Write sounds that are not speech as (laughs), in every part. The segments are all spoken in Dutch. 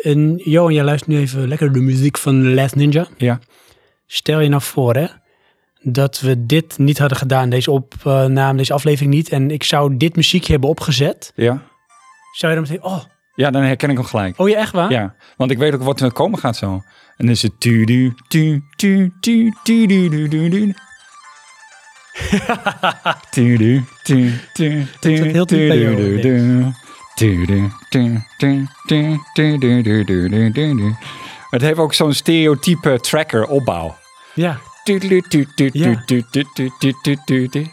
en Johan, jij luistert nu even lekker de muziek van Last Ninja. Ja. Stel je nou voor, hè, dat we dit niet hadden gedaan, deze opname, deze aflevering niet. En ik zou dit muziekje hebben opgezet. Ja. Zou je dan meteen, oh, Ja, dan herken ik hem gelijk. oh ja, echt waar? Ja, want ik weet ook wat er komen gaat zo. En dan is het tu du tu tu tu tu du du du (laughs) du tu du tu tu tu zat heel tu diep bij du jou, du dit. du tu du tu tu tu tu du du du du du du Het heeft ook zo'n stereotype tracker opbouw. Ja. Tu du tu tu tu Ja. tu tu tu tu tu tu tu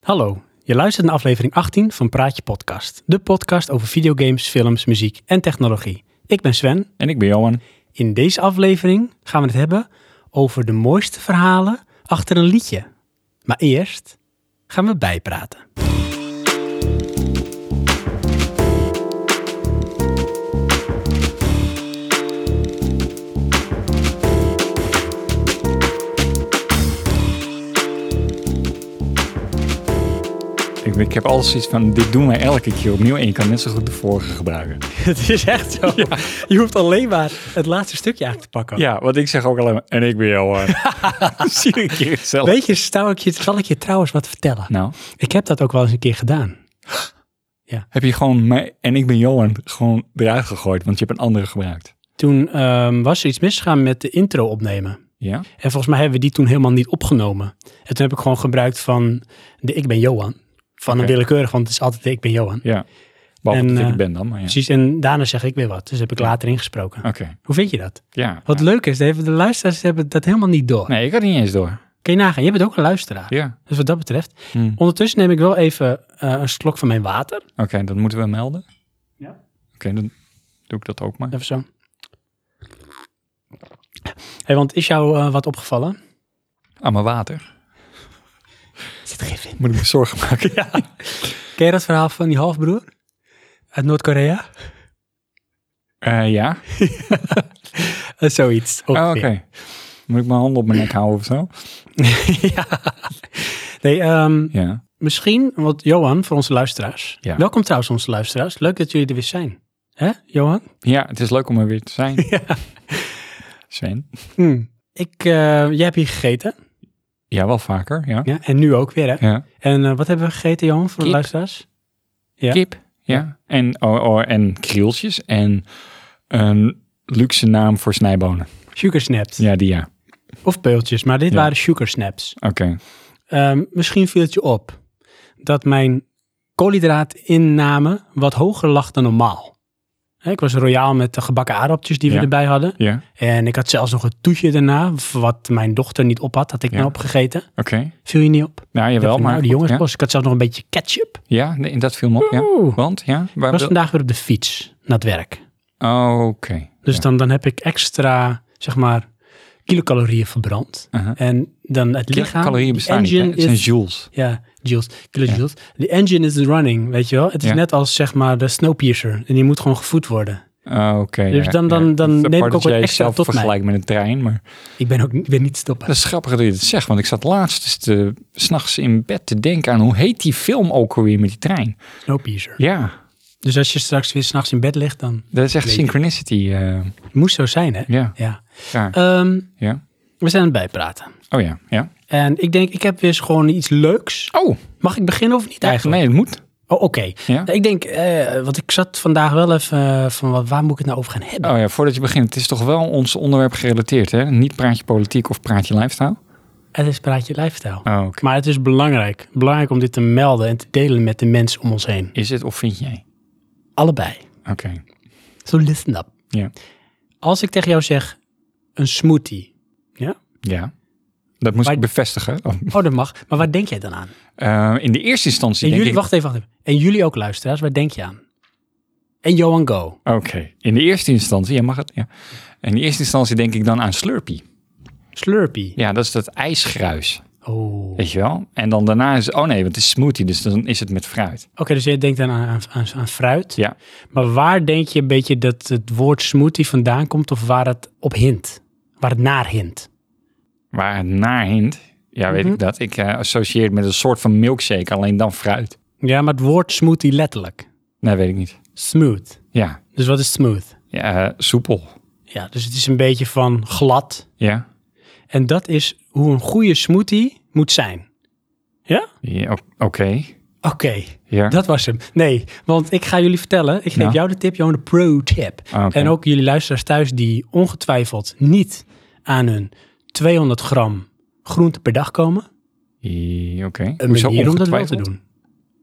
Hallo, je luistert naar aflevering 18 van Praatje Podcast. De podcast over videogames, films, muziek en technologie. Ik ben Sven En ik ben Johan. In deze aflevering gaan we het hebben over de mooiste verhalen achter een liedje. Maar eerst gaan we bijpraten. Ik, ik heb alles iets van, dit doen wij elke keer opnieuw en je kan net zo goed de vorige gebruiken. (laughs) Het is echt zo. Je hoeft alleen maar het laatste stukje aan te pakken. Ja, want ik zeg ook alleen maar, en ik ben Johan. Zie je een keer zelf. Weet je, zou ik je, zal ik je trouwens wat vertellen? Nou, Ik heb dat ook wel eens een keer gedaan. heb je gewoon mij en ik ben Johan gewoon eruit gegooid, want je hebt een andere gebruikt. Toen ehm, was er iets misgegaan met de intro opnemen. Ja? En volgens mij hebben we die toen helemaal niet opgenomen. En toen heb ik gewoon gebruikt van de Ik ben Johan. Van een Oké. willekeurig, want het is altijd de Ik ben Johan. Ja. Behalve En, dat ik eh, het ben dan, maar ja. Precies, en daarna zeg ik weer wat. Dus heb ik later ingesproken. Oké, Hoe vind je dat? ja. Wat leuk is, de, de luisteraars hebben dat helemaal niet door. Nee, ik had niet eens door. Kun je nagaan, je bent ook een luisteraar. Ja. Dus wat dat betreft. Hm. Ondertussen neem ik wel even eh, een slok van mijn water. Oké, dat moeten we melden. Ja. Oké, dan doe ik dat ook maar. Even zo. Hey, want is jou eh, wat opgevallen? Aan mijn Ah, water. Er zit gif in. Moet ik me zorgen maken? Ken je dat verhaal van die halfbroer? Uit Noord-Korea? Eh, ja. Eh, zoiets. Oh, Oké. ongeveer. Moet ik mijn handen op mijn nek houden of zo? ja. Nee, ehm, Ja. misschien, want Johan, voor onze luisteraars. Ja. Welkom trouwens, onze luisteraars. Leuk dat jullie er weer zijn. Hè, Johan? Ja, het is leuk om er weer te zijn. Ja. Sven. Hmm. Ik, eh, jij hebt hier gegeten. Ja, wel vaker, ja. Ja, en nu ook weer, hè? Ja. En eh, wat hebben we gegeten, Johan, voor de Kip. luisteraars? Ja. Kip. Ja. En, oh, oh, en krieltjes. En een luxe naam voor snijbonen. Sugar snaps. Ja, die ja. Of peultjes, maar dit Ja. waren sugar snaps. Oké. Ehm, misschien viel het je op dat mijn koolhydraatinname wat hoger lag dan normaal. Hè, Ik was royaal met de gebakken aardappeltjes die we Ja. erbij hadden. Ja. En ik had zelfs nog een toetje daarna, wat mijn dochter niet op had, had ik Ja. dan opgegeten. Oké. Viel je niet op? Nou, Ik jawel, dacht, maar... nou, die goed, jongens, ja. pas. ik had zelfs nog een beetje ketchup. Ja, nee, dat viel me op, ja. Oeh. Want, ja? Waar Ik was wil- vandaag weer op de fiets naar het werk. Oh, Oké. Dus Ja. dan, dan heb ik extra, zeg maar, kilocalorieën verbrand. Aha. En dan het lichaam, Calorieën die bestaan niet, hè? engine Het zijn is... joules. Ja, joules, kilojoules. De engine is running, weet je wel. Het is Ja. net als, zeg maar, de snowpiercer. En die moet gewoon gevoed worden. Oh, Oké. Dus ja, dan- dan- ja. dan Het is neem ik apart ook dat wat jij extra jezelf tot mij. vergelijkt met een trein, maar... Ik ben ook ik ben niet te stoppen. Dat is grappig dat je dat zegt, want ik zat laatst dus te- 's s'nachts in bed te denken aan... hoe heet die film ook alweer met die trein? Snowpiercer. Ja, Dus als je straks weer s'nachts in bed ligt, dan dat is echt Weet je. synchronicity. eh, moest zo zijn, hè? ja, Ja. ja, Ehm, ja. we zijn aan het bijpraten. Oh ja, ja. En ik denk, ik heb weer eens gewoon iets leuks. Oh, Mag ik beginnen of niet eigenlijk? Nee, het moet. Oh, oké. Ja. Nou, Ik denk, eh, want ik zat vandaag wel even eh, van wat, waar moet ik het nou over gaan hebben? Oh ja, voordat je begint, het is toch wel ons onderwerp gerelateerd, hè? Niet praat je politiek of praat je lifestyle? Het is Praatje Lifestyle. Oh, oké. Maar het is belangrijk. Belangrijk om dit te melden en te delen met de mensen om ons heen. Is het of vind jij? Allebei. Oké. So listen up. Ja. Als ik tegen jou zeg, een (laughs) smoothie. Ja? Ja. Dat moest Maar- ik bevestigen. Oh, Oh, dat mag. Maar waar denk jij dan aan? eh, in de eerste instantie En denk jullie, ik... wacht even, wacht even. En jullie ook luisteraars, waar denk je aan? En Johan Go. Oké. In de eerste instantie, ja, mag het? Ja. In de eerste instantie denk ik dan aan Slurpee. Slurpee. Ja, dat is dat ijsgruis. Oh. Oké, Weet je wel? En dan daarna is oh nee, want het is smoothie, dus dan is het met fruit. dus jij denkt aan, aan, aan, aan fruit. Ja. Maar waar denk je een beetje dat het woord smoothie vandaan komt of waar het op hint? Waar het naar hint? Waar het naar hint, ja, weet Mhm. ik dat. Ik eh, associeer het met een soort van milkshake, alleen dan fruit. Ja, maar het woord smoothie letterlijk. Nee, weet ik niet. Smooth. Ja, Dus wat is smooth? ja eh, soepel. Ja, dus het is een beetje van glad. Ja, En dat is hoe een goede smoothie moet zijn. Ja? ja o- oké. Oké, Ja. dat was hem. Nee, want ik ga jullie vertellen. Ik geef Nou. jou de tip, Johan, de pro-tip. Ah, oké. En ook jullie luisteraars thuis die ongetwijfeld niet aan hun 200 gram groente per dag komen. I- Oké. Een Hoezo manier om dat wel te ongetwijfeld? doen.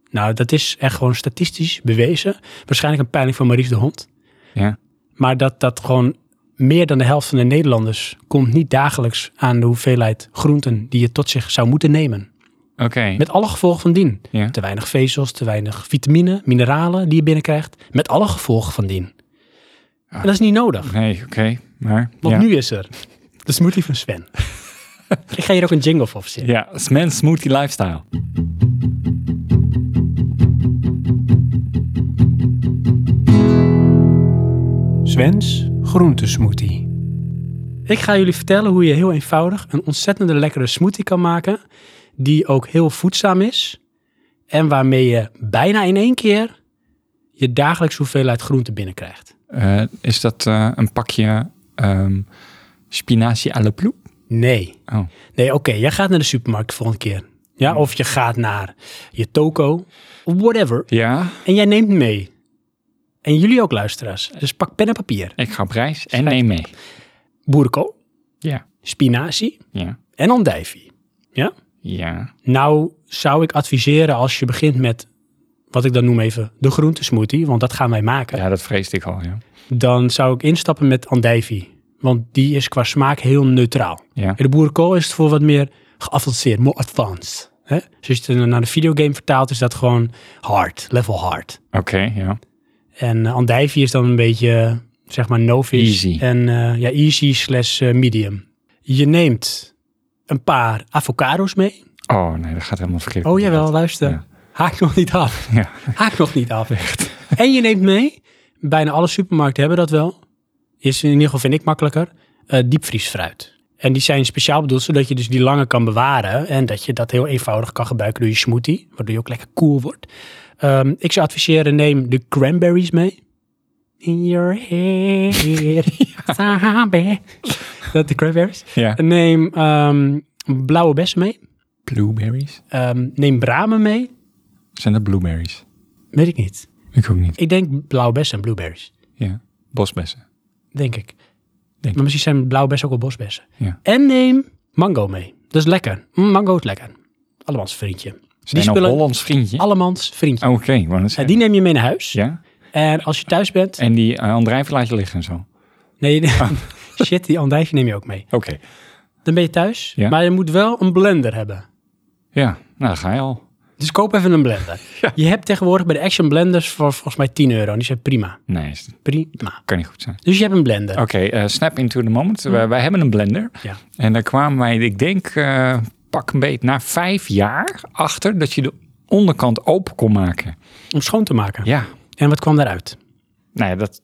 Nou, dat is echt gewoon statistisch bewezen. Waarschijnlijk een peiling van Maurice de Hond. Ja. Maar dat dat gewoon meer dan de helft van de Nederlanders komt niet dagelijks aan de hoeveelheid groenten die je tot zich zou moeten nemen. Oké. Met alle gevolgen van dien. Ja. Te weinig vezels, te weinig vitamine, mineralen die je binnenkrijgt. Met alle gevolgen van dien. En dat is niet nodig, Nee, oké. Maar, want ja. nu is (laughs) er de smoothie van (laughs) Sven. Ik ga hier ook een jingle voor verzinnen. Ja, man smoothie lifestyle. Sven's groentesmoothie. Ik ga jullie vertellen hoe je heel eenvoudig een ontzettende lekkere smoothie kan maken. Die ook heel voedzaam is. En waarmee je bijna in één keer je dagelijks hoeveelheid groente binnenkrijgt. Eh, is dat eh, een pakje ehm spinazie à la ploep? Nee. Oh. Nee, oké. jij gaat naar de supermarkt de volgende keer. Ja, of je gaat naar je toko. Whatever. Ja, En jij neemt mee. En jullie ook luisteraars. Dus pak pen en papier. ik ga op reis en neem mee. Boerenkool, Ja, spinazie ja, en andijvie. Ja? ja. Nou zou ik adviseren als je begint met, wat ik dan noem even, de groentesmoothie, want dat gaan wij maken. Ja, dat vreesde ik al, ja. Dan zou ik instappen met andijvie, want die is qua smaak heel neutraal. Ja, En de boerenkool is het voor wat meer geavanceerd, more advanced. Hè? Dus als je het naar de videogame vertaalt, is dat gewoon hard, level hard. oké, ja. En eh, andijvie is dan een beetje, eh, zeg maar, novice. Easy. En eh, ja, easy slash eh, medium. Je neemt een paar avocados mee. Oh nee, dat gaat helemaal verkeerd. Oh jawel, luister. Ja. Haak nog niet af. (laughs) Ja. Haak nog niet af. (laughs) En je neemt mee, bijna alle supermarkten hebben dat wel. Is in ieder geval, vind ik makkelijker, eh, diepvriesfruit. En die zijn speciaal bedoeld zodat je dus die langer kan bewaren. En dat je dat heel eenvoudig kan gebruiken door je smoothie. Waardoor je ook lekker koel wordt. Ehm, ik zou adviseren, neem de cranberries mee. In your hair, (laughs) sabe. Dat de cranberries. Ja. En Neem ehm, blauwe bessen mee. Blueberries? Ehm, neem bramen mee. Zijn dat blueberries? Weet ik niet. Ik ook niet. Ik denk blauwbessen en blueberries. Ja, bosbessen. Denk ik. Denk maar misschien zijn blauwbessen ook wel bosbessen. Ja. En neem mango mee. Dat is lekker. Mm, Mango is lekker. Allemans vriendje. Zijn die spullen- een Hollands vriendje? Allemans vriendje. Oh, Oké, want dat is- En die neem je mee naar huis. Ja? En als je thuis bent... En Ah. die uh, andrijven laat je liggen en zo? Oké. Nee, (laughs) shit, die andijvie neem je ook mee. Dan ben je thuis. Ja. Maar je moet wel een blender hebben. Ja, nou daar ga je al. Dus koop even een blender. (laughs) Je hebt tegenwoordig bij de Action Blenders voor volgens mij 10 euro. Die zijn prima. Nee, is- Prima. kan niet goed zijn. Mm. Dus je hebt een blender. Oké, eh, snap into the moment. We- wij hebben een blender. Ja. En daar kwamen wij, ik denk, eh, pak een beet na vijf jaar achter dat je de onderkant open kon maken. Om schoon te maken. Ja, En wat kwam daaruit? nou ja, dat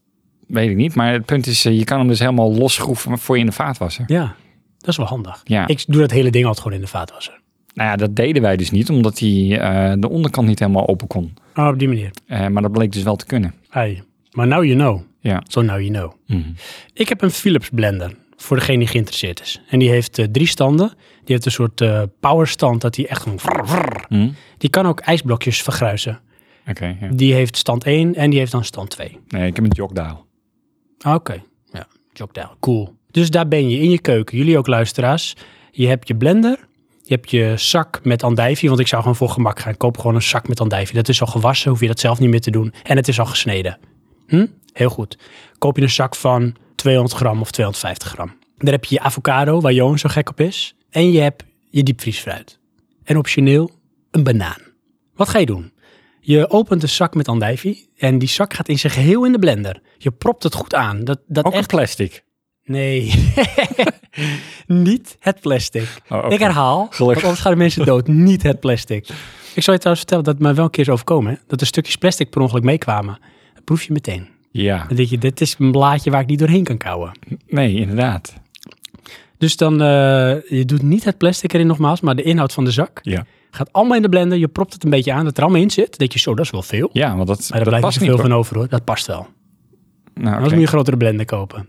weet ik niet. Maar het punt is, eh, je kan hem dus helemaal losschroeven voor je in de vaatwasser. Ja, dat is wel handig. Ja. Ik doe dat hele ding altijd gewoon in de vaatwasser. Nou ja, dat deden wij dus niet, omdat hij eh, de onderkant niet helemaal open kon. Oh, op die manier. Eh, maar dat bleek dus wel te kunnen. Hey. Maar now you know. Ja. Zo now you know. Mhm. Ik heb een Philips blender. Voor degene die geïnteresseerd is. En die heeft eh, drie standen. Die heeft een soort eh powerstand dat die echt gewoon... vrr, vrr. Mhm. Die kan ook ijsblokjes vergruisen. Oké, ja. Die heeft stand 1 en die heeft dan stand 2. Nee, ik heb een jogdaal. Oké. Ja, Jokdaal. Cool. Dus daar ben je in je keuken. Jullie ook luisteraars. Je hebt je blender. Je hebt je zak met andijvie. Want ik zou gewoon voor gemak gaan. Koop gewoon een zak met andijvie. Dat is al gewassen. Hoef je dat zelf niet meer te doen. En het is al gesneden. Hm? Heel goed. Koop je een zak van 200 gram of 250 gram. Daar heb je je avocado, waar Johan zo gek op is. En je hebt je diepvriesfruit. En optioneel een banaan. Wat ga je doen? Je opent een zak met andijvie en die zak gaat in zijn geheel in de blender. Je propt het goed aan. Dat, dat Ook echt echt plastic. Nee. (laughs) Niet het plastic. Oh, oké. Ik herhaal, want anders gaan de mensen dood. Niet het plastic. Ik zal je trouwens vertellen dat het mij wel een keer is overkomen. hè. Dat er stukjes plastic per ongeluk meekwamen. Dat proef je meteen. Ja, Dan denk je, dit is een blaadje waar ik niet doorheen kan kauwen. nee, inderdaad. Dus dan, eh, je doet niet het plastic erin nogmaals, maar de inhoud van de zak. Ja, Gaat allemaal in de blender, je propt het een beetje aan, dat er allemaal in zit. Dan denk je, zo, dat is wel veel. ja want dat, Maar daar dat blijft past niet niet. zoveel hoor. van over hoor, dat past wel. Anders Nou, oké. moet je een grotere blender kopen.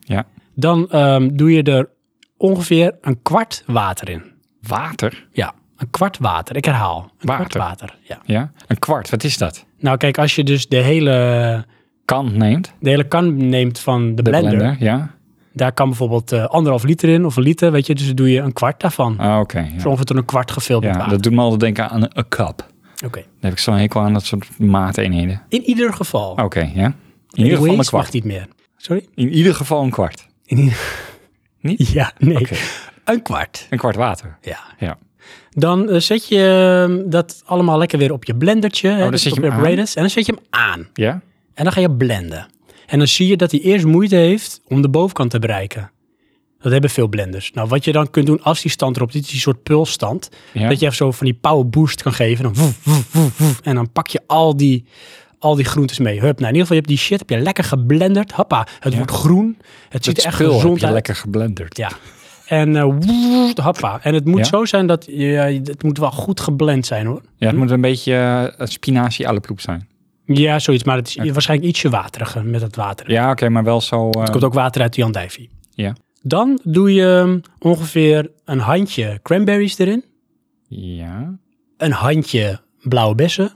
Ja. Dan ehm, doe je er ongeveer een kwart water in. Water? Ja, een kwart water, ik herhaal. Een kwart Water. water, ja. Ja, een kwart, wat is dat? Nou kijk, als je dus de hele, Kan neemt. de hele kan neemt van de, De blender, blender, ja. daar kan bijvoorbeeld eh, anderhalf liter in of een liter, weet je. Dus dan doe je een kwart daarvan. Ah, oké. Zo ja. ongeveer tot een kwart gevuld met ja, water. dat doet me altijd denken aan een, een cup. Daar Oké. heb ik zo'n hekel aan, dat soort maateenheden. In ieder geval. Oké, ja. Oh, In ieder geval een Anyways, kwart. mag niet meer. Sorry? (laughs) In ieder geval een kwart. In ieder... Niet? Ja, nee. Oké. Een kwart. Een kwart water. Ja. Ja. Dan eh, zet je ehm, dat allemaal lekker weer op je blendertje. hè, Oh, dan dus zet op je hem je aan? apparatus. En dan zet je hem aan. Ja? En dan ga je blenden. En dan zie je dat hij eerst moeite heeft om de bovenkant te bereiken. Dat hebben veel blenders. Nou, wat je dan kunt doen als die stand erop zit, is die soort pulsstand. Ja. Dat je even zo van die power boost kan geven. Dan woef, woef, woef, woef. en dan pak je al die, al die groentes mee. Hup, nou, in ieder geval, je hebt die shit heb je lekker geblenderd. Hoppa, het wordt groen. Het ziet Het er echt spul heb gezond je uit. lekker geblenderd. Ja. En eh, woef, hoppa. En het moet Ja? zo zijn dat je, het moet wel goed geblend zijn hoor. Ja, het moet een beetje eh, een spinazie alle poep zijn. Ja, zoiets. Maar het is waarschijnlijk ietsje wateriger met het water. Ja, oké, maar wel zo... eh, Er komt ook water uit de andijvie. Ja. Dan doe je ehm, ongeveer een handje cranberries erin, Ja. een handje blauwe bessen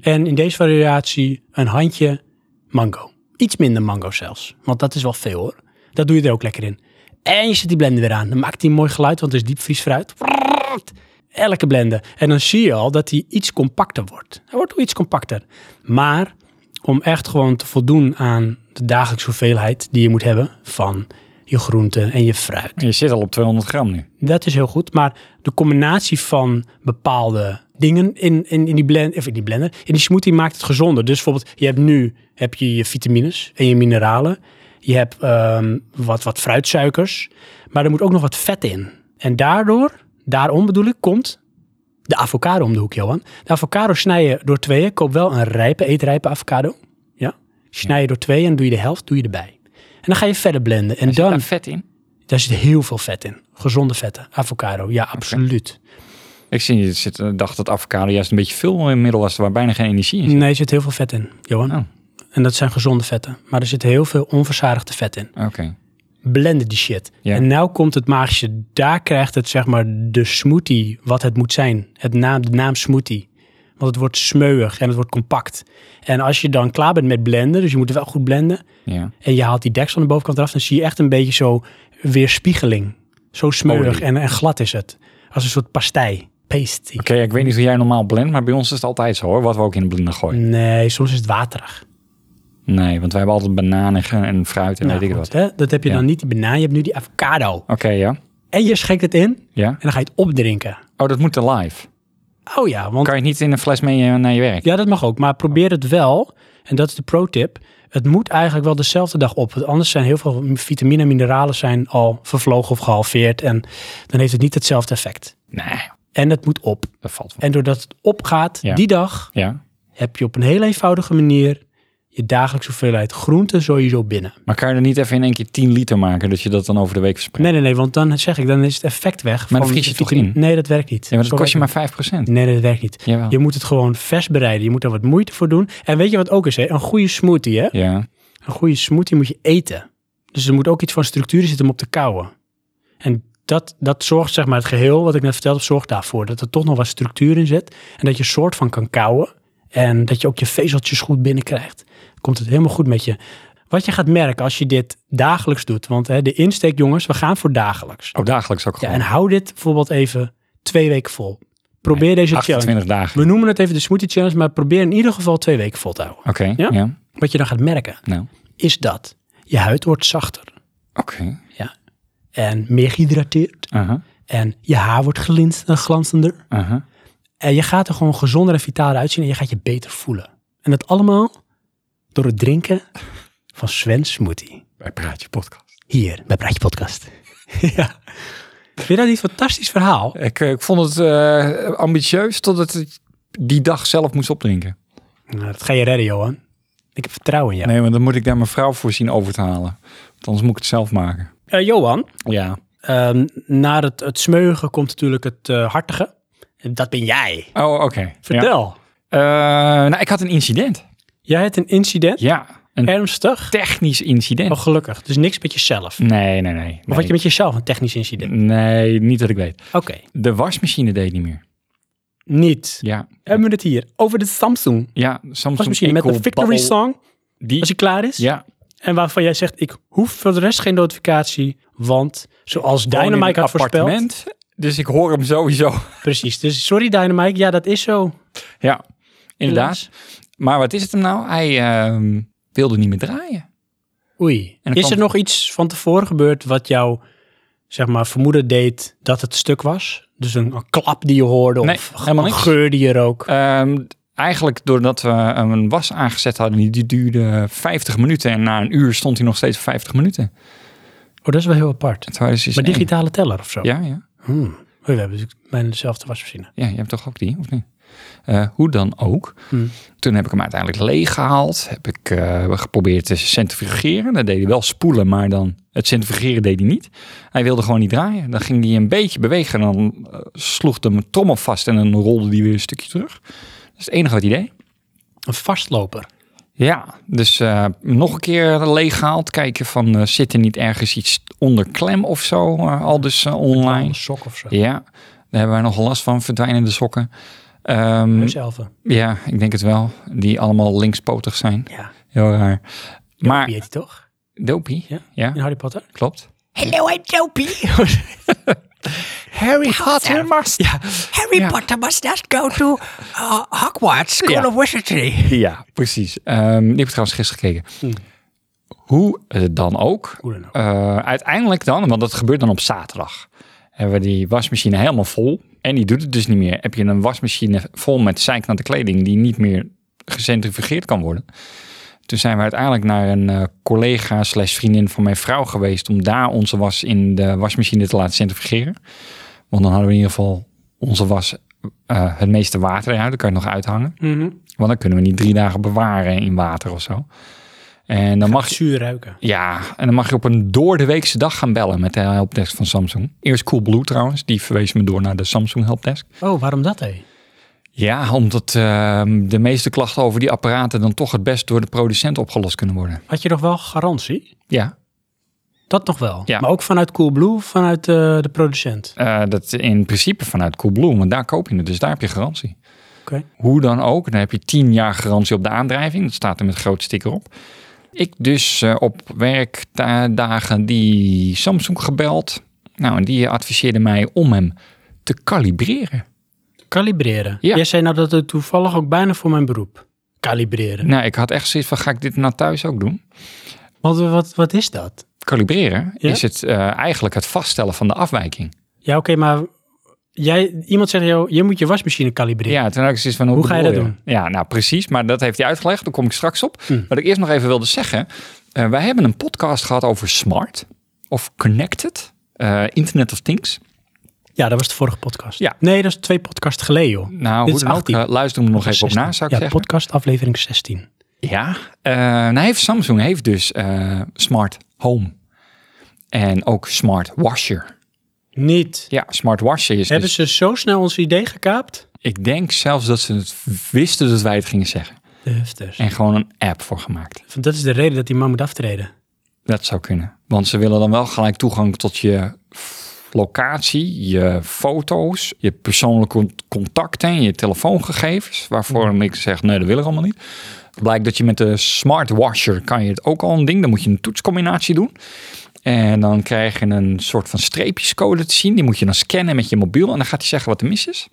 en in deze variatie een handje mango. Iets minder mango zelfs, want dat is wel veel hoor. Dat doe je er ook lekker in. En je zet die blender weer aan. Dan maakt die een mooi geluid, want het is diepvriesfruit. Elke blender. En dan zie je al dat die iets compacter wordt. Hij wordt wel iets compacter. Maar om echt gewoon te voldoen aan de dagelijkse hoeveelheid die je moet hebben van je groenten en je fruit. Je zit al op 200 gram nu. Dat is heel goed. Maar de combinatie van bepaalde dingen in, in, in, die, blend, of in die blender, in die smoothie maakt het gezonder. Dus bijvoorbeeld, je hebt nu heb je, je vitamines en je mineralen. Je hebt ehm, wat, wat fruitsuikers. Maar er moet ook nog wat vet in. En daardoor, daarom bedoel ik, komt de avocado om de hoek, Johan. De avocado snij je door tweeën. Koop wel een rijpe, eetrijpe avocado. Ja? Snij je door tweeën en doe je de helft, doe je erbij. En dan ga je verder blenden. En dan vet in? daar zit heel veel vet in. Gezonde vetten. Avocado, ja, absoluut. Ik zie, je zit, eh, dacht dat avocado juist een beetje veel middel was, waar bijna geen energie in zit. Nee, er zit heel veel vet in, Johan. Oh. En dat zijn gezonde vetten. Maar er zit heel veel onverzadigde vet in. Oké. Blenden die shit. Ja. En nou komt het magische. Daar krijgt het, zeg maar, de smoothie wat het moet zijn. Het naam, de naam smoothie. Want het wordt smeuig en het wordt compact. En als je dan klaar bent met blenden, dus je moet wel goed blenden. Ja. En je haalt die deksel aan de bovenkant eraf, dan zie je echt een beetje zo weerspiegeling. Zo smeuig Olie. en, en glad is het. Als een soort pastei. Pasty. Oké, ik weet niet hoe jij normaal blendt, maar bij ons is het altijd zo hoor, wat we ook in de blender gooien. Nee, soms is het waterig. Nee, want wij hebben altijd bananen ge- en fruit en Nou, weet ik goed, wat. hè? Dat heb je Ja. dan niet, die banaan. Je hebt nu die avocado. Oké, ja. En je schenkt het in en Ja? dan ga je het opdrinken. Oh, dat moet er live. Oh ja, want Kan je het niet in een fles mee eh, naar je werk? ja, dat mag ook. Maar probeer het wel, en dat is de pro-tip. Het moet eigenlijk wel dezelfde dag op. Want anders zijn heel veel vitamine en mineralen zijn al vervlogen of gehalveerd. En dan heeft het niet hetzelfde effect. Nee, En het moet op. dat valt wel. En doordat het opgaat, Ja. die dag, Ja. heb je op een heel eenvoudige manier je dagelijkse hoeveelheid groente sowieso binnen. Maar kan je er niet even in één keer 10 liter maken, dat je dat dan over de week verspreidt? Nee, nee, nee, want dan zeg ik, dan is het effect weg. dan van vries je de toch vitamine. in? Nee, dat werkt niet. Ja, maar dat Zo kost je werkt maar 5%. het niet. Nee, nee, dat werkt niet. Jawel. Je moet het gewoon vers bereiden. Je moet daar wat moeite voor doen. En weet je wat ook is, hè? Een goede smoothie, hè? Ja. Een goede smoothie moet je eten. Dus er moet ook iets van structuur in zitten om op te kauwen. En dat, dat zorgt, zeg maar, het geheel, wat ik net vertelde, zorgt daarvoor. Dat er toch nog wat structuur in zit. En dat je soort van kan kauwen. En dat je ook je vezeltjes goed binnenkrijgt. Komt het helemaal goed met je. Wat je gaat merken als je dit dagelijks doet. Want hè, de insteek, jongens, we gaan voor dagelijks. Oh, dagelijks ook Ja, gewoon. en hou dit bijvoorbeeld even twee weken vol. Probeer deze challenge. 28 dagen. We noemen het even de smoothie challenge, maar probeer in ieder geval twee weken vol te houden. Oké, Ja? ja? Wat je dan gaat merken, Nou, is dat je huid wordt zachter oké. en meer gehydrateerd. Aha, En je haar wordt glinst en glanzender. aha. En je gaat er gewoon gezonder en vitaler uitzien en je gaat je beter voelen. En dat allemaal door het drinken van Sven Smoothie. Bij Praatje Podcast. Hier bij Praatje Podcast. (laughs) ja. Vind je dat niet een fantastisch verhaal? Ik, ik vond het eh, ambitieus totdat ik die dag zelf moest opdrinken. Nou, dat ga je redden, Johan. Ik heb vertrouwen in jou. Nee, want dan moet ik daar mijn vrouw voor zien over te halen. Want anders moet ik het zelf maken. Eh, Johan, Ja. ehm, na het, het smeugen komt natuurlijk het eh, hartige. En Dat ben jij. Oh, oké. Ja. Vertel. Eh, nou, ik had een incident. Jij hebt een incident. Ja. Een Ernstig. technisch incident. Oh, gelukkig. Dus niks met jezelf. Nee, nee, nee. Of had je met jezelf een technisch incident? Nee, niet dat ik weet. Oké. De wasmachine deed niet meer. Niet. Ja. Hebben we het hier over de Samsung? Ja, Samsung Was misschien met Echo de victory Bubble, song, Die, als hij klaar is. ja, En waarvan jij zegt, ik hoef voor de rest geen notificatie, want zoals woon in Dynamite een had voorspeld. appartement, Dus ik hoor hem sowieso. (laughs) Precies, dus sorry Dynamite, ja dat is zo. Ja, inderdaad. Helaas. Maar wat is het hem nou? Hij ehm, wilde niet meer draaien. Oei. dan Is kwam- er nog iets van tevoren gebeurd wat jou, zeg maar, vermoeden deed dat het stuk was? Dus een, een klap die je hoorde Nee, of helemaal een niks. geur die je rook. Ehm, eigenlijk doordat we hem een was aangezet hadden, die- die duurde 50 minuten. En na een uur stond hij nog steeds op 50 minuten. Oh, dat is wel heel apart. Het was dus Maar één. digitale teller of zo? Ja, ja. Hmm. Oei, we hebben natuurlijk bijna dezelfde wasmachine. Ja, je hebt toch ook die, of niet? Eh, hoe dan ook. Hmm. Toen heb ik hem uiteindelijk leeggehaald. Heb ik eh, geprobeerd te centrifugeren. Dat deed hij wel spoelen, maar dan het centrifugeren deed hij niet. Hij wilde gewoon niet draaien. Dan ging hij een beetje bewegen en dan eh, sloeg de trommel vast en dan rolde hij weer een stukje terug. Dat is het enige wat hij deed. Een vastloper. Ja, dus eh, nog een keer leeggehaald. Kijken van eh, zit er niet ergens iets onder klem of zo, eh, al dus eh, online. Een sok of zo. Ja, daar hebben wij nog last van, verdwijnende sokken. Ehm, Heuselfen. ja, ik denk het wel. Die allemaal linkspotig zijn. Ja. Heel raar. Wie Maar heet die toch? Dopey, Ja. ja, In Harry Potter? Oh, klopt. Hello, I'm (laughs) Dopey. Harry Potter Ja, Harry Ja. Potter must not go to uh, Hogwarts School Ja. of Wizardry. ja precies. Ehm, ik heb trouwens gisteren gekeken. Hmm. Hoe het dan ook. Hoe dan ook. eh, uiteindelijk dan, want dat gebeurt dan op zaterdag. Hebben we die wasmachine helemaal vol. En die doet het dus niet meer. Heb je een wasmachine vol met zeiknante kleding die niet meer gecentrifugeerd kan worden. Toen zijn we uiteindelijk naar een eh, collega slash vriendin van mijn vrouw geweest om daar onze was in de wasmachine te laten centrifugeren. Want dan hadden we in ieder geval onze was eh, het meeste water eruit. Dat kan je nog uithangen. Mhm. Want dan kunnen we niet drie dagen bewaren in water of zo. En dan mag je, Zuur ruiken. ja, en dan mag je op een door de weekse dag gaan bellen met de helpdesk van Samsung. Eerst Coolblue trouwens, die verwees me door naar de Samsung helpdesk. Oh, waarom dat hé? Ja, omdat ehm, de meeste klachten over die apparaten dan toch het best door de producent opgelost kunnen worden. Had je nog wel garantie? Ja, Dat nog wel. Ja. Maar ook vanuit Coolblue, vanuit eh, de producent. eh, dat in principe vanuit Coolblue, want daar koop je het, dus daar heb je garantie. Oké. Hoe dan ook, dan heb je 10 jaar garantie op de aandrijving. Dat staat er met groot sticker op. Ik dus eh, op werkdagen die Samsung gebeld. Nou, en die adviseerde mij om hem te kalibreren. Kalibreren. Ja. Jij zei nou dat het toevallig ook bijna voor mijn beroep. Kalibreren. Nou, ik had echt zoiets van, ga ik dit nou thuis ook doen? Wat, wat, wat is dat? Kalibreren Ja? is het, eh, eigenlijk het vaststellen van de afwijking. Ja, oké, maar jij, iemand zegt jou, je moet je wasmachine kalibreren. Ja, toen had ik zoiets van, Hoe ga je bedoel dat Ja, nou precies, maar dat heeft hij uitgelegd. Daar kom ik straks op. Hmm. Wat ik eerst nog even wilde zeggen. eh, wij hebben een podcast gehad over smart of connected, eh, Internet of Things. Ja, dat was de vorige podcast. Ja. Nee, dat is twee podcasts geleden, joh. Dit Nou, hoe is dan ook, 18. eh, luister hem er nog even op 16. na, zou ik ja, zeggen. podcast aflevering 16. Ja, eh, nou heeft Samsung heeft dus eh, smart home en ook smart washer. Niet. Ja, smart washer is Hebben dus... ze zo snel ons idee gekaapt? Ik denk zelfs dat ze het wisten dat wij het gingen zeggen. Hufters. En gewoon een app voor gemaakt. Dat is de reden dat die man moet aftreden. Dat zou kunnen. Want ze willen dan wel gelijk toegang tot je f- locatie, je foto's, je persoonlijke con- contacten en je telefoongegevens. Waarvoor ik zeg, nee, dat willen we allemaal niet. Blijkt dat je met de smart washer kan je het ook al een ding. Dan moet je een toetscombinatie doen. En dan krijg je een soort van streepjescode te zien. Die moet je dan scannen met je mobiel. En dan gaat hij zeggen wat er mis is.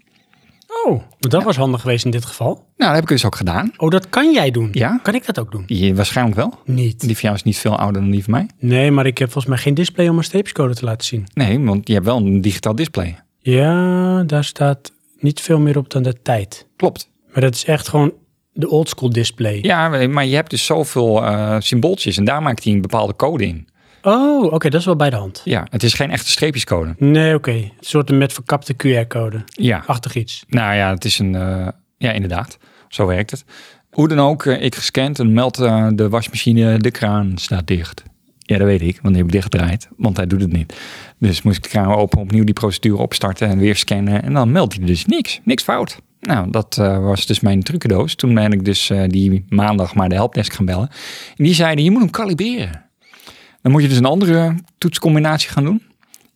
Oh, maar dat was handig geweest in dit geval. Nou, dat heb ik dus ook gedaan. Oh, dat kan jij doen. Ja. Kan ik dat ook doen? Je, waarschijnlijk wel. Niet. Die van jou is niet veel ouder dan die van mij. Nee, maar ik heb volgens mij geen display om mijn streepjescode te laten zien. Nee, want je hebt wel een digitaal display. Ja, daar staat niet veel meer op dan de tijd. Klopt. Maar dat is echt gewoon de oldschool display. Ja, maar je hebt dus zoveel eh, symbooltjes en daar maakt hij een bepaalde code in. Oh, oké, dat is wel bij de hand. Ja, het is geen echte streepjescode. Nee, oké. Een soort met verkapte QR-code. Ja, Achtig iets. nou ja, het is een... eh, ja, inderdaad. Zo werkt het. Hoe dan ook, eh, ik gescand en meldt eh, de wasmachine, de kraan staat dicht. Ja, dat weet ik, want die heb ik dichtgedraaid, want hij doet het niet. Dus moest ik de kraan open, opnieuw die procedure opstarten en weer scannen. En dan meldt hij dus niks, niks fout. Nou, dat eh, was dus mijn trucendoos. Toen ben ik dus eh, die maandag maar de helpdesk gaan bellen. En die zeiden, je moet hem kalibreren. Dan moet je dus een andere toetscombinatie gaan doen.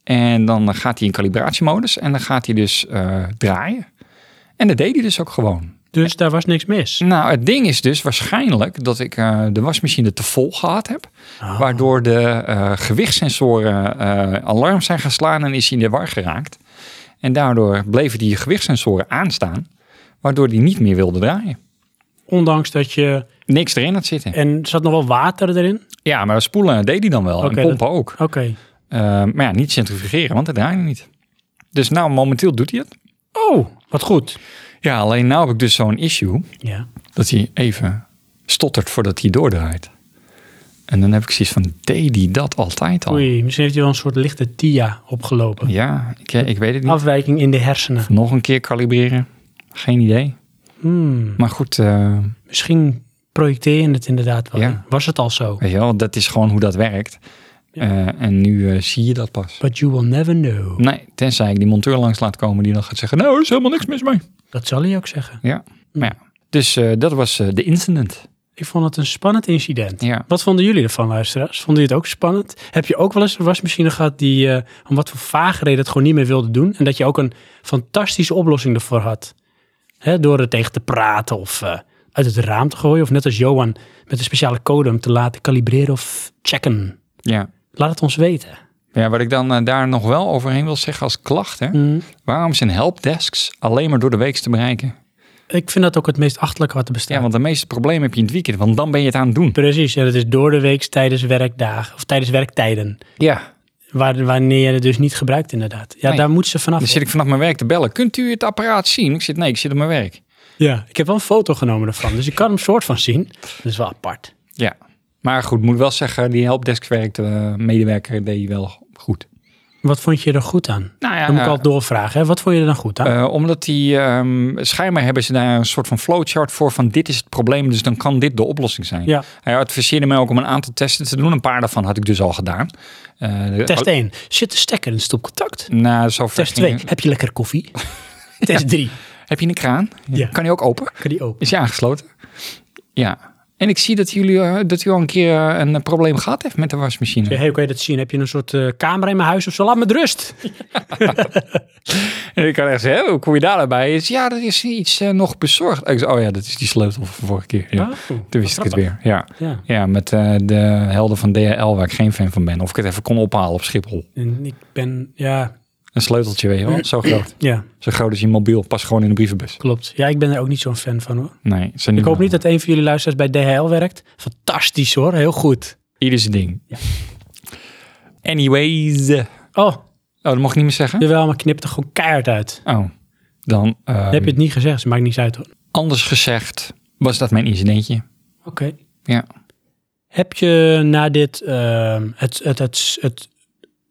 En dan gaat hij in kalibratiemodus en dan gaat hij dus eh, draaien. En dat deed hij dus ook gewoon. Dus daar was niks mis. Nou, het ding is dus waarschijnlijk dat ik eh, de wasmachine te vol gehad heb. Ah. Waardoor de eh, gewichtssensoren eh, alarm zijn gaan slaan en is hij in de war geraakt. En daardoor bleven die gewichtssensoren aanstaan. Waardoor die niet meer wilde draaien. Ondanks dat je... Niks erin had zitten. En zat nog wel water erin? Ja, maar spoelen deed hij dan wel. Oké, en pompen ook. Oké. Eh, maar ja, niet centrifugeren, want dat draaide niet. Dus nou, momenteel doet hij het. Oh, wat goed. Ja, alleen nou heb ik dus zo'n issue. Ja. dat hij even stottert voordat hij doordraait. En dan heb ik zoiets van, deed hij dat altijd al? Oei, misschien heeft hij wel een soort lichte TIA opgelopen. Ja, ik, eh, ik weet het niet. Afwijking in de hersenen. Nog een keer kalibreren? Geen idee. Hmm, Maar goed, eh, Misschien projecteer je het inderdaad wel. Ja. Was het al zo? weet je wel, dat is gewoon hoe dat werkt. Eh, en nu eh, zie je dat pas. But you will never know. Nee, tenzij ik die monteur langs laat komen die dan gaat zeggen, nou, er is helemaal niks mis mee. Dat zal hij ook zeggen. Ja, maar ja. Dus eh, dat was eh, de incident. Ik vond het een spannend incident. Ja. Wat vonden jullie ervan, luisteraars? Vonden jullie het ook spannend? Heb je ook wel eens een wasmachine gehad die eh, om wat voor vage reden het gewoon niet meer wilde doen? En dat je ook een fantastische oplossing ervoor had? Hè, door er tegen te praten of eh, uit het raam te gooien. Of net als Johan met een speciale code hem te laten kalibreren of checken. Ja. Laat het ons weten. ja, wat ik dan eh, daar nog wel overheen wil zeggen als klacht, hè. Mm. Waarom zijn helpdesks alleen maar door de week te bereiken? Ik vind dat ook het meest achterlijke wat er bestaat. Ja, want de meeste problemen heb je in het weekend, want dan ben je het aan het doen. Precies, en het is door de week tijdens werkdagen of tijdens werktijden. Ja. Waar, wanneer je het dus niet gebruikt, inderdaad. Ja, Nee. Dus daar moet ze vanaf. Dan zit ik vanaf mijn werk te bellen. Kunt u het apparaat zien? Ik zit, nee, ik zit op mijn werk. Ja, ik heb wel een foto genomen ervan, dus ik kan hem soort van zien. Dat is wel apart. Ja. Maar goed, moet wel zeggen, die helpdesk werkte, medewerker deed wel goed. Wat vond je er goed aan? Nou Dan moet ik eh, altijd doorvragen. Hè? Wat vond je er dan goed aan? eh, omdat die, ehm, schijnbaar hebben ze daar een soort van flowchart voor van dit is het probleem, dus dan kan dit de oplossing zijn. ja, Hij adviseerde mij ook om een aantal testen te doen. Een paar daarvan had ik dus al gedaan. Eh, de- test 1. Zit de stekker in het stopcontact? Nou, zo ver Test ging- 2. Heb je lekker (laughs) koffie? test 3. Heb je een kraan? Ja. Kan die ook open? Kan die open? Is hij aangesloten? Ja. En ik zie dat, jullie, eh, dat u al een keer eh, een eh, probleem gehad heeft met de wasmachine. Hey, hoe kan je dat zien? Heb je een soort eh, camera in mijn huis of zo? Laat me met rust. En ik kan echt zeggen, hè, hoe kom je daar nou bij? Is, ja, er is iets eh, nog bezorgd. Ik zei, oh ja, dat is die sleutel van vorige keer. Ja. Oh, Toen wist ik wat het weer. Ja, grappig. Ja. ja met eh, de helden van DHL, waar ik geen fan van ben. Of ik het even kon ophalen op Schiphol. En ik ben, ja, Een sleuteltje, weet je wel. Zo groot. ja, Zo groot als je mobiel. Pas gewoon in de brievenbus. klopt. Ja, ik ben er ook niet zo'n fan van hoor. Nee, ze Ik hoop niet dat een van jullie luisteraars bij DHL werkt. Fantastisch hoor, heel goed. Ieder zijn ding. Anyways. eh, Oh, Oh, dat mocht ik niet meer zeggen? jawel, maar knip er gewoon keihard uit. Oh, dan... ehm, heb je het niet gezegd, dus het maakt niets uit hoor. Anders gezegd was dat mijn incidentje. Oké. Ja. Heb je na dit ehm, het, het, het, het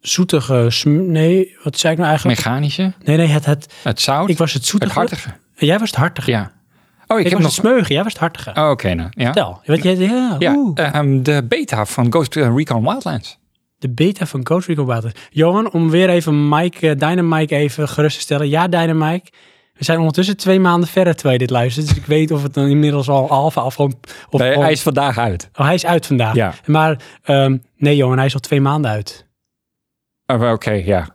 zoetige... sm- Nee, wat zei ik nou eigenlijk? Mechanische, Nee, nee, het, het, het zout, ik was het het zoetige. hartige. En jij was het hartige. Ja. Oh, ik, Ik, was heb nog... het smeuige, jij was het hartige. Oh, Oké, nou. Ja. Vertel. Want jij, ja, Ja, oeh. ehm, de beta van Ghost Recon Wildlands. De beta van Coach Recon Water. Johan, om weer even Mike, eh, Dynamike even gerust te stellen. Ja, Dynamike. We zijn ondertussen twee maanden verder terwijl je dit luistert. Dus ik weet of het dan inmiddels al alfa of gewoon... Of, Nee, of- hij is vandaag uit. oh, hij is uit vandaag. Ja. Maar ehm, nee Johan, hij is al twee maanden uit. Oh, Oké, (laughs) ja.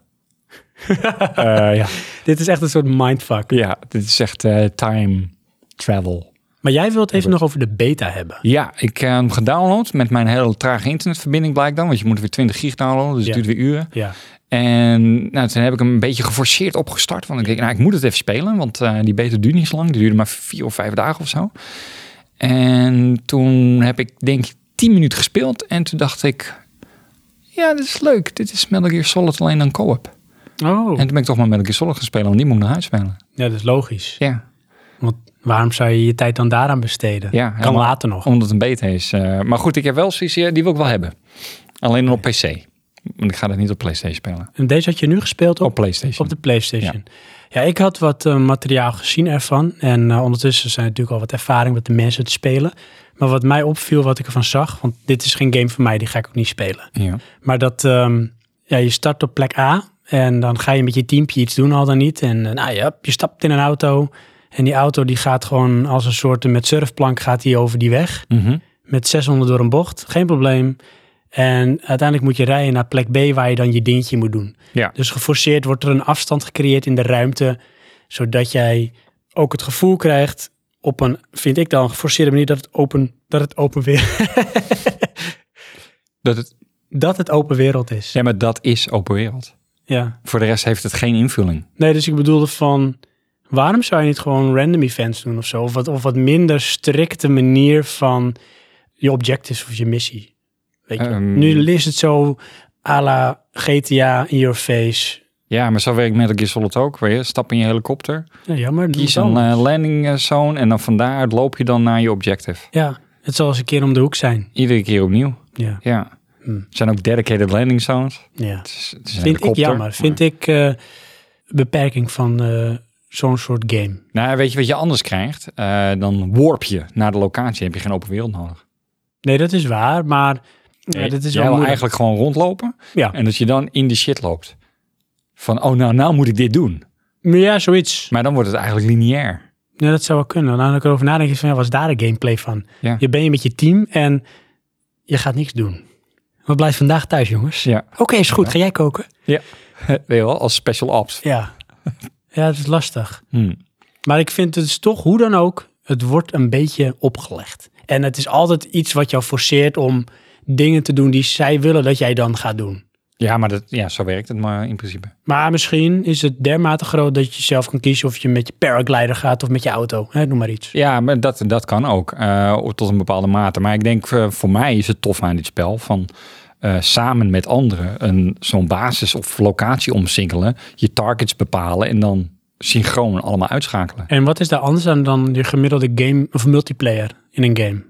Eh, ja. Dit is echt een soort mindfuck. Ja, dit is echt eh, time travel. Maar jij wilt het even nog over de beta hebben. Ja, ik heb hem gedownload met mijn hele trage internetverbinding blijkt dan. Want je moet weer 20 gig downloaden, dus Ja. het duurt weer uren. Ja. En nou, toen heb ik hem een beetje geforceerd opgestart. Want ik denk, nou, ik moet het even spelen. Want eh, die beta duurde niet zo lang. Die duurde maar vier of vijf dagen of zo. En toen heb ik denk ik tien minuten gespeeld. En toen dacht ik, ja, dit is leuk. Dit is Metal Gear Solid alleen dan co-op. Oh. En toen ben ik toch maar Metal Gear Solid gaan spelen. Want die moet ik naar huis spelen. Ja, dat is logisch. Ja, Want waarom zou je je tijd dan daaraan besteden? ja kan helemaal- later nog. omdat het een beta is. Eh, maar goed, ik heb wel zoiets, ja, die wil ik wel hebben. Alleen op PC. Want ik ga dat niet op PlayStation spelen. En deze had je nu gespeeld Op op, PlayStation. op de PlayStation. Ja. ik had wat eh, materiaal gezien ervan. En eh, ondertussen zijn er natuurlijk al wat ervaring met de mensen het spelen. Maar wat mij opviel, wat ik ervan zag, want dit is geen game voor mij, die ga ik ook niet spelen. Ja. Maar dat ehm, ja, je start op plek A en dan ga je met je teampje iets doen, al dan niet. En eh, nou ja, je stapt in een auto en die auto die gaat gewoon als een soort met surfplank gaat die over die weg. Mhm. Met 600 door een bocht, geen probleem. En uiteindelijk moet je rijden naar plek B waar je dan je dingetje moet doen. Ja. Dus geforceerd wordt er een afstand gecreëerd in de ruimte, zodat jij ook het gevoel krijgt op een, vind ik dan, geforceerde manier dat het open, dat het open, weer, Dat (laughs) het, dat het open wereld is. ja, maar dat is open wereld. ja. Voor de rest heeft het geen invulling. Nee, dus ik bedoelde van... waarom zou je niet gewoon random events doen of zo? Of wat, of wat minder strikte manier van je objectives of je missie. Weet je? Ehm. nu is het zo à la GTA in your face. Ja, maar zo werkt Metal Gear Solid ook. Weet je, stap in je helikopter, Ja, jammer. dat kies moet een wel. eh, landing eh, zone en dan van daaruit loop je dan naar je objective. Ja, het zal eens een keer om de hoek zijn. Iedere keer opnieuw. Ja, Ja. Hm. Er zijn ook dedicated landing zones. ja. Het is, het is een Vind ik helikopter. jammer. Vind ik eh, beperking van eh, zo'n soort game. Nou, weet je wat je anders krijgt? Eh, dan warp je naar de locatie. Heb je geen open wereld nodig. Nee, dat is waar, maar... ja, dat is wel Jij wil moeilijk. eigenlijk gewoon rondlopen. Ja. En dat je dan in de shit loopt. Van, oh, nou, nou moet ik dit doen. Maar ja, zoiets. Maar dan wordt het eigenlijk lineair. Ja, dat zou wel kunnen. Nou, ik erover nadenk, is van, ja, was daar de gameplay van? Ja. Je bent met je team en je gaat niks doen. We blijven vandaag thuis, jongens. Ja. Oké, is goed. Ga jij koken? Weet je wel, als special ops. (laughs) Ja. Ja, het is lastig. Hm. Maar ik vind het is toch, hoe dan ook, het wordt een beetje opgelegd. En het is altijd iets wat jou forceert om dingen te doen die zij willen dat jij dan gaat doen. Ja, maar dat, ja, zo werkt het maar in principe. Maar misschien is het dermate groot dat je zelf kan kiezen of je met je paraglider gaat of met je auto. Hè, noem maar iets. Ja, maar dat, dat kan ook. eh, tot een bepaalde mate. Maar ik denk, eh, voor mij is het tof aan dit spel. Van eh, samen met anderen een, zo'n basis of locatie omsingelen. Je targets bepalen en dan synchroon allemaal uitschakelen. En wat is daar anders aan dan je gemiddelde game of multiplayer in een game?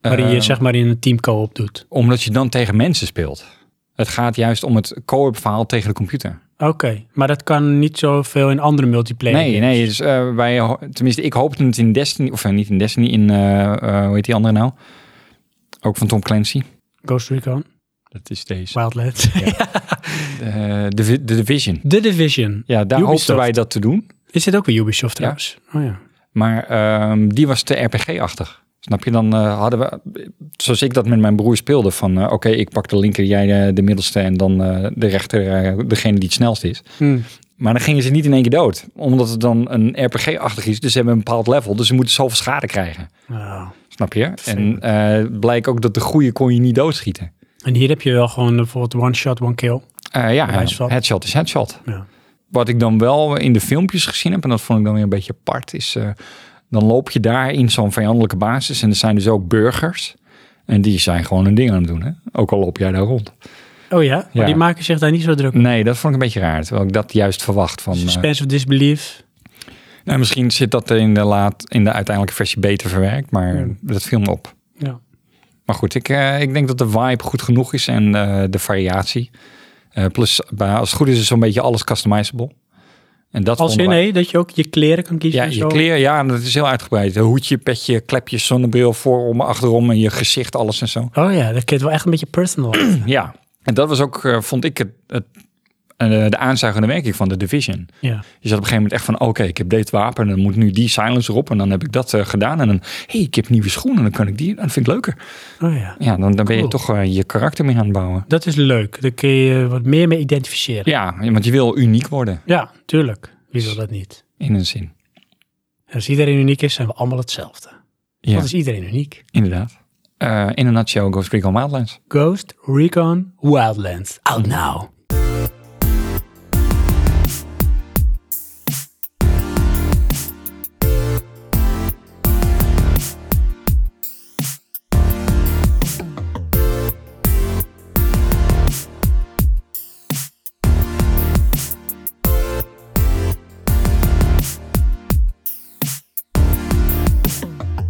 Waarin je Eh, zeg maar in een team co-op doet. Omdat je dan tegen mensen speelt. Het gaat juist om het co-op verhaal tegen de computer. Oké, maar dat kan niet zoveel in andere multiplayer. Nee, nee. Dus, eh, wij, ho- tenminste, ik hoopte het in Destiny, of eh, niet in Destiny, in, eh, eh, hoe heet die andere nou? Ook van Tom Clancy. Ghost Recon, Dat is deze. (laughs) Wildlands. Eh, de, Vi- de Division. The Division. Ja, daar Ubisoft. hoopten wij dat te doen. Is dit ook weer Ubisoft trouwens? Oh ja. Maar ehm, die was te RPG-achtig. Snap je, dan eh, hadden we, zoals ik dat met mijn broer speelde, van eh, oké, ik pak de linker, jij eh, de middelste en dan eh, de rechter, eh, degene die het snelst is. Hm. Maar dan gingen ze niet in één keer dood. Omdat het dan een RPG-achtig is. Dus ze hebben een bepaald level. Dus ze moeten zoveel schade krijgen. Nou. Snap je? En eh blijkt ook dat de goede kon je niet doodschieten. En hier heb je wel gewoon eh, bijvoorbeeld one shot, one kill. Eh, ja, Bewijs van. headshot is headshot. Ja. Wat ik dan wel in de filmpjes gezien heb... en dat vond ik dan weer een beetje apart... is eh, dan loop je daar in zo'n vijandelijke basis... en er zijn dus ook burgers... En die zijn gewoon hun ding aan het doen, hè? Ook al loop jij daar rond. Oh ja? Maar Ja. die maken zich daar niet zo druk om. Nee, dat vond ik een beetje raar. Terwijl ik dat juist verwacht. Van, eh, Suspense of disbelief. nou, misschien zit dat in de, laat, in de uiteindelijke versie beter verwerkt. Maar Hmm. dat viel me op. Ja. Maar goed, ik, eh, ik denk dat de vibe goed genoeg is en eh, de variatie. Eh, plus, bij- als het goed is, is zo'n beetje alles customizable. En dat Als in, vonden wij- hé, dat je ook je kleren kan kiezen Ja, en je zo. kleren, ja, dat is heel uitgebreid. Een hoedje, petje, klepje, zonnebril, voorom, achterom en je gezicht, alles en zo. Oh ja, dat klinkt wel echt een beetje personal. (clears throat) Ja, en dat was ook, eh, vond ik, het, het, eh, de aanzuigende werking van de Division. ja. Je zat op een gegeven moment echt van, oké, ik heb dit wapen en dan moet nu die silencer op en dan heb ik dat eh, gedaan. En dan, hey, ik heb nieuwe schoenen, dan kan ik die, dat vind ik leuker. Oh ja. Ja, dan, dan ben je Cool. toch eh, je karakter mee aan het bouwen. Dat is leuk. Daar kun je wat meer mee identificeren. Ja, want je wil uniek worden Ja, tuurlijk. Wie wil dat niet? in een zin. En als iedereen uniek is, zijn we allemaal hetzelfde. Ja, Want is iedereen uniek. inderdaad. Eh, in een nutshell, Ghost Recon Wildlands. Ghost Recon Wildlands. Out now.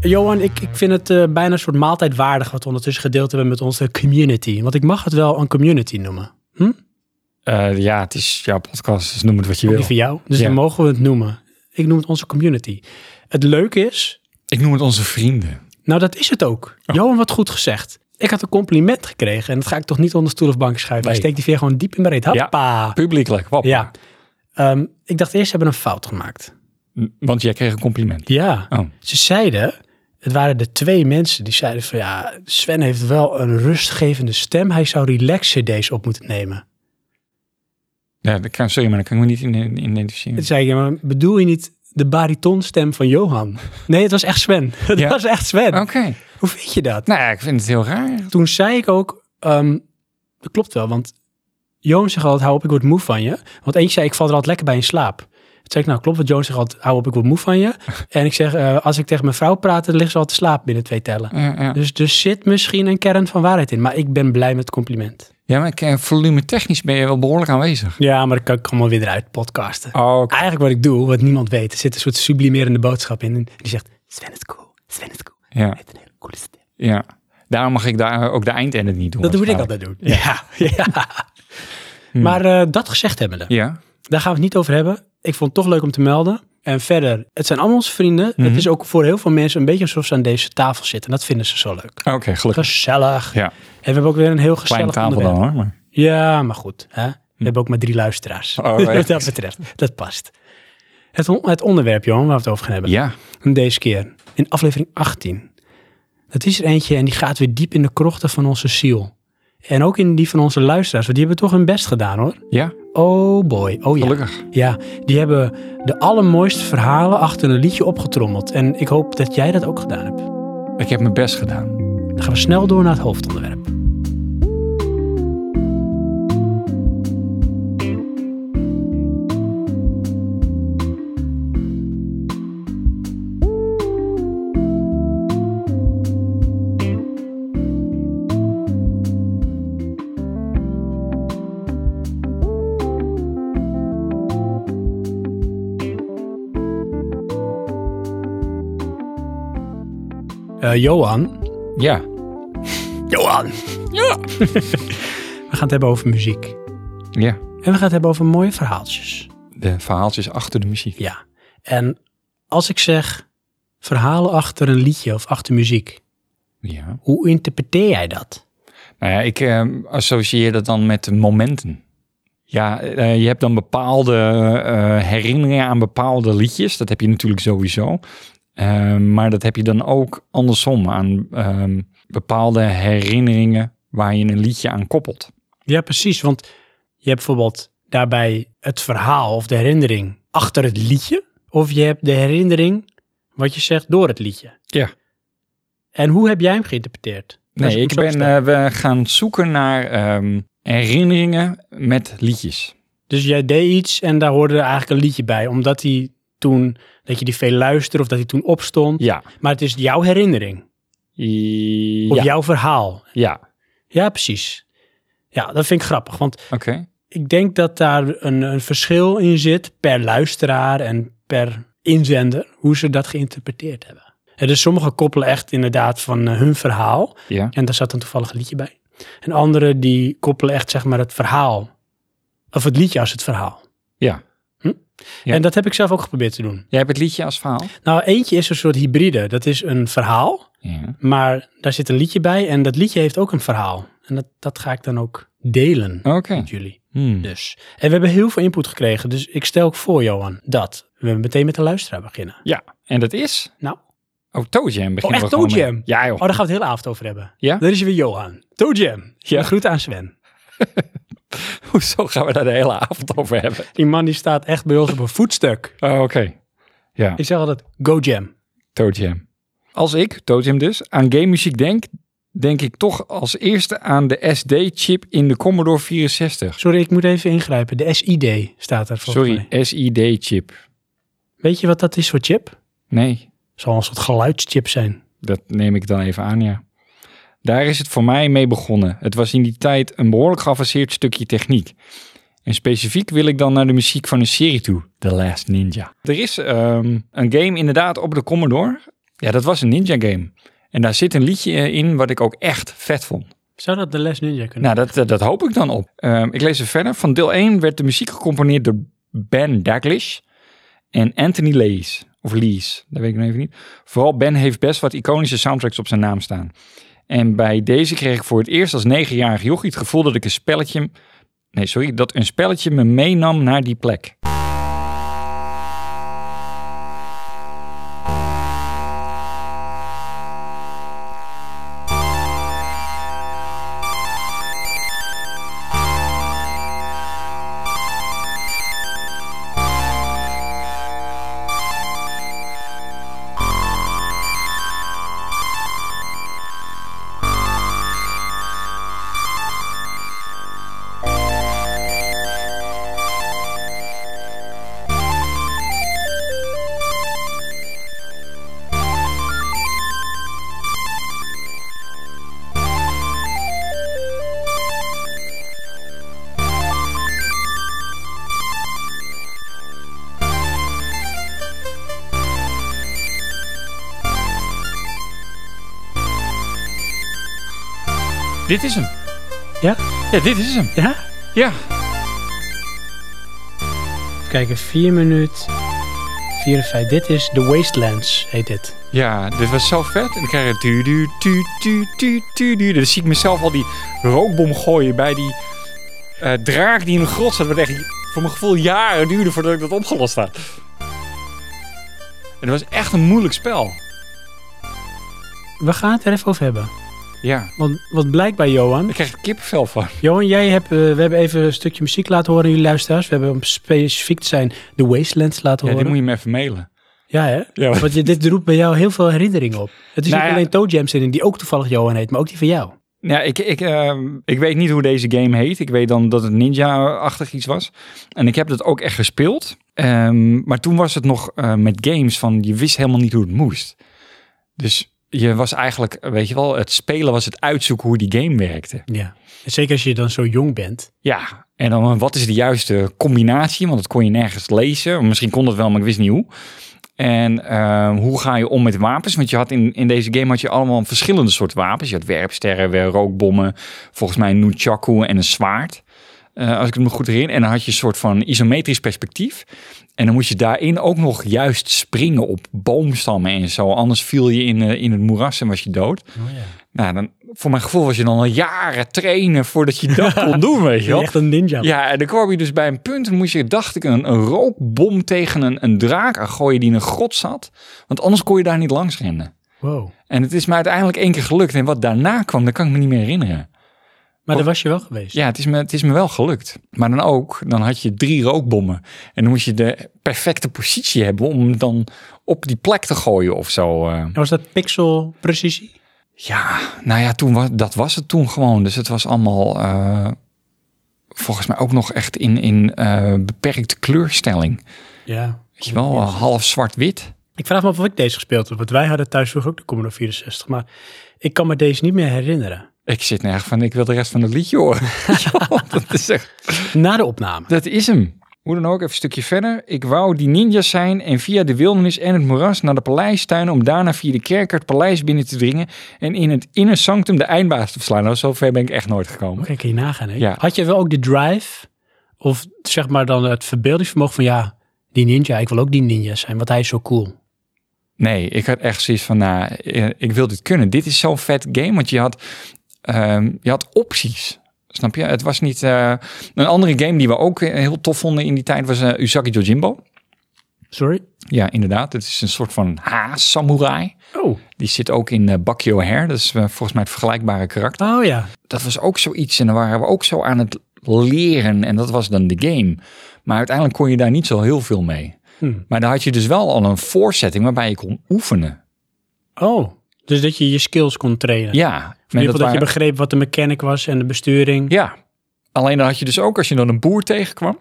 Johan, ik, ik vind het eh, bijna een soort maaltijdwaardig wat we ondertussen gedeeld hebben met onze community. Want ik mag het wel een community noemen. Eh, ja, het is jouw podcast, dus noem het wat je Ook wil. die van jou. Dus Ja. dan mogen we het noemen. Ik noem het onze community. Het leuke is, Ik noem het onze vrienden. nou dat is het ook. Oh. Johan, wat goed gezegd. Ik had een compliment gekregen en dat ga ik toch niet onder stoel of bank schuiven. Nee. Ik steek die veer gewoon diep in mijn reet. Ja. Hoppa. Publiekelijk, wap. Ja. Ehm, ik dacht eerst, ze hebben een fout gemaakt. M- Want jij kreeg een compliment. Ja. Oh. Ze zeiden, het waren de twee mensen die zeiden van ja, Sven heeft wel een rustgevende stem. Hij zou relax CD's op moeten nemen. Ja, dat kan, sorry, maar daar kan ik me niet in, in identificeren. Toen zei ik, ja, maar bedoel je niet de baritonstem van Johan? Nee, het was echt Sven. (laughs) Het Ja. Oh. was echt Sven. Oké. Hoe vind je dat? Nou ja, ik vind het heel raar. Toen zei ik ook, ehm, dat klopt wel, want Johan zegt altijd, hou op, ik word moe van je. Want eentje zei, ik val er altijd lekker bij in slaap. Toen zei ik, nou klopt, want Johan zegt altijd, hou op, ik word moe van je. (laughs) En ik zeg, eh, als ik tegen mijn vrouw praat, dan ligt ze al te slapen binnen twee tellen. Ja, ja. Dus er zit misschien een kern van waarheid in, maar ik ben blij met het compliment. ja, maar ik- eh, volume technisch ben je wel behoorlijk aanwezig. Ja, maar dat kan ik allemaal weer eruit podcasten. Oh, Eigenlijk wat ik doe, wat niemand weet, er zit een soort sublimerende boodschap in. En die zegt, Sven is cool, Sven is cool. Hij Ja, heeft een hele coole stem. ja. Daarom mag ik daar ook de eindedit niet doen. Dat moet ik waarschijnlijk. altijd doen. Ja, (laughs) ja. Maar eh, dat gezegd hebbende, Ja, daar gaan we het niet over hebben. Ik vond het toch leuk om te melden. En verder, het zijn allemaal onze vrienden. Mhm. Het is ook voor heel veel mensen een beetje alsof ze aan deze tafel zitten. En dat vinden ze zo leuk. oké, gelukkig. Gezellig. Ja, En we hebben ook weer een heel kleine gezellig tafel onderwerp. dan hoor. Maar... Ja, maar goed. Hè? We hebben ook maar drie luisteraars. Oh, echt? (laughs) Wat dat betreft, dat past. Het, on- het onderwerp, Johan, waar we het over gaan hebben. Ja, Deze keer, in aflevering 18. Dat is er eentje en die gaat weer diep in de krochten van onze ziel. En ook in die van onze luisteraars, want die hebben toch hun best gedaan hoor. ja, Oh boy, oh ja. gelukkig. Ja, die hebben de allermooiste verhalen achter een liedje opgetrommeld. En ik hoop dat jij dat ook gedaan hebt. Ik heb mijn best gedaan. Dan gaan we snel door naar het hoofdonderwerp. Eh, Johan, Ja, Johan. Ja. we gaan het hebben over muziek. ja. En we gaan het hebben over mooie verhaaltjes. De verhaaltjes achter de muziek. Ja. En als ik zeg verhalen achter een liedje of achter muziek, Ja. hoe interpreteer jij dat? Nou ja, ik eh, associeer dat dan met momenten. Ja, eh, je hebt dan bepaalde eh, herinneringen aan bepaalde liedjes. Dat heb je natuurlijk sowieso. Eh, maar dat heb je dan ook andersom aan ehm, bepaalde herinneringen waar je een liedje aan koppelt. Ja, precies. Want je hebt bijvoorbeeld daarbij het verhaal of de herinnering achter het liedje. Of je hebt de herinnering, wat je zegt, door het liedje. Ja. En hoe heb jij hem geïnterpreteerd? Dat is Nee, ik ook zo ben, sterk. eh, we gaan zoeken naar ehm, herinneringen met liedjes. Dus jij deed iets en daar hoorde er eigenlijk een liedje bij. Omdat hij toen, dat je die veel luisterde of dat hij toen opstond. Ja. Maar het is jouw herinnering I- of Ja, jouw verhaal. ja. Ja, precies. Ja, dat vind ik grappig. Want oké. ik denk dat daar een, een verschil in zit per luisteraar en per inzender. Hoe ze dat geïnterpreteerd hebben. En dus sommigen koppelen echt inderdaad van eh, hun verhaal. Ja. En daar zat een toevallig liedje bij. En anderen die koppelen echt zeg maar het verhaal. Of het liedje als het verhaal. Hm? ja. Ja. En dat heb ik zelf ook geprobeerd te doen. Jij hebt het liedje als verhaal? Nou, eentje is een soort hybride. Dat is een verhaal, Ja. maar daar zit een liedje bij. En dat liedje heeft ook een verhaal. En dat, dat ga ik dan ook delen Oké. met jullie. Hmm. Dus. En we hebben heel veel input gekregen. Dus ik stel ook voor, Johan, dat we meteen met de luisteraar beginnen. Ja, en dat is? Nou. Oh, Toe Jam beginnen echt we gewoon Toe mee. Jam? Ja Oh, joh. daar gaan we het hele avond over hebben. Ja? Daar is weer Johan. Toe Jam. Ja. Ja. Groet aan Sven. (laughs) Hoezo gaan we daar de hele avond over hebben? Die man die staat echt bij ons op een voetstuk. Oh, oké. Ja, Ik zeg altijd, go Jam. Toe Jam. Als ik, Toe Jam dus, aan game muziek denk, denk ik toch als eerste aan de SD-chip in de Commodore 64. Sorry, ik moet even ingrijpen. De SID staat er volgens Sorry, mij. SID-chip. Weet je wat dat is voor chip? Nee, Zal een soort geluidschip zijn. dat neem ik dan even aan, ja. Daar is het voor mij mee begonnen. Het was in die tijd een behoorlijk geavanceerd stukje techniek. En specifiek wil ik dan naar de muziek van een serie toe, The Last Ninja. Er is ehm, een game inderdaad op de Commodore Ja, dat was een ninja game. En daar zit een liedje eh, in wat ik ook echt vet vond. Zou dat de Les Ninja kunnen? Nou, dat, dat, dat hoop ik dan op. Ehm, ik lees er verder. Van deel 1 werd de muziek gecomponeerd door Ben Daglish en Anthony Lees. Of Lees, dat weet ik nog even niet. Vooral Ben heeft best wat iconische soundtracks op zijn naam staan. En bij deze kreeg ik voor het eerst als negenjarig jochie het gevoel dat ik een spelletje... Nee, sorry, dat een spelletje me meenam naar die plek. Dit is hem. Ja? Ja, dit is hem. Ja? Ja. Even kijken, 4 minuut 54. Dit is The Wastelands, heet dit. Ja, dit was zo vet. En dan krijg je... Tu, tu, tu, tu, tu, tu, tu. Dan zie ik mezelf al die rookbom gooien bij die eh, draak die in een grot zat. Wat echt voor mijn gevoel jaren duurde voordat ik dat opgelost had. En het was echt een moeilijk spel. We gaan het er even over hebben. Ja, Want wat blijkt bij Johan... (laughs) daar krijg ik kippenvel van. Johan, jij hebt, eh, we hebben even een stukje muziek laten horen aan jullie luisteraars. We hebben om specifiek te zijn The Wastelands laten Ja, die horen. moet je me even mailen. Ja, hè? Ja, maar- Want je, dit roept bij jou heel veel herinneringen op. Het is Nou niet ja. alleen Toe Jam zin in, die ook toevallig Johan heet, maar ook die van jou. Ja, ik, ik, ehm, ik weet niet hoe deze game heet. Ik weet dan dat het ninja-achtig iets was. En ik heb dat ook echt gespeeld. Ehm, maar toen was het nog eh, met games van je wist helemaal niet hoe het moest. Dus je was eigenlijk, weet je wel, het spelen was het uitzoeken hoe die game werkte. Ja. En zeker als je dan zo jong bent. Ja, en dan wat is de juiste combinatie? Want dat kon je nergens lezen. Misschien kon dat wel, maar ik wist niet hoe. En ehm, hoe ga je om met wapens? Want je had in, in deze game had je allemaal verschillende soorten wapens. Je had werpsterren, weer rookbommen, volgens mij een nunchaku en een zwaard. Eh, als ik het me goed herinner. En dan had je een soort van isometrisch perspectief. En dan moest je daarin ook nog juist springen op boomstammen en zo. Anders viel je in, eh, in het moeras en was je dood. Oh Nou, dan, voor mijn gevoel was je dan al jaren trainen voordat je dat kon doen, weet je Je bent wel. echt een ninja. Ja, en dan kwam je dus bij een punt en moest je, dacht ik, een, een rookbom tegen een, een draak aan gooien die in een grot zat. Want anders kon je daar niet langs rennen. Wow. En het is me uiteindelijk één keer gelukt. En wat daarna kwam, dat kan ik me niet meer herinneren. Maar daar was je wel geweest. Ja, het is me, het is me wel gelukt. Maar dan ook, dan had je drie rookbommen. En dan moest je de perfecte positie hebben om hem dan op die plek te gooien of zo. eh. En was dat pixel precisie? Ja, nou ja, toen was, dat was het toen gewoon. Dus het was allemaal eh, volgens mij ook nog echt in, in eh, beperkte kleurstelling. Ja. Weet je wel, eh, half zwart-wit. Ik vraag me af of ik deze gespeeld heb, want wij hadden thuis vroeger ook de Commodore 64, maar ik kan me deze niet meer herinneren. Ik zit nergens van, ik wil de rest van het liedje horen. (laughs) Ja, dat, is echt- Na de opname. dat is hem. Hoe dan ook, even een stukje verder. Ik wou die ninjas zijn en via de wildernis en het moeras naar de paleistuin... om daarna via de kerk het paleis binnen te dringen... en in het inner sanctum de eindbaas te verslaan. Nou, zover ben ik echt nooit gekomen. Kijk, kun je nagaan. Hè? Ja. Had je wel ook de drive, of zeg maar dan het verbeeldingsvermogen van ja, die ninja, ik wil ook die ninja zijn, want hij is zo cool. Nee, ik had echt zoiets van, nou, eh, ik wil dit kunnen. Dit is zo'n vet game, want je had, ehm, je had opties. Snap je? Het was niet... eh, een andere game die we ook eh, heel tof vonden in die tijd was eh, Usagi Yojimbo. Sorry? Ja, inderdaad. Het is een soort van haas-samurai. Oh. Die zit ook in eh Bakio Hair. Dat is eh, volgens mij het vergelijkbare karakter. Oh ja. Dat was ook zoiets en daar waren we ook zo aan het leren. En dat was dan de game. Maar uiteindelijk kon je daar niet zo heel veel mee. Hm. Maar daar had je dus wel al een voorzetting waarbij je kon oefenen. Oh. Dus dat je je skills kon trainen. Ja, In ieder geval dat, waren- je begreep wat de mechanic was en de besturing. Ja, alleen dan had je dus ook, als je dan een boer tegenkwam,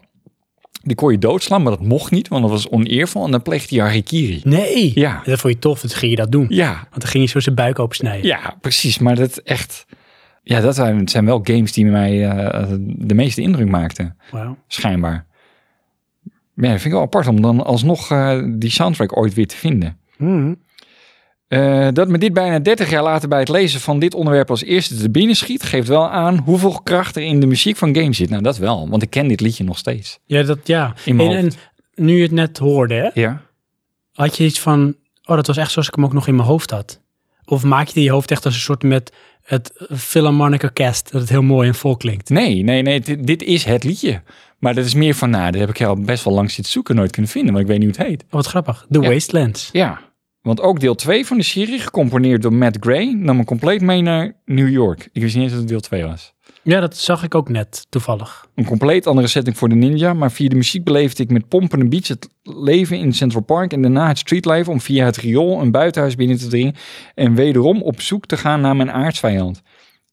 die kon je doodslaan, maar dat mocht niet, want dat was oneervol. En dan pleegde je harikiri. Nee. Ja. Dat vond je tof, dat ging je dat doen. Ja, Want dan ging je zo zijn buik opensnijden. ja, precies. Maar dat echt, ja, dat zijn, zijn wel games die mij eh, de meeste indruk maakten, Wauw. schijnbaar. Maar Ja, dat vind ik wel apart om dan alsnog eh, die soundtrack ooit weer te vinden. Hm. Eh, dat me dit bijna 30 jaar later bij het lezen van dit onderwerp als eerste te binnen schiet, geeft wel aan hoeveel kracht er in de muziek van games zit. Nou, dat wel, want ik ken dit liedje nog steeds. Ja, dat, ja. In En, mijn en nu je het net hoorde, hè, Ja. had je iets van, oh, dat was echt zoals ik hem ook nog in mijn hoofd had. Of maak je die je hoofd echt als een soort met het Philharmonic Orkest, dat het heel mooi en vol klinkt. Nee, nee, nee, dit, dit is het liedje. Maar dat is meer van, nou, dat heb ik al best wel lang zitten zoeken, nooit kunnen vinden, want ik weet niet hoe het heet. Oh, wat grappig. The Ja. Wastelands. Ja, want ook deel 2 van de serie, gecomponeerd door Matt Gray, nam me compleet mee naar New York. Ik wist niet eens dat het deel 2 was. Ja, dat zag ik ook net, toevallig. Een compleet andere setting voor de ninja, maar via de muziek beleefde ik met pompende beats het leven in Central Park en daarna het streetlife om via het riool een buitenhuis binnen te dringen en wederom op zoek te gaan naar mijn aardsvijand.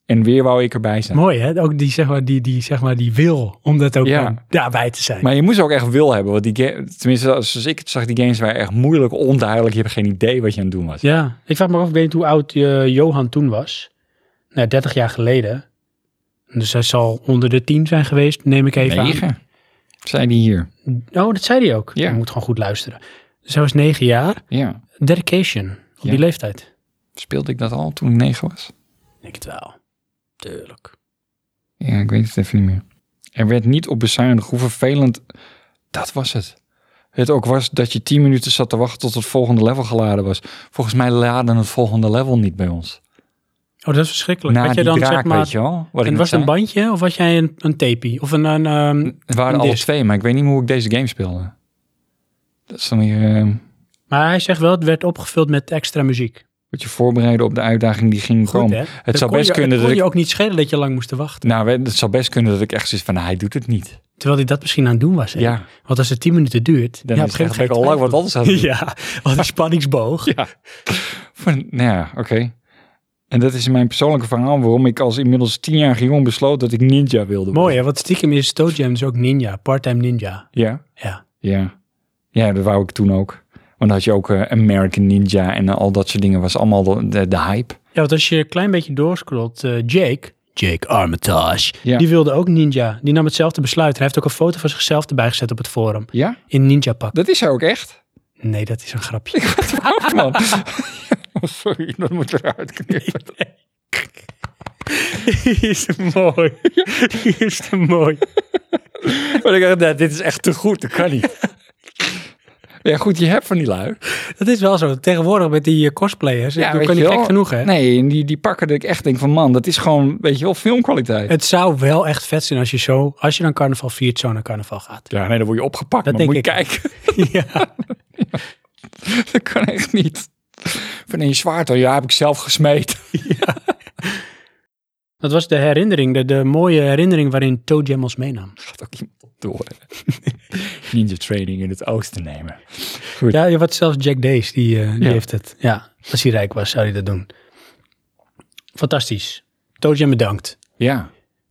En weer wou ik erbij zijn. Mooi, hè? Ook die, zeg maar, die, die, zeg maar, die wil om dat ook Ja. gewoon daarbij te zijn. Maar je moest ook echt wil hebben, want die ga- tenminste zoals ik het zag, die games waren echt moeilijk, onduidelijk, je hebt geen idee wat je aan het doen was. Ja, ik vraag me af, ik weet niet hoe oud eh, Johan toen was. Nou, 30 jaar geleden. Dus hij zal onder de 10 zijn geweest, neem ik even aan. Negen, zei die hier. Oh, dat zei hij ook. Ja. Je moet gewoon goed luisteren. Dus hij was 9 jaar. Ja. Dedication, op Ja. die leeftijd. Speelde ik dat al toen ik negen was? Ik denk het wel. Tuurlijk. Ja, ik weet het even niet meer. Er werd niet op bezuinigd hoe vervelend... Dat was het. Het ook was dat je tien minuten zat te wachten tot het volgende level geladen was. Volgens mij laden het volgende level niet bij ons. Oh, dat is verschrikkelijk. Na had die je dan draak, zeg maar... weet je wel? Wat ik En net was het een zei. bandje of was jij een, een tape? Of een... een ehm, Het waren een alle disc? twee, maar ik weet niet meer hoe ik deze game speelde. Dat is dan weer... eh, Maar hij zegt wel, het werd opgevuld met extra muziek. wat je voorbereiden op de uitdaging die ging Goed, komen. hè? Het zou best kunnen dat dat kon je ik... ook niet schelen dat je lang moest wachten. Nou, het zou best kunnen dat ik echt zoiets van, nou, hij doet het niet. Terwijl hij dat misschien aan het doen was. hè? Ja, Want als het 10 minuten duurt, dan ja, op is een het gegeven echt ben ik al moment lang wat anders aan het doen. (laughs) Ja, wat een spanningsboog. Ja. Van, nou ja, oké. En dat is mijn persoonlijke verhaal waarom ik als inmiddels tienjarige jong besloot dat ik ninja wilde worden. Mooi hè, want stiekem is Toe Jam dus ook ninja, part-time ninja. Ja, Ja. ja. Ja, dat wou ik toen ook. Want dan had je ook eh, American Ninja en eh, al dat soort dingen. was allemaal de, de, de hype. Ja, want als je een klein beetje doorscrollt, eh, Jake... Jake Armitage. Ja. Die wilde ook ninja. Die nam hetzelfde besluit. Hij heeft ook een foto van zichzelf erbij gezet op het forum. Ja, In ninja pak. dat is hij ook echt. (laughs) Nee, dat is een grapje. Ach, man. (laughs) Sorry, dat moet eruit knippen. Die is te mooi. Die is te mooi. (laughs) Maar ik dacht, nou, dit is echt te goed. Dat kan niet. (laughs) Ja, goed, je hebt van die lui. Dat is wel zo. Tegenwoordig met die eh, cosplayers. Ja, Ja, weet ik kan je niet wel. gek genoeg, hè? Nee, en die, die pakken dat ik echt denk van man, dat is gewoon, weet je wel, filmkwaliteit. Het zou wel echt vet zijn als je zo, als je dan carnaval viert, zo naar carnaval gaat. (laughs) Ja, nee, dan word je opgepakt. Dat maar denk moet je kijken. (laughs) ja. dat kan echt niet. Van in je zwaard, oh, ja, heb ik zelf gesmeed. Dat was de herinnering, de, de mooie herinnering waarin Toe Jam ons meenam. (laughs) Gaat ook iemand (laughs) door. Ninja training in het oosten nemen. Ja, je wat zelfs Jack Days, die, eh, die Ja. heeft het. Ja, als hij rijk was, zou hij dat doen. Fantastisch. Toe Jam bedankt. Ja. Ja, het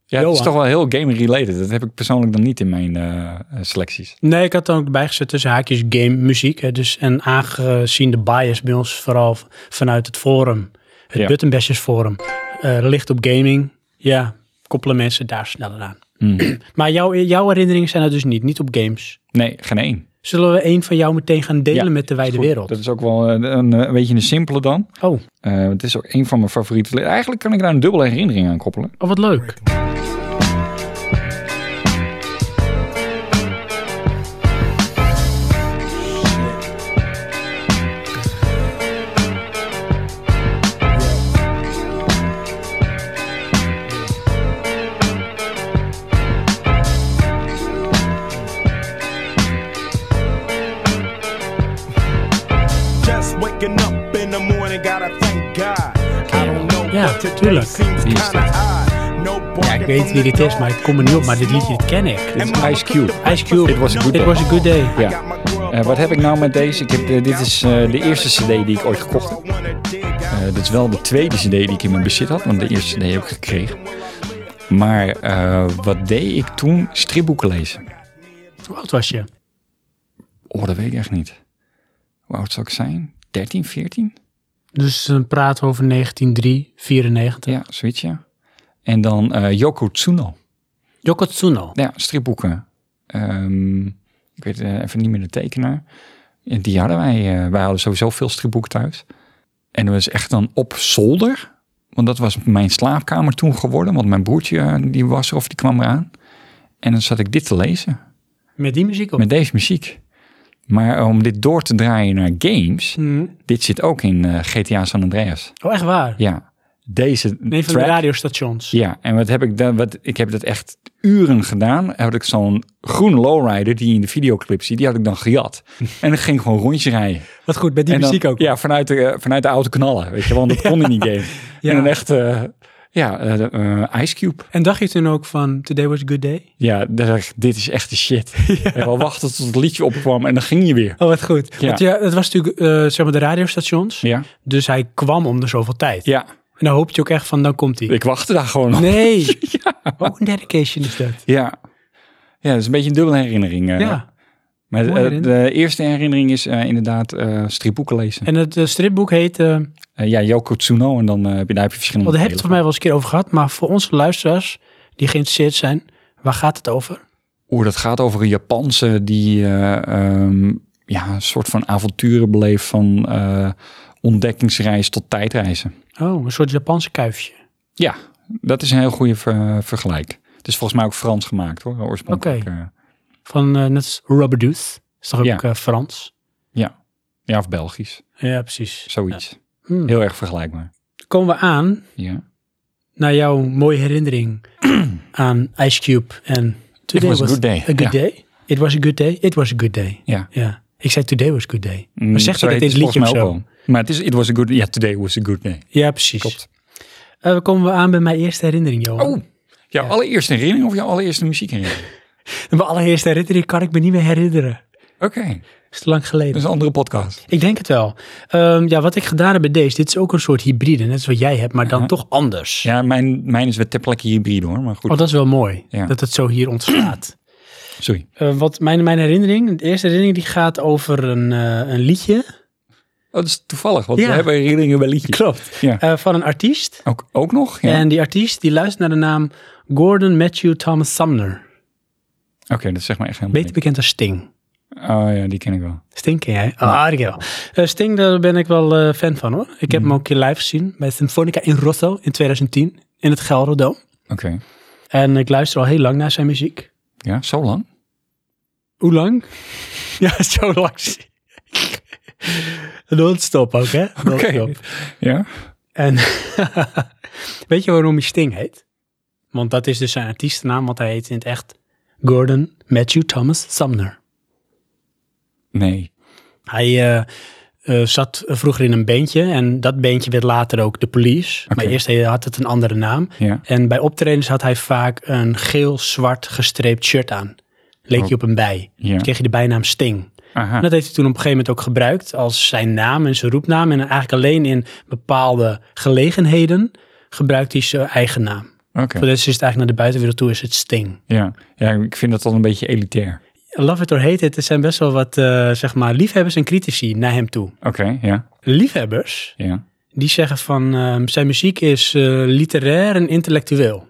Johan. is toch wel heel game-related. Dat heb ik persoonlijk dan niet in mijn eh, eh, selecties. Nee, ik had dan ook bijgezet tussen haakjes game muziek. Hè, dus, en aangezien de bias bij ons vooral v- vanuit het forum, het Ja. Buttonbashers forum, eh, ligt op gaming. Ja, koppelen mensen daar sneller aan. Hmm. (clears throat) Maar jouw, jouw herinneringen zijn er dus niet, niet op games. Nee, geen één. Zullen we een van jou meteen gaan delen Ja, met de wijde Goed, wereld? Dat is ook wel eh, een, eh, een beetje een simpele dan. Oh, Eh, het is ook een van mijn favoriete. li- Eigenlijk kan ik daar een dubbele herinnering aan koppelen. oh, wat leuk. Just waking up in the morning, gotta thank God. I don't know Ja, what today tuurlijk. seems Wie is kinda odd. No Ja, ik weet wie dit is, maar ik kom er niet op. Maar dit liedje, dit ken ik. Dit is Ice Cube. Ice Cube. It was a good It day. was a good day. Ja. Eh, wat heb ik nou met deze? Ik heb, eh, dit is eh, de eerste cd die ik ooit gekocht heb. Eh, dit is wel de tweede cd die ik in mijn bezit had, want de eerste cd heb ik gekregen. Maar eh, wat deed ik toen? Stripboeken lezen. Hoe oud was je? Oh, dat weet ik echt niet. Hoe oud zou ik zijn? 13, 14? Dus dan praten we over 1903, 94. Ja, zoiets ja. En dan eh Yoko Tsuno. Yokotsuno. Ja, stripboeken. Ehm, ik weet eh, even niet meer de tekenaar. En Die hadden wij. eh, wij hadden sowieso veel stripboeken thuis. En dat was echt dan op zolder. Want dat was mijn slaapkamer toen geworden. Want mijn broertje eh, die was er of die kwam eraan. En dan zat ik dit te lezen. Met die muziek op. Met deze muziek. Maar om dit door te draaien naar games. Hmm. Dit zit ook in eh, GTA San Andreas. Oh, echt waar? Ja. Deze Nee, van track. de radiostations. Ja, en wat heb ik dan? Wat, ik heb dat echt uren gedaan. Had ik zo'n groene lowrider die je in de videoclip ziet, die had ik dan (laughs) gejat. En dan ging ik gewoon rondje rijden. Wat goed, met die en dan, muziek ook. Ja, vanuit de, eh, vanuit de auto knallen, weet je wel. (laughs) want Dat kon in die game. Ja. En dan echt, eh, ja, eh, de, eh, Ice Cube. En dacht je toen ook van, today was a good day? Ja, dan dacht ik, dit is echt de (laughs) shit. En wel wachten tot het liedje opkwam en dan ging je weer. Oh, wat goed. Ja. Want ja, het was natuurlijk, eh, zeg maar, de radiostations. Ja, Dus hij kwam om de zoveel tijd. ja. En dan hoopte je ook echt van, dan komt hij. ik wachtte daar gewoon op. (laughs) Nee. Ook een dedication is dat. Ja. ja, dat is een beetje een dubbele herinnering. eh. Ja. Maar mooie eh, de, herinnering. eerste herinnering is eh, inderdaad eh stripboeken lezen. En het eh, stripboek heet... eh Eh, ja, Yoko Tsuno. En dan eh, heb je, daar heb je verschillende Wel, daar heb je het voor delen mij wel eens een keer over gehad. Maar voor onze luisteraars die geïnteresseerd zijn, waar gaat het over? van. Oeh, dat gaat over een Japanse die eh, ehm, ja, een soort van avonturen beleeft van eh, ontdekkingsreis tot tijdreizen. Oh, een soort Japanse kuifje. Ja, dat is een heel goede ver- vergelijk. Het is volgens mij ook Frans gemaakt hoor, oorspronkelijk. eh, Van eh, net als Rubber Duth. Is toch ook Ja. eh, Frans? ja. ja, of Belgisch, Ja, precies. zoiets. Hmm. Heel erg vergelijkbaar. Komen we aan Ja. naar jouw mooie (clears throat) herinnering aan Ice Cube en Today was a good day. A good Ja. day. It was a good day. It was a good day. Ja. Ja. Ik zei Today was a good day. Mm, Maar zegt zo hij dat in heet het liedje of volgens mij ook zo? wel. Maar het is, it was a good day. Ja, today was a good day. Ja, precies. Klopt. Eh, we komen we aan bij mijn eerste herinnering, Johan. Oh, jouw allereerste herinnering of jouw allereerste (laughs) muziekherinnering? Mijn allereerste herinnering kan ik me niet meer herinneren. Oké, Dat is te lang geleden. dat is een andere podcast. Ik denk het wel. Ehm, ja, wat ik gedaan heb bij deze, dit is ook een soort hybride, net als wat jij hebt, maar dan toch anders. Ja, mijn, mijn is weer ter plekke hybride hoor, maar goed. Oh, dat is wel mooi, Ja. dat het zo hier ontstaat. (clears throat) Sorry. Eh, wat mijn, mijn herinnering, de eerste herinnering die gaat over een, eh, een liedje. Oh, dat is toevallig, want Ja. we hebben herinneringen bij liedjes. Klopt. Eh, Ja. van een artiest. Ook, ook nog? Ja. En die artiest die luistert naar de naam Gordon Matthew Thomas Sumner. Oké, dat zeg maar echt helemaal Beter bekend als Sting. niks. Oh ja, die ken ik wel. Sting ken jij? Ah, die ken ik wel. Eh, Sting, daar ben ik wel eh, fan van hoor. Ik heb Mm. hem ook een keer live gezien bij Sinfonica in Rosso in 2010 in het Gelderdoom. Oké. En ik luister al heel lang naar zijn muziek. Ja, zo lang? Hoe lang? (laughs) ja, zo lang. (laughs) Non-stop ook, (laughs) hè? Non-stop. Ja? En (laughs) weet je waarom hij Sting heet? Want dat is dus zijn artiestennaam, want hij heet in het echt Gordon Matthew Thomas Sumner. Nee. Hij eh, eh, zat vroeger in een bandje en dat bandje werd later ook The Police. Maar eerst had het een andere naam. Ja. En bij optredens had hij vaak een geel-zwart gestreept shirt aan. Leek je op een bij. Ja. Dus kreeg je de bijnaam Sting. Aha. En dat heeft hij toen op een gegeven moment ook gebruikt als zijn naam en zijn roepnaam. En eigenlijk alleen in bepaalde gelegenheden gebruikt hij zijn eigen naam. Oké. Voor de rest is het eigenlijk naar de buitenwereld toe is het Sting. Ja. ja, ik vind dat dan een beetje elitair. Love it or hate it, er zijn best wel wat eh, zeg maar liefhebbers en critici naar hem toe. Oké, ja. Liefhebbers, Ja. die zeggen van ehm, zijn muziek is eh, literair en intellectueel.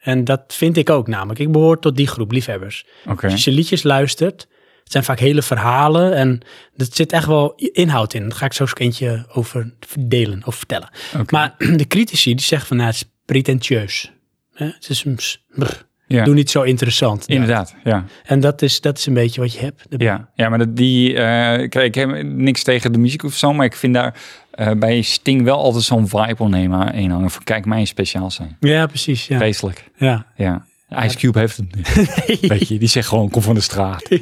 En dat vind ik ook namelijk. Ik behoor tot die groep liefhebbers. Oké. Als je liedjes luistert, het zijn vaak hele verhalen en er zit echt wel i- inhoud in. Daar ga ik zo eens een eentje over delen of vertellen. Oké. Maar (clears throat) de critici die zeggen van nou, het is pretentieus. Hè, Het is een s- brr, Ja. doe niet zo interessant. Inderdaad, ja. En dat is, dat is een beetje wat je hebt. De- Ja, ja maar dat die, eh, kijk, ik heb niks tegen de muziek of zo, maar ik vind daar eh, bij Sting wel altijd zo'n vibe onnemen een hangen. Van kijk, mij speciaal zijn. Ja, precies. Ja. Vreselijk. Ja. Ja. Ice Cube heeft het (laughs) niet. Weet je, die zegt gewoon, kom van de straat. (laughs)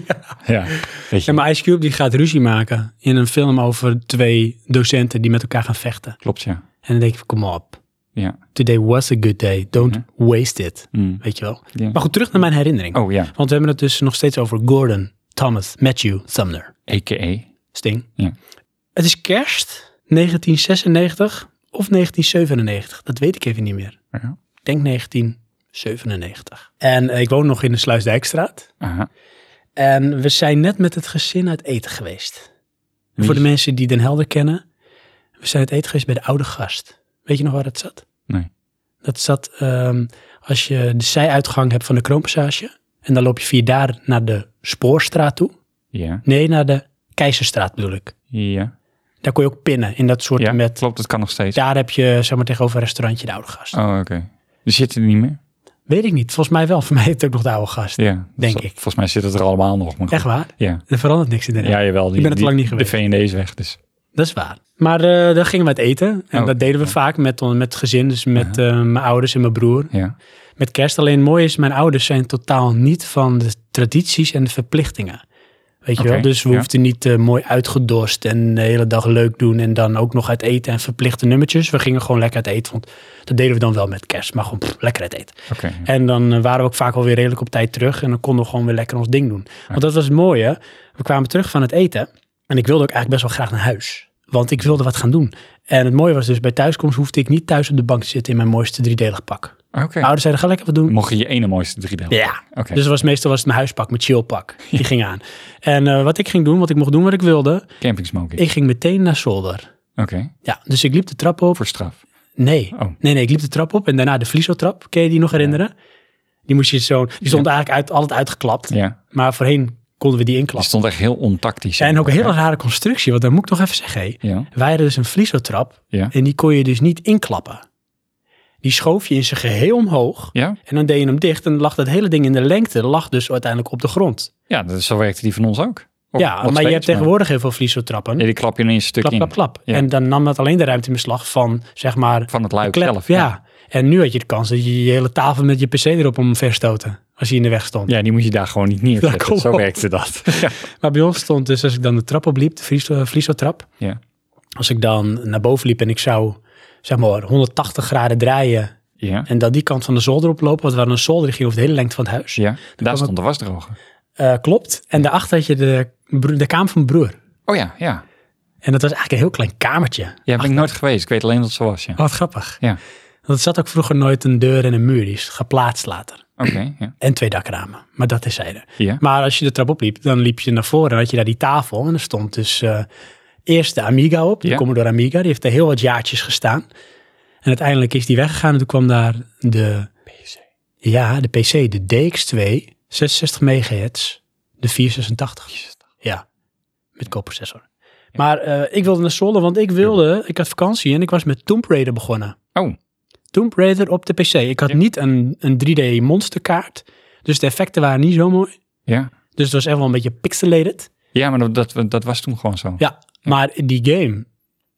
Ja. Weet je, Ja, maar Ice Cube die gaat ruzie maken in een film over twee docenten die met elkaar gaan vechten. klopt, ja. En dan denk ik, kom op. Ja. Today was a good day. Don't waste it. Mm. Weet je wel. Ja. Maar goed, terug naar mijn herinnering. Oh ja, Want we hebben het dus nog steeds over Gordon, Thomas, Matthew, Sumner, a.k.a. Sting. Ja. Het is kerst 1996 of 1997. Dat weet ik even niet meer. Ja. Ik denk 1997. En eh, ik woon nog in de Sluisdijkstraat. Aha. En we zijn net met het gezin uit eten geweest. En Voor de mensen die Den Helder kennen. We zijn uit eten geweest bij de oude gast. Weet je nog waar dat zat? Nee. Dat zat ehm, als je de zijuitgang hebt van de Kroonpassage. En dan loop je via daar naar de Spoorstraat toe. Ja, Nee, naar de Keizerstraat bedoel ik. ja. Dan Daar kon je ook pinnen in dat soort Ja, met... klopt, dat kan nog steeds. Daar heb je zeg maar tegenover een restaurantje de oude gast. Oh, oké. Die zitten er niet meer? Weet ik niet. Volgens mij wel. (laughs) Voor mij heeft het ook nog de oude gast. Ja. dat Denk zal- ik. Volgens mij zitten het er allemaal nog. Maar goed. Echt waar? Ja. Er verandert niks in Den Haag. Ja, jawel. Die, Ik ben het die- lang niet geweest. De V&D is weg, dus. Dat is waar. Maar eh daar gingen we uit eten. En Oh. dat deden we vaak met, on- met het gezin. Dus met eh, mijn ouders en mijn broer. Ja. Met kerst. Alleen mooi is, mijn ouders zijn totaal niet van de tradities en de verplichtingen. Weet je Oké, wel? Dus we ja. hoefden niet eh, mooi uitgedorst en de hele dag leuk doen. En dan ook nog uit eten en verplichte nummertjes. We gingen gewoon lekker uit eten. Want dat deden we dan wel met kerst. Maar gewoon pff, lekker uit eten. Oké. ja. En dan eh, waren we ook vaak alweer redelijk op tijd terug. En dan konden we gewoon weer lekker ons ding doen. Want dat was het mooie. We kwamen terug van het eten. En ik wilde ook eigenlijk best wel graag naar huis. Want ik wilde wat gaan doen. En het mooie was dus, bij thuiskomst hoefde ik niet thuis op de bank te zitten in mijn mooiste driedelig pak. Mijn Oké. ouders zeiden, ga lekker wat doen. Mocht je je ene mooiste drie delen? Nou, Ja. Oké. Dus het was meestal was het mijn huispak, mijn chillpak. Die ging aan. En eh, wat ik ging doen, wat ik mocht doen wat ik wilde. Camping smoking. Ik ging meteen naar zolder. Oké. Ja, dus ik liep de trap op. Voor straf. Nee. Oh. nee, nee, ik liep de trap op en daarna de vliesotrap. Kun je die nog herinneren? Die moest je zo. Die stond eigenlijk uit, altijd uitgeklapt. Ja. Maar voorheen konden we die Die inklappen. stond echt heel ontactisch. En ook een hele rare constructie, want dat moet ik nog even zeggen. hé. Ja. Wij hadden dus een vliesotrap Ja. en die kon je dus niet inklappen. Die schoof je in zijn geheel omhoog Ja? en dan deed je hem dicht en dan lag dat hele ding in de lengte, lag dus uiteindelijk op de grond. Ja, dat, zo werkte die van ons ook. Of ja, nog maar je steeds, hebt tegenwoordig heel veel vliesotrappen. Ja, die klap je ineens een stuk klap, in. klap, klap. Ja. En dan nam dat alleen de ruimte in beslag van, zeg maar, Van het luik klep. zelf. Ja. en nu had je de kans dat je je hele tafel met je pc erop omver stoten, als hij in de weg stond. Ja, die moet je daar gewoon niet neerzetten. Ja, kom zo op. werkte dat. (laughs) ja. Maar bij ons stond dus, als ik dan de trap opliep, de vlies- eh, vliesotrap, ja. als ik dan naar boven liep en ik zou zeg maar 180 graden draaien Ja. en dan die kant van de zolder oplopen, want we hadden een zolder die ging over de hele lengte van het huis. Ja. Daar het- stond de wasdroger. Eh, klopt. En daarachter had je de, broer- de kamer van mijn broer. Oh ja, ja. En dat was eigenlijk een heel klein kamertje. Ja, ben ik nooit geweest. Ik weet alleen dat ze was, ja. Oh, wat grappig. Ja. Want er zat ook vroeger nooit een deur en een muur, die is geplaatst later. Oké, (clears throat) ja. En twee dakramen, maar dat is zijde. Ja. Maar als je de trap opliep, dan liep je naar voren en had je daar die tafel. En er stond dus eh, eerst de Amiga op, de Ja. Commodore Amiga. Die heeft er heel wat jaartjes gestaan. En uiteindelijk is die weggegaan en toen kwam daar de... PC. Ja, de PC, de DX2, 66 megahertz, de 486. Ja, met koopprocessor. Maar eh, ik wilde naar Zolder, want ik wilde, ik had vakantie en ik was met Tomb Raider begonnen. Oh, Tomb Raider op de PC. Ik had niet een, een 3D monsterkaart, dus de effecten waren niet zo mooi. ja. Dus het was echt wel een beetje pixelated. Ja, maar dat, dat, dat was toen gewoon zo. Ja, maar die game,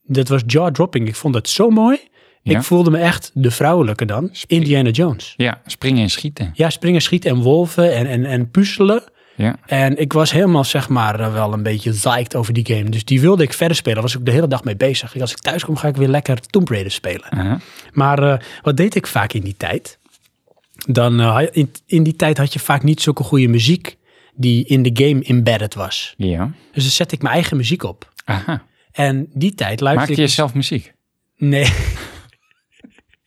dat was jaw-dropping. Ik vond het zo mooi. Ja. Ik voelde me echt de vrouwelijke dan. Indiana Jones. Ja, springen en schieten. Ja, springen, schieten en wolven en, en, en puzzelen. Ja. En ik was helemaal, zeg maar, eh, wel een beetje psyched over die game. Dus die wilde ik verder spelen. Daar was ik de hele dag mee bezig. Ik- Als ik thuis kom, ga ik weer lekker Tomb Raider spelen. Aha. Maar eh, wat deed ik vaak in die tijd? Dan, eh, had- in, in die tijd had je vaak niet zulke goede muziek die in de game embedded was. Ja. Dus dan zette ik mijn eigen muziek op. Aha. En die tijd Maak je luisterde ik... zelf muziek? Nee.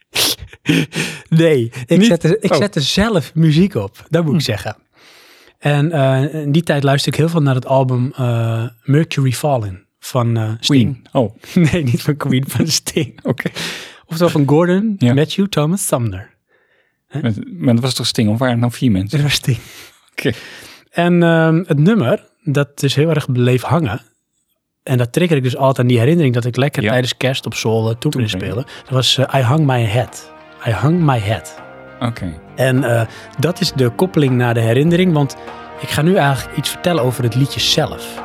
(laughs) nee, ik, Niet? zette, ik Oh. Hm. zette zelf muziek op. Dat moet ik zeggen. En eh, in die tijd luisterde ik heel veel naar het album eh, Mercury Fallen van eh, Sting. Queen. Oh, oké. (laughs) Nee, niet van Queen, van Sting. Oftewel van Gordon, Ja. Matthew, Thomas, Sumner. Maar, maar dat was toch Sting? Of waren het nou vier mensen? Dat was Sting. Oké. En ehm, het nummer, dat is heel erg bleef hangen. En dat trigger ik dus altijd aan die herinnering dat ik lekker Ja. tijdens kerst op zolder toen kon Toen, ja. spelen. Dat was eh, I Hung My Head. I Hung My Head. Oké. En eh, dat is de koppeling naar de herinnering, want ik ga nu eigenlijk iets vertellen over het liedje zelf.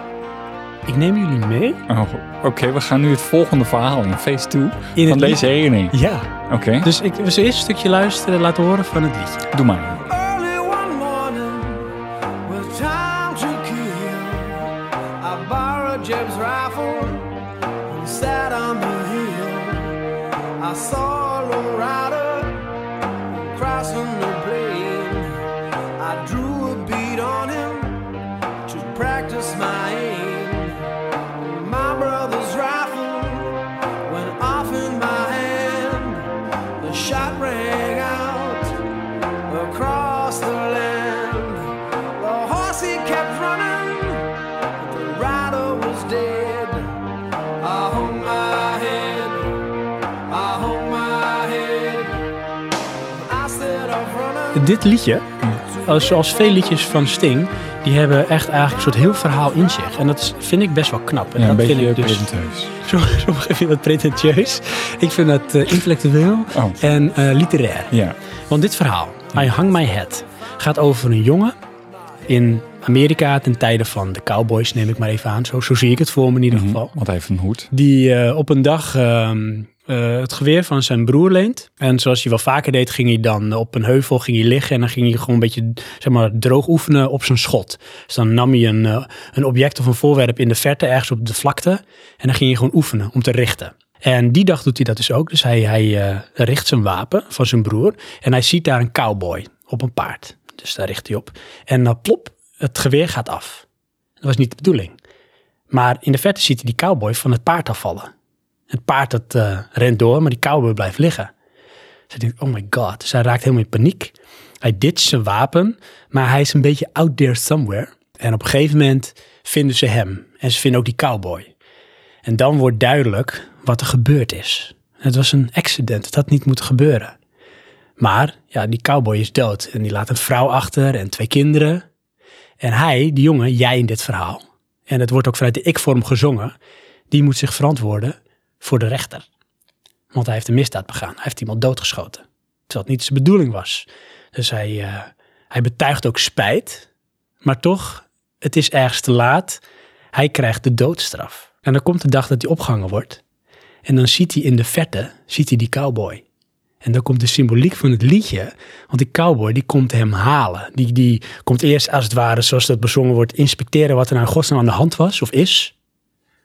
Ik neem jullie mee Oh, Oké, we gaan nu het volgende verhaal in phase 2 in van het deze herinnering. liedje. Ja, Oké, dus ik we zullen eerst een stukje luisteren en laten horen van het liedje. doe maar. Early one morning, with time to kill, I borrowed Jeb's rifle and sat on the hill. I saw a lone rider crossing the plain. I drew a bead on him to practice my aim. My brother's rifle went off in my hand. The shot rang out across the land. The horse he kept running, but the rider was dead. I hung my head, I hung my head. I said, I'm running. Dit liedje to eh, zoals veel liedjes van Sting, die hebben echt eigenlijk een soort heel verhaal in zich. En dat is- vind ik best wel knap. En een dat vind beetje ik dus. presenteus. Sommige- (laughs) Sommigen vinden dat pretentieus. Ik vind dat eh, intellectueel Oh. en eh, literair. Ja. Want dit verhaal, I Hang My Head, gaat over een jongen in Amerika ten tijde van de cowboys, neem ik maar even aan. Zo, zo zie ik het voor me in ieder geval. Want hij Hm, heeft een hoed. Die eh, op een dag ehm, eh, het geweer van zijn broer leent. En zoals hij wel vaker deed, ging hij dan op een heuvel ging hij liggen. En dan ging hij gewoon een beetje zeg maar, droog oefenen op zijn schot. Dus dan nam hij een, eh, een object of een voorwerp in de verte, ergens op de vlakte. En dan ging hij gewoon oefenen om te richten. En die dag doet hij dat dus ook. Dus hij, hij eh, richt zijn wapen van zijn broer. En hij ziet daar een cowboy op een paard. Dus daar richt hij op. En dan plop, het geweer gaat af. Dat was niet de bedoeling. Maar in de verte ziet hij die cowboy van het paard afvallen. Het paard dat eh, rent door, maar die cowboy blijft liggen. Dus hij denkt, oh my god. Dus hij raakt helemaal in paniek. Hij ditcht zijn wapen, maar hij is een beetje out there somewhere. En op een gegeven moment vinden ze hem. En ze vinden ook die cowboy. En dan wordt duidelijk wat er gebeurd is. Het was een accident, het had niet moeten gebeuren. Maar ja, die cowboy is dood. En die laat een vrouw achter en twee kinderen. En hij, die jongen, jij in dit verhaal, en het wordt ook vanuit de ik-vorm gezongen, die moet zich verantwoorden voor de rechter. Want hij heeft een misdaad begaan. Hij heeft iemand doodgeschoten. Terwijl het niet zijn bedoeling was. Dus hij, eh, hij betuigt ook spijt. Maar toch, het is ergens te laat. Hij krijgt de doodstraf. En dan komt de dag dat hij opgehangen wordt. En dan ziet hij in de verte, ziet hij die cowboy. En dan komt de symboliek van het liedje. Want die cowboy die komt hem halen. Die, die komt eerst als het ware, zoals dat bezongen wordt, inspecteren wat er nou in godsnaam aan de hand was of is.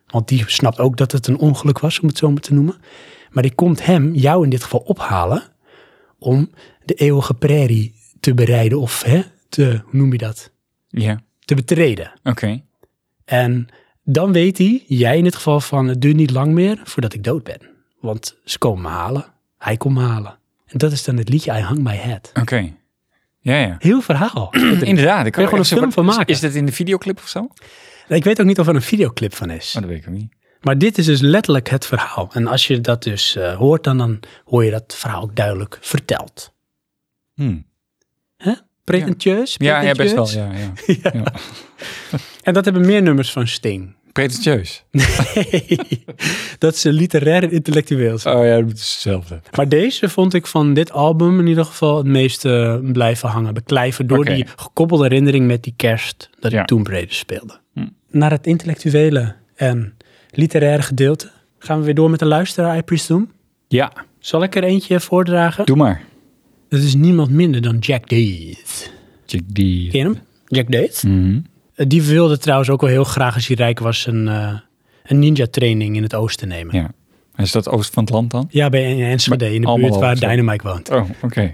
Want die snapt ook dat het een ongeluk was, om het zo maar te noemen. Maar die komt hem, jou in dit geval, ophalen om de eeuwige prairie te bereiden. Of hè, te, hoe noem je dat? Ja. Te betreden. Oké. En dan weet hij, jij in dit geval, van het duurt niet lang meer voordat ik dood ben. Want ze komen me halen. Hij komt me halen. En dat is dan het liedje I Hang My Head. Oké. Ja, ja. Heel (clears throat) verhaal. Inderdaad. Ik Kun je gewoon een film van maken. Is dit in de videoclip of zo? Oh, ik weet ook niet of er een videoclip van is. dat weet ik ook niet. Maar dit is dus letterlijk het verhaal. En als je dat dus eh, hoort, dan, dan hoor je dat verhaal ook duidelijk verteld. Hmm. Hè? Pretentieus? Ja, ja, best wel. pretentieus? Ja, ja. (laughs) En dat hebben meer nummers van Sting. (laughs) Pretentieus. dat ze literair en intellectueel zijn. Oh ja, dat is hetzelfde. Maar deze vond ik van dit album in ieder geval het meest eh, blijven hangen. Beklijven door Oké. die gekoppelde herinnering met die kerst dat Ja. Hm. ik toen breder speelde. Naar het intellectuele en literaire gedeelte gaan we weer door met de luisteraar, I presume. Ja, Zal ik er eentje voordragen? doe maar. Dat is niemand minder dan Jack Deed. Check die. Ken je hem? Jack Deed? Mhm. Eh, Die wilde trouwens ook wel heel graag, als hij rijk was, een, eh, een ninja-training in het oosten nemen. Ja, Ja. Is dat oost van het land dan? bij in Enschede, in de Allemaal buurt waar oosten. Dynamite woont. Oh, oké. (laughs)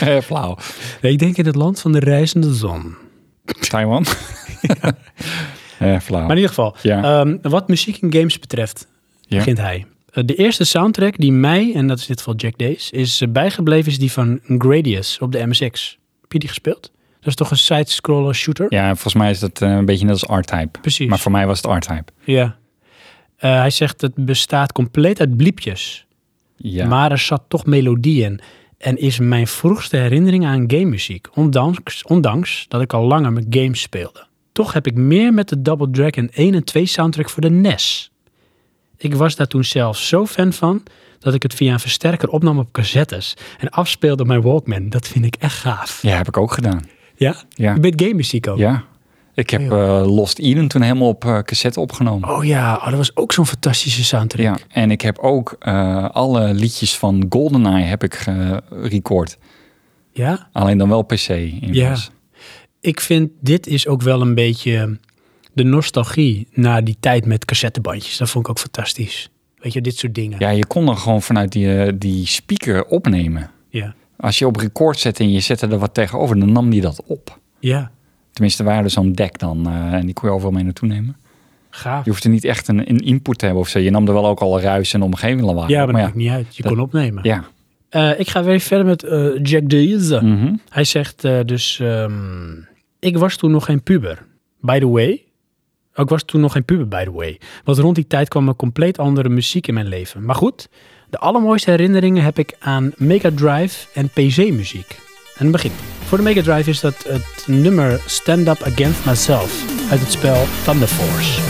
Eh, Flauw. Ik denk in het land van de reizende zon. (laughs) Taiwan? (laughs) Eh, flauw. Maar in ieder geval, Ja. ehm, wat muziek en games betreft, Ja. begint hij. Eh, de eerste soundtrack die mij, en dat is in dit geval Jack Days, is eh, bijgebleven is die van Gradius op de MSX. Heb je die gespeeld? Dat is toch een side-scroller shooter? Ja, volgens mij is dat eh, een beetje net als R-Type. Precies. Maar voor mij was het R-Type. Ja. Eh, hij zegt het bestaat compleet uit bliepjes. Ja. Maar er zat toch melodie in. En is mijn vroegste herinnering aan gamemuziek. Ondanks, ondanks dat ik al langer met games speelde. Toch heb ik meer met de Double Dragon 1 en 2 soundtrack voor de NES. Ik was daar toen zelf zo fan van dat ik het via een versterker opnam op cassettes en afspeelde op mijn Walkman. Dat vind ik echt gaaf. ja, heb ik ook gedaan. Ja? Ja. Je bent gamemuziek ook? Ja. Ik heb eh, Lost Eden toen helemaal op eh, cassette opgenomen. Oh ja, oh, dat was ook zo'n fantastische soundtrack. Ja, en ik heb ook eh, alle liedjes van GoldenEye heb ik gerecord. ja? Alleen dan wel PC. In Ja. plaats. ik vind dit is ook wel een beetje de nostalgie naar die tijd met cassettebandjes. Dat vond ik ook fantastisch. Weet je, dit soort dingen. ja, je kon dan gewoon vanuit die, eh, die speaker opnemen. ja. Als je op record zette en je zette er wat tegenover, dan nam die dat op. Ja, Tenminste, er waren er zo'n deck dan eh, en die kon je overal mee naartoe nemen. gaaf. Je hoefde niet echt een, een input te hebben of zo. Je nam er wel ook al ruis en omgeving al waar. ja, maar dat ja, maakt niet uit. Je dat- kon opnemen. ja. Eh, ik ga weer verder met eh, Jack Deeze. Mhm. Hij zegt eh, dus... ehm, ik was toen nog geen puber. By the way... Ik was toen nog geen puber, by the way. Want rond die tijd kwam er compleet andere muziek in mijn leven. Maar goed, de allermooiste herinneringen heb ik aan Mega Drive en PC-muziek. En dan begint hij. Voor de Mega Drive is dat het nummer Stand Up Against Myself uit het spel Thunder Force.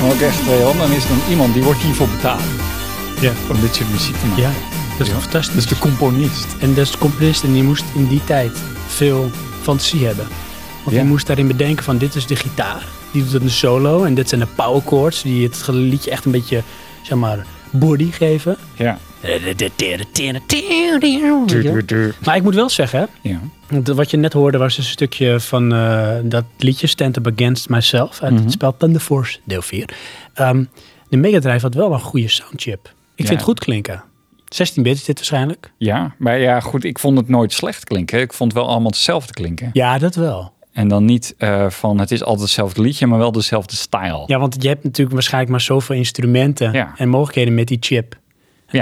En ook echt, eh, want dan is er dan iemand die wordt hiervoor betaald. Ja. Om dit soort muziek te maken. Ja, dat is Ja. toch fantastisch. Dat is de componist. En dat is de componist en die moest in die tijd veel fantasie hebben. Want Ja. hij moest daarin bedenken van dit is de gitaar. Die doet het een solo en dit zijn de power chords die het liedje echt een beetje, zeg maar, body geven. Ja. Weet je wel? Maar ik moet wel zeggen, Ja. want wat je net hoorde was dus een stukje van eh, dat liedje Stand Up Against Myself uit Mhm. het spel Thunder Force deel 4. Ehm, de Mega Drive had wel een goede soundchip. Ik vind Ja. het goed klinken. 16-bit is dit waarschijnlijk. ja, maar ja, goed, ik vond het nooit slecht klinken. Ik vond het wel allemaal hetzelfde klinken. Ja, dat wel. En dan niet eh, van het is altijd hetzelfde liedje, maar wel dezelfde stijl. Ja, want je hebt natuurlijk waarschijnlijk maar zoveel instrumenten Ja. en mogelijkheden met die chip.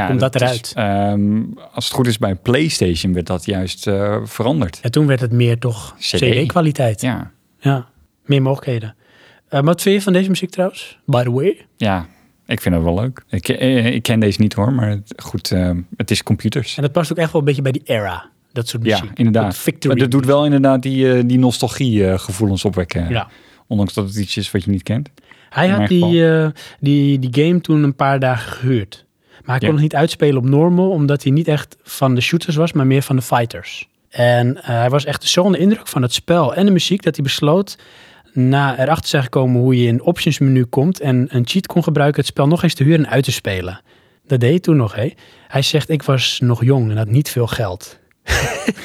komt dat is, eruit? ehm, als het goed is, bij PlayStation werd dat juist eh, veranderd. En toen werd het meer toch CD. CD-kwaliteit. Ja. Ja. meer mogelijkheden. Eh, wat vind je van deze muziek trouwens? By the way. ja, ik vind het wel leuk. Ik, eh, ik ken deze niet hoor, maar het- goed, ehm, het is computers. En dat past ook echt wel een beetje bij die era. Dat soort Ja, muziek. inderdaad. Dat Victory. Maar dat doet wel inderdaad die, eh, die nostalgie-gevoelens opwekken. Ja. Ondanks dat het iets is wat je niet (laughs) kent. Hij in had mijn die, geval. eh, die, die game toen een paar dagen gehuurd. Maar hij kon Ja. het niet uitspelen op normal, omdat hij niet echt van de shooters was, maar meer van de fighters. En eh, hij was echt zo onder indruk van het spel en de muziek dat hij besloot, na erachter te zijn gekomen hoe je in options menu komt en een cheat kon gebruiken, het spel nog eens te huren en uit te spelen. Dat deed hij toen nog, hè? Hij zegt, ik was nog jong en had niet veel geld. (laughs)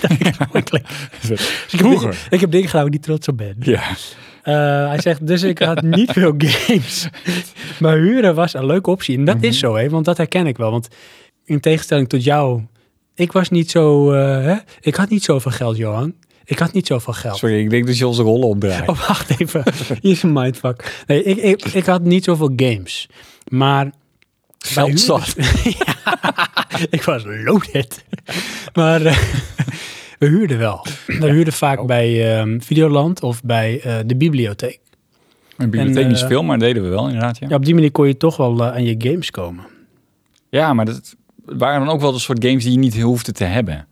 dat (laughs) is mooi klinken. Dus ik heb dingen- Ik heb dingen gedaan waar ik niet trots op ben. Ja. Eh, hij zegt, dus ik had niet veel games. maar huren was een leuke optie. En dat is zo, hè, want dat herken ik wel. Want in tegenstelling tot jou, ik was niet zo... eh, hè? Ik had niet zoveel geld, Johan. Ik had niet zoveel geld. Sorry, ik denk dat je onze rollen (laughs) opdraait. Oh, wacht even. Hier is een mindfuck. Nee, ik, ik, ik had niet zoveel games. Maar... (laughs) bij Geld zat. (laughs) huurders- Ja, ik was loaded. (laughs) maar eh, (laughs) we huurden wel. We huurden vaak bij ehm, Videoland of bij eh, de bibliotheek. Een bibliotheek En, niet eh, veel, maar dat deden we wel inderdaad. Ja, Ja, ja. op die manier kon je toch wel eh, aan je games komen. maar dat waren dan ook wel de soort games die je niet hoefde te hebben.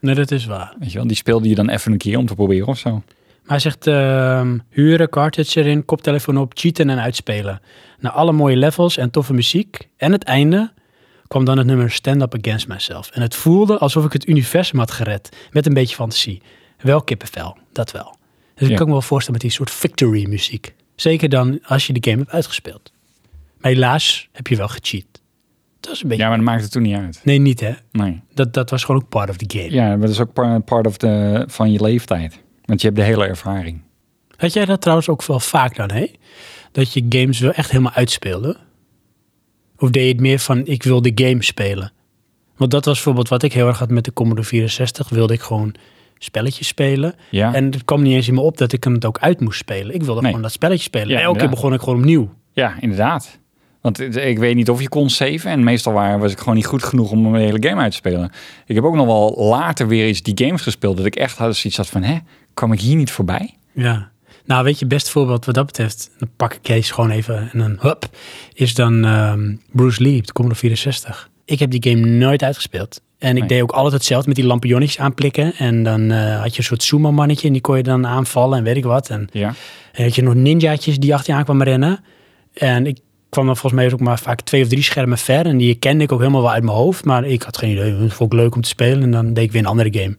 Nee, dat is waar. Weet je wel? Die speelde je dan even een keer om te proberen of zo. Maar hij zegt ehm, huren, cartridge erin, koptelefoon op, cheaten en uitspelen. Na alle mooie levels en toffe muziek en het einde kwam dan het nummer Stand Up Against Myself. En het voelde alsof ik het universum had gered met een beetje fantasie. Wel kippenvel, dat wel. Dus Ja. ik kan me wel voorstellen met die soort victory muziek. Zeker dan als je de game hebt uitgespeeld. Maar helaas heb je wel gecheat. Dat is een beetje... Ja, maar dat maakte toen niet uit. Nee, niet hè. Nee. Dat, dat was gewoon ook part of the game. Ja, maar dat is ook par- part of the, van je leeftijd. Want je hebt de hele ervaring. Had jij dat trouwens ook wel vaak dan, hè? Dat je games wel echt helemaal uitspeelde? Of deed je het meer van, ik wil de game spelen? Want dat was bijvoorbeeld wat ik heel erg had met de Commodore 64. Wilde ik gewoon spelletjes spelen. Ja. En het kwam niet eens in me op dat ik hem het ook uit moest spelen. Ik wilde Nee. gewoon dat spelletje spelen. Ja, en elke keer inderdaad. begon ik gewoon opnieuw. Ja, inderdaad. Want het- ik weet niet of je kon saven. En meestal waren, was ik gewoon niet goed genoeg om mijn hele game uit te spelen. Ik heb ook nog wel later weer eens die games gespeeld. Dat ik echt had zoiets had van, hè, kwam ik hier niet voorbij? Ja. Nou, weet je, best voorbeeld wat dat betreft, dan pak ik Kees gewoon even en dan hup, is dan ehm, Bruce Lee op de Commodore 64. Ik heb die game nooit uitgespeeld. En ik Nee. deed ook altijd hetzelfde met die lampionnetjes aanplikken. En dan eh, had je een soort Zuma-mannetje en die kon je dan aanvallen en weet ik wat. En, Ja. en had je nog ninjaatjes die achter je aan kwamen rennen. En ik kwam dan volgens mij ook maar vaak twee of drie schermen ver. En die kende ik ook helemaal wel uit mijn hoofd. Maar ik had geen idee, het vond ik leuk om te spelen. En dan deed ik weer een andere game.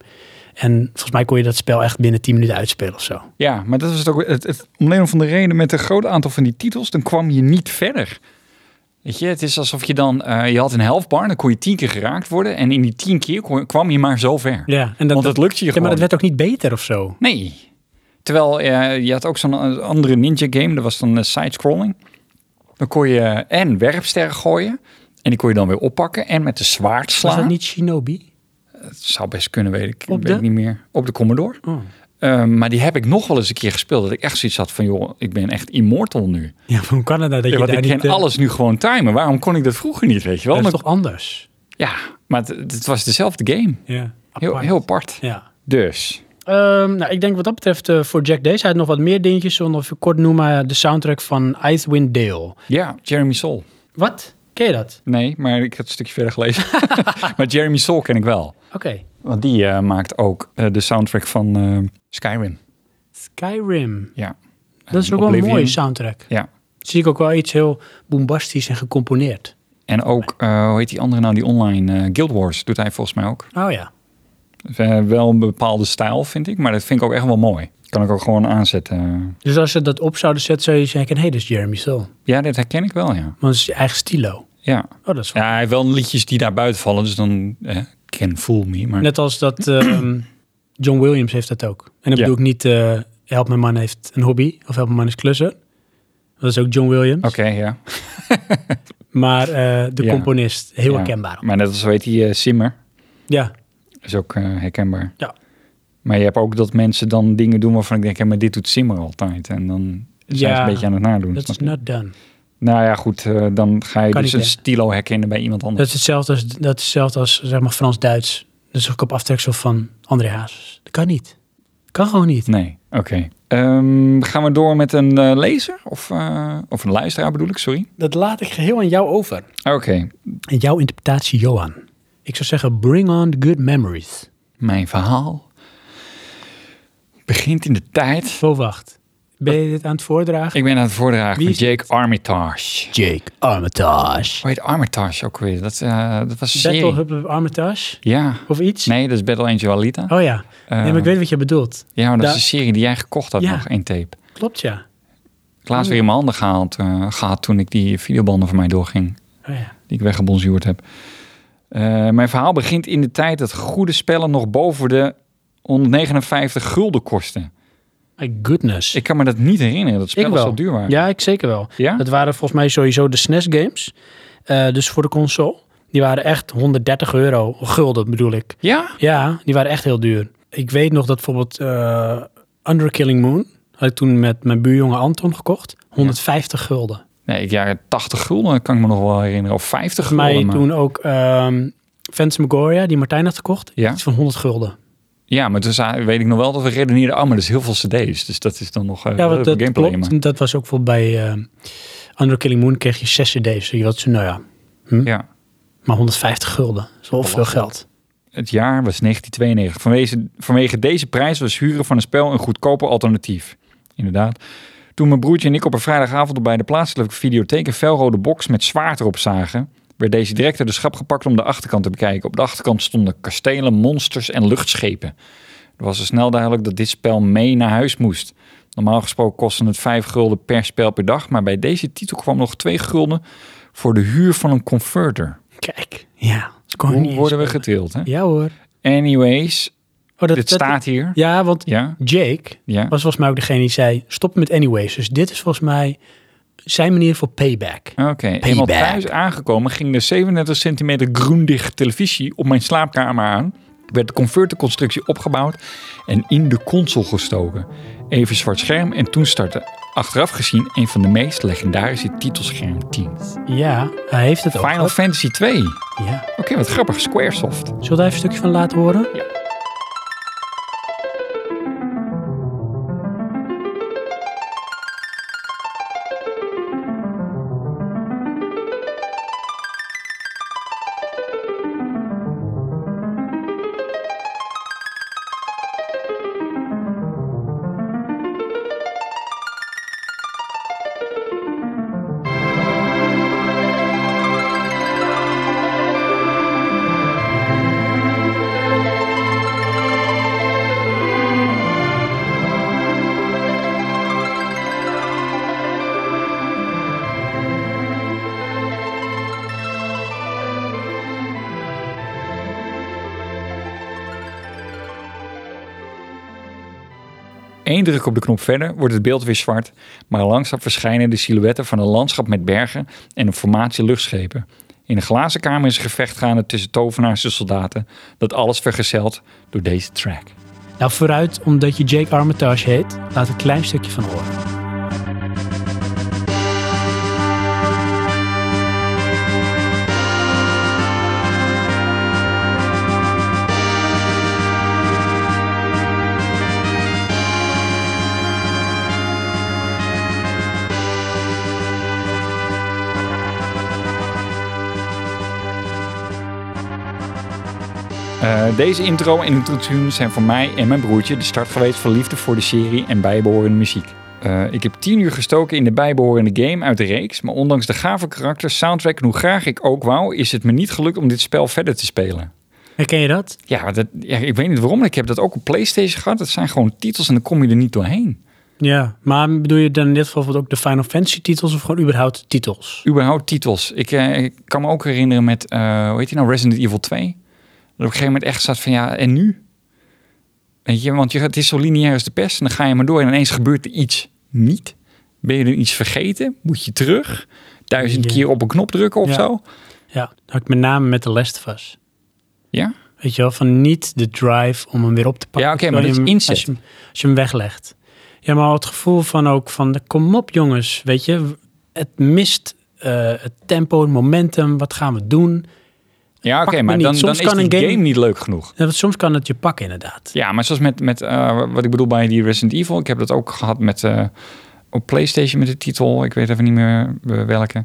En volgens mij kon je dat spel echt binnen 10 minuten uitspelen of zo. Ja, maar dat was het ook. Het, het, om een of andere reden, met een groot aantal van die titels, dan kwam je niet verder. Weet je, het is alsof je dan, eh, je had een helftbar, dan kon je tien keer geraakt worden. En in die tien keer kon- kwam je maar zo ver. Ja, en dat, Want het lukt je ja, gewoon. maar dat werd ook niet beter of zo. Nee. Terwijl eh, je had ook zo'n eh, andere ninja game, dat was dan eh, side-scrolling. Dan kon je eh, en werpsterren gooien. En die kon je dan weer oppakken. En met de zwaard slaan. Was dat niet Shinobi? Het zou best kunnen, weet ik, Op weet de- Oh. ik niet meer. Op de Commodore. Eh, maar die heb ik nog wel eens een keer gespeeld. Dat ik echt zoiets had van, joh, ik ben echt immortal nu. Ja, maar hoe kan het nou dat Ja, je want daar ik niet... ken eh, alles nu gewoon timen. Waarom kon ik dat vroeger niet, weet je wel? Dat is Dan- toch anders? Ja, maar het, het was dezelfde game. Ja, Heel, apart. heel apart. Ja. Dus, Ehm, nou, ik denk wat dat betreft eh, voor Jack Days. Hij had nog wat meer dingetjes. Zullen we nog even kort noemen eh, de soundtrack van Icewind Dale. ja, Jeremy Soul. Wat? Ken je dat? Nee, maar ik heb het stukje verder (laughs) gelezen. maar Jeremy Soul ken ik wel. Oké. Want die eh, maakt ook eh, de soundtrack van eh, Skyrim. Skyrim. Ja. Dat is ook wel een Oblivion. mooie soundtrack. Ja. Zie ik ook wel iets heel bombastisch en gecomponeerd. En ook, eh, hoe heet die andere nou, die online eh, Guild Wars doet hij volgens mij ook. Oh ja. Eh, wel een bepaalde stijl, vind ik. Maar dat vind ik ook echt wel mooi. Kan ik ook gewoon aanzetten. Dus als ze dat op zouden zetten, zou je zeggen, hé, hey, dat is Jeremy Soule. Ja, dat herken ik wel, ja. Want het is je eigen stilo. Ja. Oh, dat is wel- Ja, hij heeft wel liedjes die daar buiten vallen, dus dan eh, can fool me. Maar Net als dat ehm, John Williams heeft dat ook. En dan bedoel ik niet, eh, help mijn man heeft een hobby. Of help mijn man is klussen. Dat is ook John Williams. oké, ja. Maar eh, de Ja. componist, heel Ja. herkenbaar. Maar net als weet die eh, Simmer, Ja, is ook eh, herkenbaar. Ja. Maar je hebt ook dat mensen dan dingen doen waarvan ik denk, hé, maar dit doet Simmer altijd. En dan zijn Ja, ze een beetje aan het nadoen. dat snap is je? not done. Nou ja, goed, eh, dan ga je Kan dus niet, een hè? stilo herkennen bij iemand Dat anders. is hetzelfde als, dat is hetzelfde als zeg maar Frans-Duits. Dat is ook op aftreksel van André Hazes. Dat kan niet. Kan gewoon niet. Nee, oké. Ehm, gaan we door met een eh, lezer? Of, eh, of een luisteraar bedoel ik, sorry. Dat laat ik geheel aan jou over. Oké, En jouw interpretatie, Johan. Ik zou zeggen, bring on the good memories. mijn verhaal begint in de tijd. Zo wacht. Ben je dit aan het voordragen? Ik ben aan het voordragen Wie van is Jake Armitage. Jake Armitage. Hoe heet Armitage ook weer? Dat, eh, dat was een Battle serie. Hub of Armitage? Ja. Of iets? Nee, dat is Battle Angel Alita. Oh ja. Eh, nee, maar ik weet wat je bedoelt. ja, maar dat da- is een serie die jij gekocht had Ja. nog, één tape. Klopt, ja. Ik laatst weer in mijn handen gehaald, eh, gehad toen ik die videobanden van mij doorging. Oh ja. Die ik weggebonzuurd heb. Eh, mijn verhaal begint in de tijd dat goede spellen nog boven de 159 gulden kosten. My goodness. Ik kan me dat niet herinneren, dat spellen zo duur waren. Ja, ik zeker wel. Ja? Dat waren volgens mij sowieso de SNES games. Eh, dus voor de console. Die waren echt 130 euro. Gulden bedoel ik. Ja? Ja, die waren echt heel duur. Ik weet nog dat bijvoorbeeld eh Under Killing Moon... had ik toen met mijn buurjongen Anton gekocht. 150 gulden. Nee, ik, ja, 80 gulden kan ik me nog wel herinneren. Of 50 Volgens mij gulden. maar- toen ook ehm Fantasmagoria, die Martijn had gekocht. Ja. Iets van 100 gulden. Ja, maar toen zei- weet ik nog wel dat we redeneerden, oh, maar dat is heel veel cd's. Dus dat is dan nog eh Ja, leuke wat, dat gameplay. klopt. maar- Dat was ook voor bij ehm Under Killing Moon kreeg je 6 cd's. Je had zo, nou ja, Ja. maar 150 gulden. Dat is wel veel geld. Het jaar was 1992. Vanwege, vanwege deze prijs was huren van een spel een goedkoper alternatief. Inderdaad. Toen mijn broertje en ik op een vrijdagavond bij de plaatselijke videotheek een felrode box met zwaard erop zagen, werd deze direct uit de schap gepakt om de achterkant te bekijken. Op de achterkant stonden kastelen, monsters en luchtschepen. Het was al snel duidelijk dat dit spel mee naar huis moest. Normaal gesproken kostte het 5 gulden per spel per dag, maar bij deze titel kwam nog 2 gulden voor de huur van een converter. Kijk, ja. dat kon je niet Hoe eens worden we spelen. geteeld, hè? Ja hoor. Anyways, Oh, dat, dit staat hier. Ja, want Ja, Jake ja. was volgens mij ook degene die zei, stop met anyways. Dus dit is volgens mij zijn manier voor payback. Oké, eenmaal Payback. thuis aangekomen ging de 37 centimeter groendicht televisie op mijn slaapkamer aan. Werd de converterconstructie opgebouwd en in de console gestoken. Even zwart scherm en toen startte, achteraf gezien, een van de meest legendarische titelschermteams. Ja, hij heeft het ook. Final Fantasy 2. Oké, Ja. wat grappig. Squaresoft. Zullen we daar even een stukje van laten horen? Eén druk op de knop verder wordt het beeld weer zwart, maar langzaam verschijnen de silhouetten van een landschap met bergen en een formatie luchtschepen. In een glazen kamer is een gevecht gaande tussen tovenaars en soldaten, dat alles vergezeld door deze track. Nou, vooruit, omdat je Jake Armitage heet, laat een klein stukje van horen. Eh, deze intro en intro tune zijn voor mij en mijn broertje de start geweest van liefde voor de serie en bijbehorende muziek. Eh, ik heb 10 uur gestoken in de bijbehorende game uit de reeks, maar ondanks de gave karakter, soundtrack en hoe graag ik ook wou, is het me niet gelukt om dit spel verder te spelen. Herken je dat? Ja, dat, ja, ik weet niet waarom, maar ik heb dat ook op PlayStation gehad. Dat zijn gewoon titels en dan kom je er niet doorheen. Ja. Maar bedoel je dan in dit geval bijvoorbeeld ook de Final Fantasy titels of gewoon überhaupt titels? Überhaupt titels. Ik, eh, ik kan me ook herinneren met, eh, hoe heet die nou, Resident Evil 2. Dat op een gegeven moment echt zat van, ja, en nu? Weet je, want je, het is zo lineair als de pest. En dan ga je maar door en ineens gebeurt er iets niet. Ben je er iets vergeten? Moet je terug? Duizend Ja. keer op een knop drukken of Ja. zo? Ja. Dat had ik met name met The Last of Us. Ja? Weet je wel, van niet de drive om hem weer op te pakken. Ja, oké, maar Terwijl dat je is hem- inzet. Als je, hem- als je hem weglegt. Ja, maar het gevoel van ook van, de- kom op jongens, weet je. Het mist eh, het tempo, het momentum, wat gaan we doen? Ja, oké, Pakt me maar niet. dan, dan Soms is kan die een game- game niet leuk genoeg. Ja, want soms kan het je pakken inderdaad. Ja, maar zoals met, met eh, wat ik bedoel bij die Resident Evil. Ik heb dat ook gehad met eh, op PlayStation met de titel. Ik weet even niet meer eh, welke.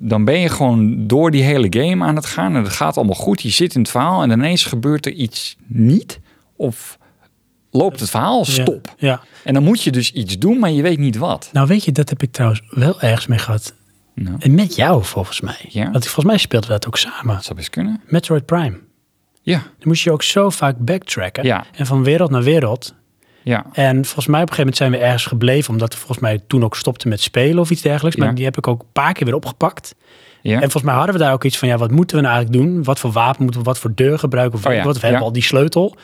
Dan ben je gewoon door die hele game aan het gaan. En het gaat allemaal goed. Je zit in het verhaal en ineens gebeurt er iets niet. Of loopt het verhaal Ja. stop. ja. En dan moet je dus iets doen, maar je weet niet wat. Nou, weet je, dat heb ik trouwens wel ergens mee gehad. Nou. En met jou, volgens mij. Ja. Want volgens mij speelden we dat ook samen. Dat zou best kunnen. Metroid Prime. Ja, Dan moest je ook zo vaak backtracken. Ja. En van wereld naar wereld. ja. En volgens mij op een gegeven moment zijn we ergens gebleven. Omdat we volgens mij toen ook stopten met spelen of iets dergelijks. Maar Ja. die heb ik ook een paar keer weer opgepakt. ja. En volgens mij hadden we daar ook iets van, ja, wat moeten we nou eigenlijk doen? Wat voor wapen moeten we, wat voor deur gebruiken? Of Oh weet ja, ik wat, we ja. hebben al die sleutel.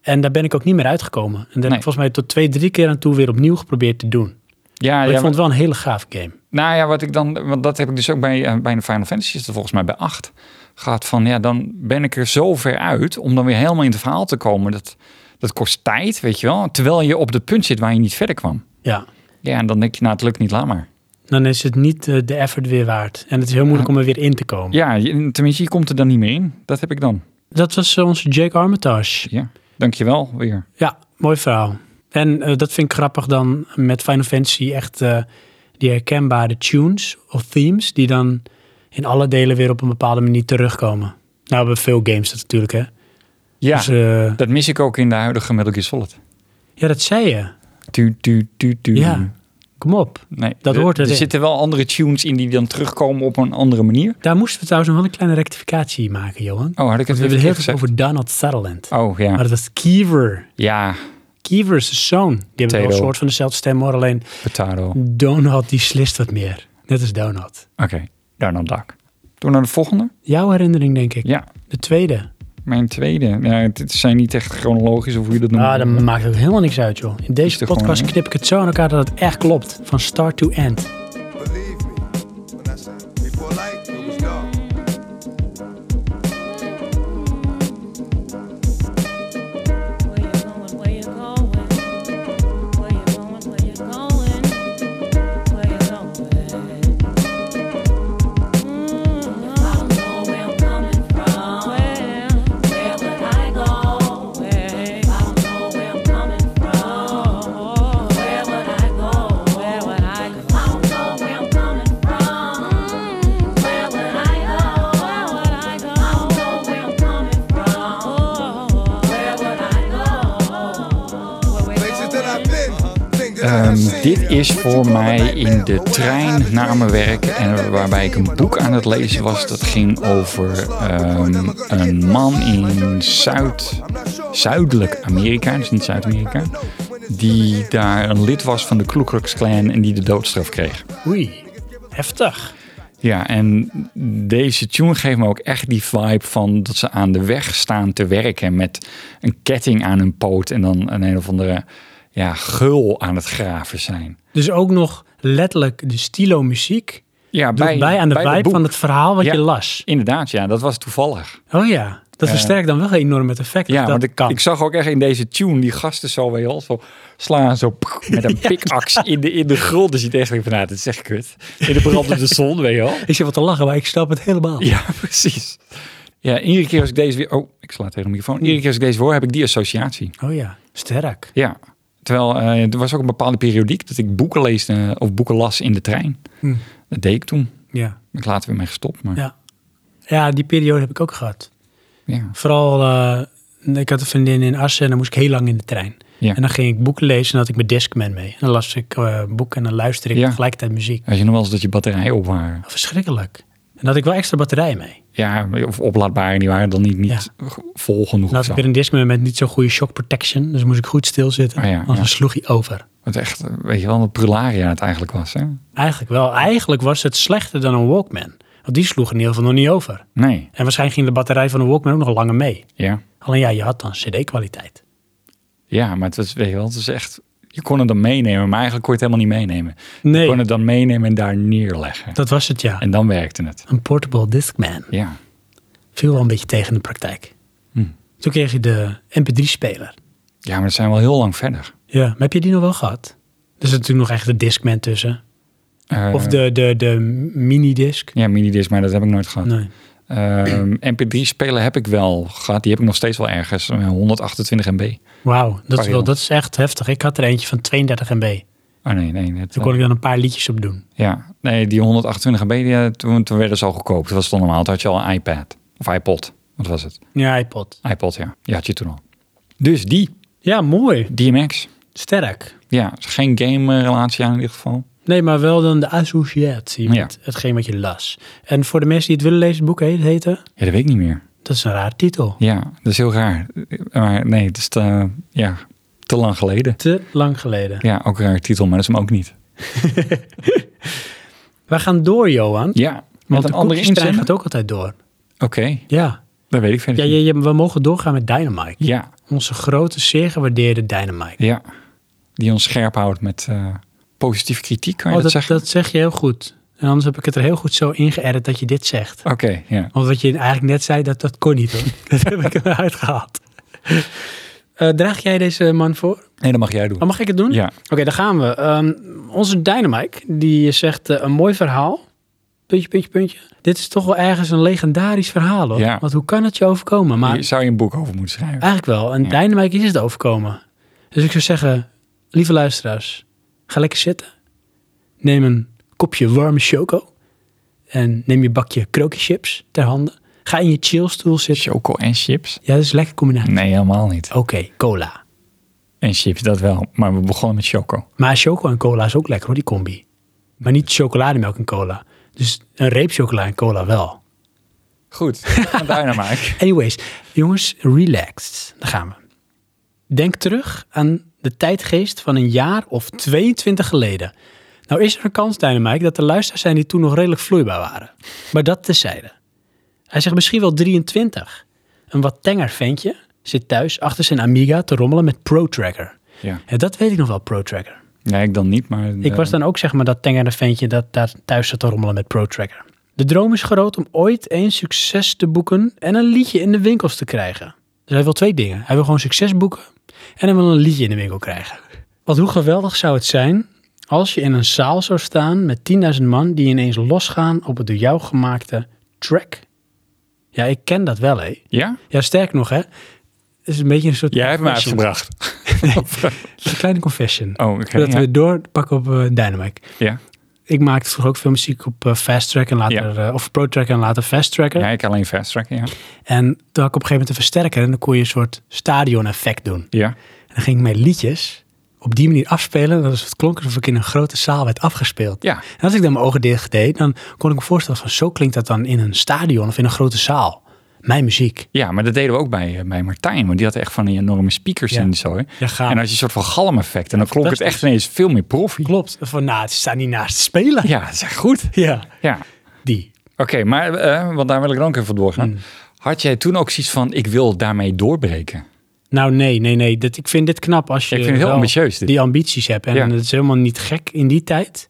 En daar ben ik ook niet meer uitgekomen. En dat heb Nee. ik volgens mij tot twee, drie keer aan toe weer opnieuw geprobeerd te doen. ja, Maar ik ja, vond het wel een hele gaaf game. Nou ja, wat ik dan, want dat heb ik dus ook bij, eh, bij de Final Fantasy, is dat volgens mij bij 8 gaat van ja, dan ben ik er zo ver uit om dan weer helemaal in het verhaal te komen. Dat, dat kost tijd, weet je wel. Terwijl je op het punt zit waar je niet verder kwam. Ja. Ja, en dan denk je, nou, het lukt niet, laat maar. Dan is het niet eh, de effort weer waard. En het is heel moeilijk om er weer in te komen. Ja, je- tenminste, je komt er dan niet meer in. Dat heb ik dan. Dat was eh, onze Jake Armitage. Ja, dankjewel weer. Ja, mooi verhaal. En eh, dat vind ik grappig dan met Final Fantasy echt eh, die herkenbare tunes of themes die dan in alle delen weer op een bepaalde manier terugkomen. Nou hebben veel games dat natuurlijk hè. Ja, Dus, eh, dat mis ik ook in de huidige Metal Gear Solid. ja, dat zei je. Tu, tu, tu, tu. Ja. Kom op. Nee, Dat er- hoort Er erin. zitten wel andere tunes in die dan terugkomen op een andere manier. Daar moesten we trouwens nog wel een kleine rectificatie maken, Johan. Oh, had ik het we hebben weer het heel verkeerd veel gezegd? over Donald Sutherland. Oh, Maar ja. dat was Kiever. Ja, Kiever is de zoon. Die hebben wel een Potato. soort van dezelfde stem, hoor. Alleen potato. Donald die slist wat meer. Net als Donald. Oké, daar dan dak. Door naar de volgende. Jouw herinnering, denk ik. Ja, De tweede. mijn tweede. Ja, het het zijn niet echt chronologisch of hoe je dat noemt. Ah, dat maakt ook helemaal niks uit, joh. In Is deze er gewoon, podcast hè? knip ik het zo aan elkaar dat het echt klopt. Van start to end. Believe me when I said before light it was dark. Where you going? Where you going? Where you going? Where you going? Where you going? Mm, I don't know where I'm coming from. Where? Where would I go? Where? I don't know where I'm coming from. Where would I go? Where would I go? I don't know where I'm coming from. Where would I go? Where would I go? I don't know where I'm coming from. Where would I go? Where we Places going? that I've been, things that I have Ehm, seen. dit is What you voor call a mij in de nightmare, but when I have a trein naar dream, mijn werk that en never waarbij ik een seen, boek aan het but lezen nobody was. Dat can ging work. over ehm, een man in Zuid, Zuidelijk Amerika, dus niet Zuid-Amerika, die daar een lid was van de Ku Klux Klan en die de doodstraf kreeg. Oei. Heftig. Ja, en deze tune geeft me ook echt die vibe van dat ze aan de weg staan te werken met een ketting aan hun poot en dan een een of andere ja, gul aan het graven zijn. Dus ook nog letterlijk de stilo muziek Ja, doet bij, aan de bij vibe boek. van het verhaal wat Ja. je las. Inderdaad, ja, dat was toevallig. Oh ja, dat versterkt dan wel enorm het effect. Ja, dat want ik, kan. ik zag ook echt in deze tune die gasten zo, weet je wel, zo slaan, zo pk, (laughs) met een pickaxe in de, in de grond. Dus je denkt eigenlijk van, nou, dat is echt kut. In de (laughs) brandende zon, weet je wel. Ik zit wat te lachen, maar ik snap het helemaal. Ja, precies. Ja, iedere keer als ik deze weer... Oh, ik sla tegen de microfoon. Iedere keer als ik deze hoor, heb ik die associatie. Oh ja, sterk. Ja. Terwijl eh, er was ook een bepaalde periodiek dat ik boeken lees eh, of boeken las in de trein. Dat deed ik toen. Daar Ja. ben Ik later weer mee gestopt. Maar ja. Hmm. Ja. ja, die periode heb ik ook gehad. Vooral, eh, ik had een vriendin in Assen en dan moest ik heel lang in de trein. Ja. En dan ging ik boeken lezen en dan had ik mijn Discman mee. En dan las ik eh, boeken en dan luisterde ik Ja. tegelijkertijd muziek. Als je nog wel eens dat je batterijen op waren. Verschrikkelijk. En dan had ik wel extra batterij mee. Ja, of oplaadbaar en die waren dan niet, niet vol genoeg. Dan of had zo. ik weer een Discman met niet zo goede shock protection. Dus moest ik goed stilzitten. Oh ja, anders ja. sloeg hij over. Wat echt, eh, weet je wel, wat prularia het eigenlijk was, hè? Eigenlijk wel. Eigenlijk was het slechter dan een Walkman. Want die sloeg in ieder geval nog niet over. Nee, En waarschijnlijk ging de batterij van de Walkman ook nog langer mee. ja. Alleen ja, je had dan cd-kwaliteit. Ja, maar het was, weet je wel, het is echt... Je kon het dan meenemen, maar eigenlijk kon je het helemaal niet meenemen. Je Nee. kon het dan meenemen en daar neerleggen. Dat was het ja. En dan werkte het. Een portable discman. Ja. Viel wel een beetje tegen in de praktijk. Hm. Toen kreeg je de mp3-speler. Ja, maar dat zijn we al heel lang verder. Ja, maar heb je die nog wel gehad? Er zit natuurlijk nog echt de discman tussen. Eh, Of de, de, de minidisc. Ja, minidisc, maar dat heb ik nooit gehad. Nee. Ehm, MP3-spelen heb ik wel gehad. Die heb ik nog steeds wel ergens. eh, 128 MB. Wauw, dat, is wel- jongen. dat is echt heftig. Ik had er eentje van 32 MB. Oh nee, nee. net- eh, Daar kon ik dan een paar liedjes op doen. ja, nee, die 128 MB, die, eh, toen, toen werden ze al goedkoop. Dat was toch normaal. Toen had je al een iPad. Of iPod. Wat was het? Ja, iPod. iPod, ja. Die had je toen al. Dus die, Ja, mooi. DMX. Sterk. Ja, is geen game-relatie aan in ieder geval. Nee, maar wel dan de associatie met Ja. hetgeen wat je las. En voor de mensen die het willen lezen, het boek heet, heette... Ja, dat weet ik niet meer. Dat is een raar titel. Ja, dat is heel raar. Maar nee, het is te, ja, te lang geleden. Te lang geleden. Ja, ook een raar titel, maar dat is hem ook niet. Wij gaan door, Johan. Ja, want de een andere koekjestrein inzending. gaat ook altijd door. Oké, Ja. dat weet ik verder Ja, niet. ja, ja, we mogen doorgaan met Dynamite. Ja, Onze grote, zeer gewaardeerde Dynamite. ja. Die ons scherp houdt met eh, positieve kritiek, kan je oh, dat, dat, zeggen? dat zeg je heel goed. En anders heb ik het er heel goed zo ingeëdit dat je dit zegt. Oké, ja. Want wat je eigenlijk net zei, dat, dat kon niet hoor. (laughs) dat heb ik eruit gehaald. Eh, draag jij deze man voor? Nee, dat mag jij doen. Oh, mag ik het doen? Ja. Oké, daar gaan we. Ehm, onze Dynamite, die zegt eh, een mooi verhaal. Puntje, puntje, puntje. Dit is toch wel ergens een legendarisch verhaal hoor. Ja. Want hoe kan het je overkomen? Maar Hier zou je een boek over moeten schrijven. Eigenlijk wel. En Dynamite is het overkomen. Dus ik zou zeggen, lieve luisteraars, ga lekker zitten. Neem een kopje warme choco. En neem je bakje krookjeschips ter handen. Ga in je chillstoel zitten. Choco en chips? Ja, dat is een lekker combinatie. Nee, helemaal niet. Mm. Oké, cola. En chips, dat wel. Maar we begonnen met choco. Maar choco en cola is ook lekker hoor, die combi. Maar niet chocolademelk en cola. Dus een reep chocola en cola wel. Goed, gaan daar naar (laughs) maken. Anyways, jongens, relaxed. Daar gaan we. Denk terug aan de tijdgeest van een jaar of 22 geleden. Nou is er een kans, Dynamite, dat er luisteraars zijn die toen nog redelijk vloeibaar waren. Maar dat tezijde. Hij zegt misschien wel 23. Een wat tenger ventje zit thuis achter zijn Amiga te rommelen met ProTracker. Ja. Ja, dat weet ik nog wel, ProTracker. Nee, ik dan niet, maar... eh, Ik was dan ook zeg maar dat tengere ventje dat daar thuis zat te rommelen met ProTracker. De droom is groot om ooit eens succes te boeken en een liedje in de winkels te krijgen. Dus hij wil twee dingen. Hij wil gewoon succes boeken en hij wil een liedje in de winkel krijgen. Want hoe geweldig zou het zijn als je in een zaal zou staan met 10.000 man die ineens losgaan op het door jou gemaakte track. Ja, ik ken dat wel, hé. Ja? Ja, sterk nog, hè. Het is een beetje een soort... Jij hebt me confession. (laughs) uitgebracht. Een kleine confession. Oh, oké, Dat ja. we doorpakken op eh, Dynamic (laughs) Ja. ik maakte vroeger ook veel muziek op eh, Fast Track en later, eh, of Pro Track en later Fast Tracker. Ja, ik alleen fast tracken, ja. En toen had ik op een gegeven moment een versterker en dan kon je een soort stadion effect doen. Ja. En dan ging ik mijn liedjes op die manier afspelen. Dat is het klonk alsof ik in een grote zaal werd afgespeeld. Ja. En als ik dan mijn ogen dicht deed, dan kon ik me voorstellen van zo klinkt dat dan in een stadion of in een grote zaal. Mijn muziek. Ja, maar dat deden we ook bij, eh, bij Martijn. Want die had echt van die enorme speakers Ja. in zo. hè. Ja, gaaf. en als je een soort van galmeffect. En dan klonk het echt fantastisch. ineens veel meer profi. Klopt. Van nou, het staat niet naast te spelen. Ja, dat is echt goed. Ja. Ja. Die. Oké, maar Hmm. eh, want daar wil ik dan ook even voor doorgaan. Had jij toen ook zoiets van, ik wil daarmee doorbreken? Nou, nee, nee, nee. Dit, ik vind dit knap als je ik vind het heel wel ambitieus dit. die ambities hebt. En Ja. het is helemaal niet gek in die tijd.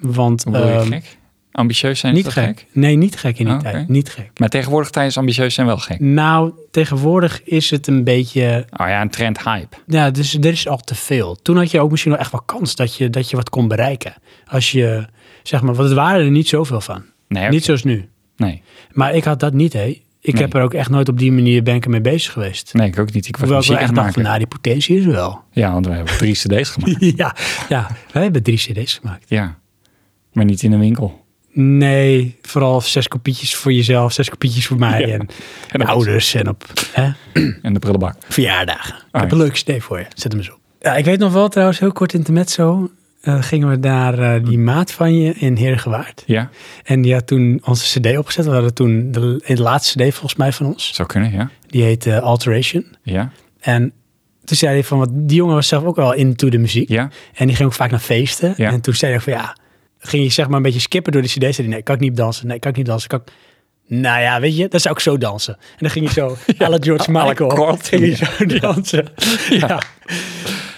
Want Hoe bedoel je ehm, gek? Ambitieus zijn is niet dat gek. Nee, niet gek in die Ah, oké. tijd. Niet gek. Maar tegenwoordig tijdens ambitieus zijn wel gek. Nou, tegenwoordig is het een beetje Oh ja, een trend hype. Ja, dus er is al te veel. Toen had je ook misschien wel echt wel kans dat je, dat je wat kon bereiken. Als je, zeg maar, want het waren er niet zoveel van. Nee, oké. Niet zoals nu. nee. Maar ik had dat niet, hé. Ik Nee. heb er ook echt nooit op die manier ben ik ermee bezig geweest. nee, ik ook niet. Ik was Hoewel ik muziek wel aan het echt dacht van, maken. nou, die potentie is er wel. Ja, want we hebben (laughs) drie cd's gemaakt. ja, ja, wij hebben drie cd's gemaakt. Ja, maar niet in een winkel. Nee, vooral zes kopietjes voor jezelf, zes kopietjes voor mij en, En dat- ouders en op hè, En de prullenbak. verjaardagen. ja. Ik heb een leuk idee voor je. Zet hem eens op. Ah, Ja, ik weet nog wel trouwens, heel kort intermezzo. eh gingen we naar eh, die maat van je in Heergewaard. Ja, En die had toen onze cd opgezet. We hadden toen de, de laatste cd volgens mij van ons. zou kunnen, ja. Die heette eh, Alteration. Ja, En toen zei hij van, want die jongen was zelf ook wel into de muziek. ja. En die ging ook vaak naar feesten. Ja. En toen zei hij ook van, ja, ging je zeg maar een beetje skippen door die cd's. Zei hij, nee, kan ik niet dansen. Nee, kan ik niet dansen. Kan ik... Nou ja, weet je, dan zou ik zo dansen. En dan ging je (laughs) zo, à la George à la Michael, Carlton, ging je zo (laughs) dansen. Ja.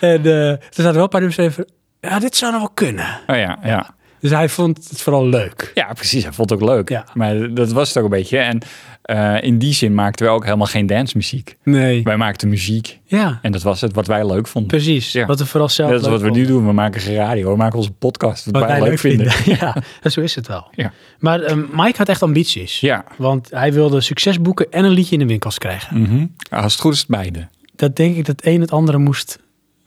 En eh, toen zaten wel een paar nummers even, ja, dit zou nog wel kunnen. Oh ja, ja. Dus hij vond het vooral leuk. Ja, precies. Hij vond het ook leuk. Ja. Maar dat was het ook een beetje. En eh, in die zin maakten we ook helemaal geen dancemuziek. Nee. Wij maakten muziek. Ja, En dat was het wat wij leuk vonden. precies. Ja. Wat we vooral zelf Dat is leuk wat we nu vonden. doen. We maken geen radio. We maken onze podcast. Wat, Wat wij leuk vinden. (laughs) vinden. ja, en zo is het wel. (laughs) Ja. Maar ehm, Mike had echt ambities. Ja. Want hij wilde succes boeken en een liedje in de winkels krijgen. Mhm. Als het goed is, het beide. Dat denk ik dat een het andere moest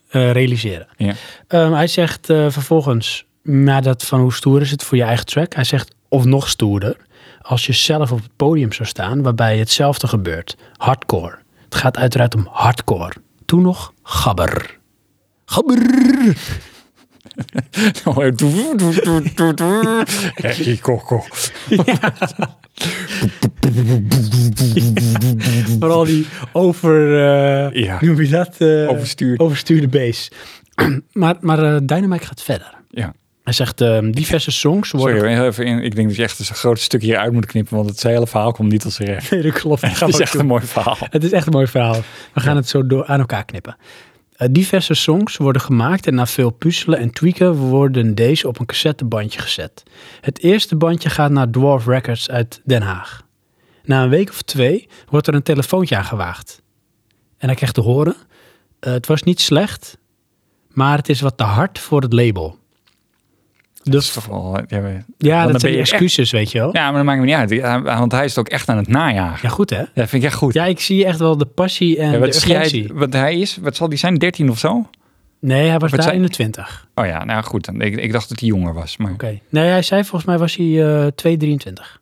eh, realiseren. Ja. (laughs) Ehm, hij zegt eh, vervolgens, na dat van hoe stoer is het voor je eigen track? Hij zegt, of nog stoerder, als je zelf op het podium zou staan waarbij hetzelfde gebeurt. Hardcore. Het gaat uiteraard om hardcore. Toen nog gabber. Gabber! Oh, Herrie kokkel. (laughs) Vooral die over, eh, Ja. noem je dat? eh, Overstuur. Overstuurde bass. (clears throat) maar maar eh, Dynamite gaat verder. (laughs) Ja. Hij zegt, ehm, diverse songs worden... (laughs) Sorry, hoor, heel even in. ik denk dat je echt een groot stukje hieruit moet knippen, want het hele verhaal komt niet als recht. Nee, dat (laughs) klopt. Het is echt een mooi verhaal. Het is echt een mooi verhaal. We gaan het zo door aan elkaar knippen. Eh, diverse songs worden gemaakt en na veel puzzelen en tweaken worden deze op een cassettebandje gezet. Het eerste bandje gaat naar Dwarf Records uit Den Haag. Na een week of twee wordt er een telefoontje aangewaagd. En hij krijgt te horen, eh, het was niet slecht, maar het is wat te hard voor het label. Dat is toch wel... Ja, maar- want Ja, dat dan zijn ben die je echt- excuses, weet je wel. Ja. ja, maar dat maakt me niet uit. Ja, Want hij is het ook echt aan het najagen. goed hè? Dat vind ik echt goed. Ja, ik zie echt wel de passie en Ja, de wat, zie urgentie. hij, wat hij is, wat zal die zijn? 13 of zo? Nee, hij was daar zei- in de twintig. Oh ja, nou goed. Dan, ik, ik dacht dat hij jonger was. Maar oké, Oké. Nee, hij zei volgens mij was hij eh 223.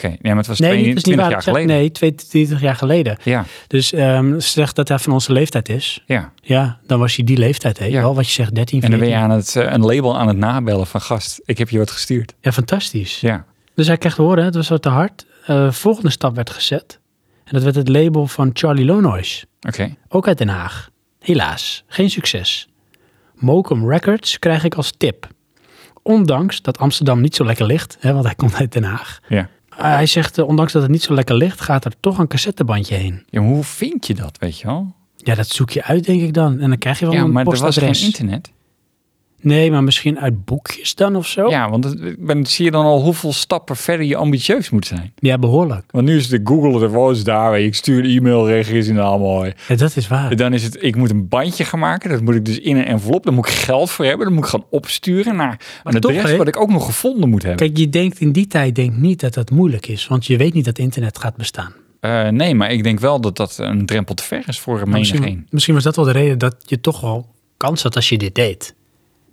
nee, maar het was Nee, dat is niet 22 waar. jaar Ik zeg- geleden. Nee, 22 jaar geleden. Ja, Dus ehm ze zegt dat hij van onze leeftijd is. ja. Ja, dan was hij die leeftijd, hè? Ja. Wel wat je zegt, 13, En 14. dan ben je aan het, eh, een label aan het nabellen van gast, ik heb je wat gestuurd. Ja, fantastisch. Ja, Dus hij kreeg te horen, het was wat te hard. Eh, volgende stap werd gezet. En dat werd het label van Charlie Lonois. oké. Ook uit Den Haag. Helaas, geen succes. Mokum Records krijg ik als tip. Ondanks dat Amsterdam niet zo lekker ligt, hè, want hij komt uit Den Haag. Ja. Uh, hij zegt, eh, ondanks dat het niet zo lekker ligt, gaat er toch een cassettebandje heen. ja, maar hoe vind je dat, weet je wel? Ja, dat zoek je uit, denk ik dan. En dan krijg je wel Ja, een maar er was geen postadres. internet. nee, maar misschien uit boekjes dan of zo? Ja, want het- ik ben, zie je dan al hoeveel stappen verder je ambitieus moet zijn. Ja, behoorlijk. Want nu is de Google er was daar. weet je, Ik stuur een e-mail, reageer is in de mooi. Ja, dat is waar. Dan is het, ik moet een bandje gaan maken. Dat moet ik dus in een envelop. Daar moet ik geld voor hebben. Dat moet ik gaan opsturen naar een toch, adres hè? wat ik ook nog gevonden moet hebben. Kijk, je denkt in die tijd denk niet dat dat moeilijk is, want je weet niet dat internet gaat bestaan. Eh, nee, maar ik denk wel dat dat een drempel te ver is voor menigeen. Misschien, misschien was dat wel de reden dat je toch wel kans had als je dit deed.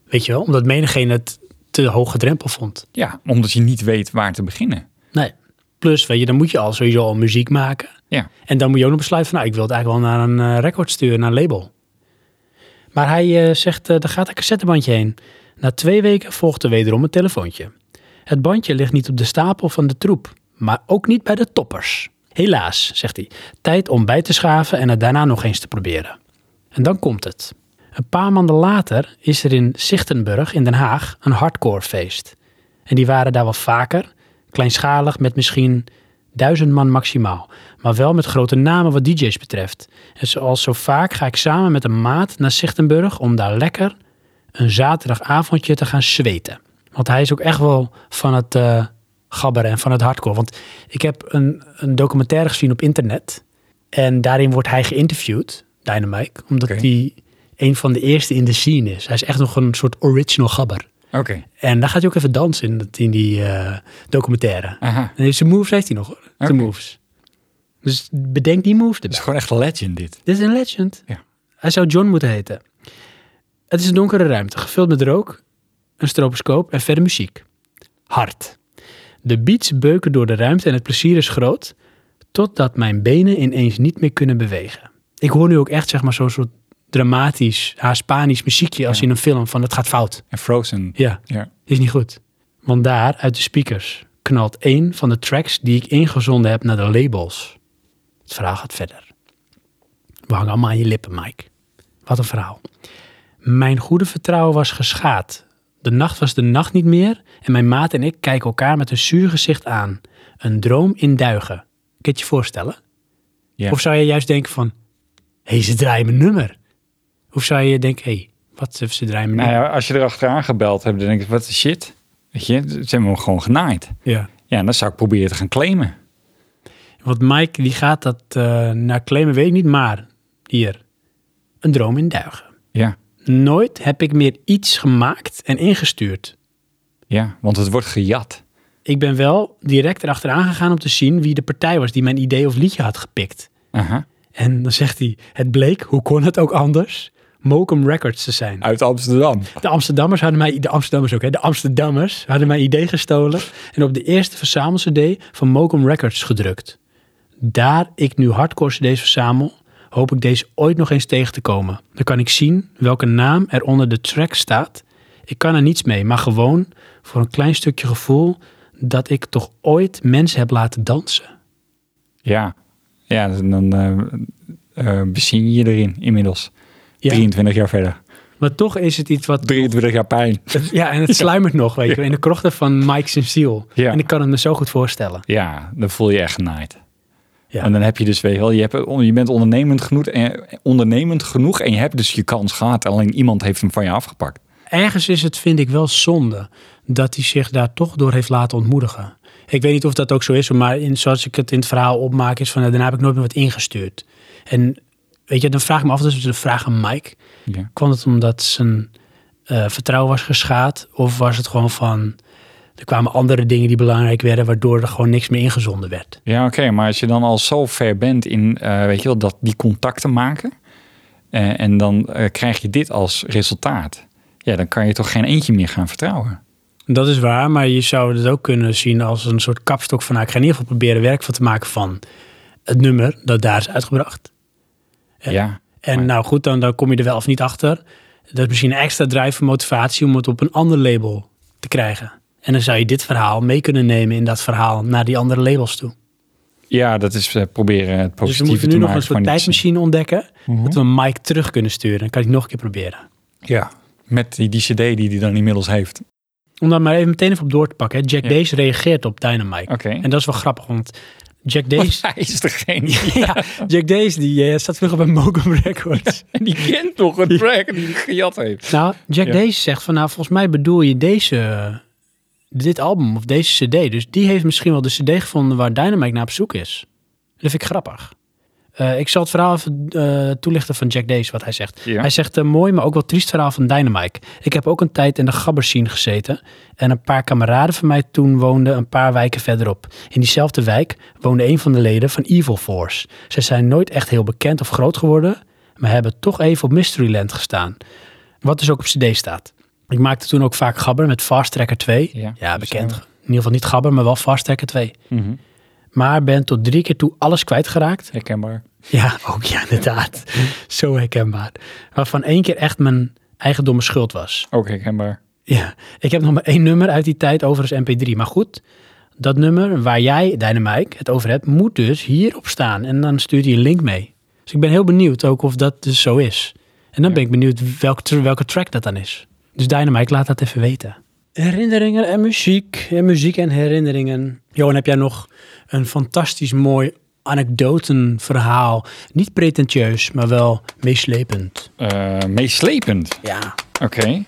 Weet je wel? Omdat menigeen het te hoge drempel vond. Ja, omdat je niet weet waar te beginnen. Nee. Plus, weet je, dan moet je al sowieso al muziek maken. Ja, En dan moet je ook nog besluiten van, nou, ik wil het eigenlijk wel naar een eh, record sturen, naar een label. Maar hij eh, zegt, eh daar gaat een cassettebandje heen. Na twee weken volgt er wederom een telefoontje. Het bandje ligt niet op de stapel van de troep, maar ook niet bij de toppers. Helaas, zegt hij, tijd om bij te schaven en het daarna nog eens te proberen. En dan komt het. Een paar maanden later is er in Zichtenburg in Den Haag een hardcore feest. En die waren daar wel vaker, kleinschalig met misschien duizend man maximaal. maar wel met grote namen wat DJ's betreft. En zoals zo vaak ga ik samen met een maat naar Zichtenburg om daar lekker een zaterdagavondje te gaan zweten. Want hij is ook echt wel van het eh gabberen en van het hardcore. Want ik heb een, een documentaire gezien op internet. En daarin wordt hij geïnterviewd, Dynamite. Omdat Oké. hij een van de eerste in de scene is. Hij is echt nog een soort original gabber. Oké. En daar gaat hij ook even dansen in, dat- in die eh, documentaire. Aha. En zijn moves heeft hij nog, hoor. Zijn Ah. Oké. moves. Dus bedenk die moves Het erbij. is gewoon echt legend dit. Dit is een legend. Ja. Hij zou John moeten heten. Het is een donkere ruimte, gevuld met rook, een stroboscoop en verder muziek. Hard. De beats beuken door de ruimte en het plezier is groot, totdat mijn benen ineens niet meer kunnen bewegen. Ik hoor nu ook echt zeg maar, zo'n soort dramatisch, haar Spanisch muziekje als Ja. in een film van het gaat fout. En Frozen. Ja, Ja. is niet goed. Want daar, uit de speakers, knalt één van de tracks die ik ingezonden heb naar de labels. Het verhaal gaat verder. We hangen allemaal aan je lippen, Mike. Wat een verhaal. Mijn goede vertrouwen was geschaad. De nacht was de nacht niet meer en mijn maat en ik kijken elkaar met een zuur gezicht aan. Een droom in duigen. Kun je het je voorstellen? Ja. Of zou je juist denken van, hé, hey, ze draaien mijn nummer. Of zou je denken, hé, hey, wat, ze draaien mijn Nou nummer. ja, als je erachteraan gebeld hebt, dan denk ik, wat de shit. Weet je, ze hebben me gewoon genaaid. Ja. Ja, en dan zou ik proberen te gaan claimen. Want Mike die gaat dat eh, naar claimen, weet ik niet, maar hier. Een droom in duigen. Ja, Nooit heb ik meer iets gemaakt en ingestuurd. ja, want het wordt gejat. Ik ben wel direct erachteraan gegaan om te zien wie de partij was die mijn idee of liedje had gepikt. Aha. En dan zegt hij, het bleek, hoe kon het ook anders, Mokum Records te zijn. Uit Amsterdam. De Amsterdammers hadden mij, de Amsterdammers ook, hè, de Amsterdammers hadden mijn idee gestolen en op de eerste verzamelcd van Mokum Records gedrukt. Daar ik nu hardcore cd's verzamel, hoop ik deze ooit nog eens tegen te komen. Dan kan ik zien welke naam er onder de track staat. Ik kan er niets mee, maar gewoon voor een klein stukje gevoel dat ik toch ooit mensen heb laten dansen. Ja, ja dus dan eh, eh, bezien je je erin inmiddels. Ja. 23 jaar verder. Maar toch is het iets (laughs) wat... 23 jaar pijn. Ja, en het sluimert nog, weet je wel, in de krochten van Mike zijn ziel. Ja. En ik kan het me zo goed voorstellen. Ja, dan voel je echt genaaid. Ja. En dan heb je dus, weet je wel, je, hebt, je bent ondernemend genoeg, en, ondernemend genoeg en je hebt dus je kans gehad. Alleen iemand heeft hem van je afgepakt. ergens is het, vind ik, wel zonde dat hij zich daar toch door heeft laten ontmoedigen. Ik weet niet of dat ook zo is, maar in, zoals ik het in het verhaal opmaak, is van nou, daarna heb ik nooit meer wat ingestuurd. En weet je, dan vraag ik me af, dat is de vraag aan Mike. Ja. Kwam het omdat zijn eh, vertrouwen was geschaad? Of was het gewoon van, er kwamen andere dingen die belangrijk werden, waardoor er gewoon niks meer ingezonden werd? Ja, oké, maar als je dan al zo ver bent in, eh, weet je wel, dat die contacten maken. eh, en dan eh, krijg je dit als resultaat. Ja, dan kan je toch geen eentje meer gaan vertrouwen. Dat is waar, maar je zou het ook kunnen zien als een soort kapstok van... nou, ik ga in ieder geval proberen werk van te maken van het nummer dat daar is uitgebracht. Ja. En nou goed, dan, dan kom je er wel of niet achter. Dat is misschien een extra drijf en motivatie om het op een ander label te krijgen. En dan zou je dit verhaal mee kunnen nemen in dat verhaal naar die andere labels toe. Ja, dat is eh, proberen Dus het we positieve moeten nu te nog maken een soort van iets. Mhm. tijdmachine ontdekken. Dat we Mike terug kunnen sturen. Dan kan ik nog een keer proberen. Ja, met die, die cd die hij dan inmiddels heeft. Om daar maar even meteen even op door te pakken. Hè. Jack Ja. Days reageert op Dynamite. Oké. (laughs) En dat is wel grappig, want Jack Days... (laughs) Hij is degene ja, Jack Days die eh, staat vroeger bij Mogum Records. en die kent nog een track die hij gejat heeft. Nou, Jack Ja. Days zegt van, nou, volgens mij bedoel je deze, eh, dit album of deze cd. Dus die heeft misschien wel de cd gevonden waar Dynamite naar op zoek is. Dat vind ik grappig. Eh, ik zal het verhaal even eh, toelichten van Jack Days, wat hij zegt. Ja. Hij zegt, een mooi, maar ook wel triest verhaal van Dynamite. Ik heb ook een tijd in de gabberscene gezeten. En een paar kameraden van mij toen woonden een paar wijken verderop. In diezelfde wijk woonde een van de leden van Evil Force. Ze zijn nooit echt heel bekend of groot geworden, maar hebben toch even op Mysteryland gestaan. Wat dus ook op cd staat. Ik maakte toen ook vaak gabber met Fast Tracker 2. Ja, Ja, dus bekend. ja. In ieder geval niet gabber, maar wel Fast Tracker 2. Mhm, Maar ben tot drie keer toe alles kwijtgeraakt. Herkenbaar. Ja, ook ja, inderdaad. Zo herkenbaar. Waarvan één keer echt mijn eigendomme schuld was. Ook herkenbaar. Ja, ik heb nog maar één nummer uit die tijd, overigens MP3. Maar goed, dat nummer waar jij, Dynamite, het over hebt, moet dus hierop staan. En dan stuurt hij een link mee. Dus ik ben heel benieuwd ook of dat dus zo is. En dan ben ik benieuwd welk, tr- welke track dat dan is. Dus Dynamite, laat dat even weten. Herinneringen en muziek. En muziek en herinneringen. Johan, heb jij nog een fantastisch mooi anekdotenverhaal. Niet pretentieus, maar wel meeslepend. Eh, meeslepend. Ja. Oké.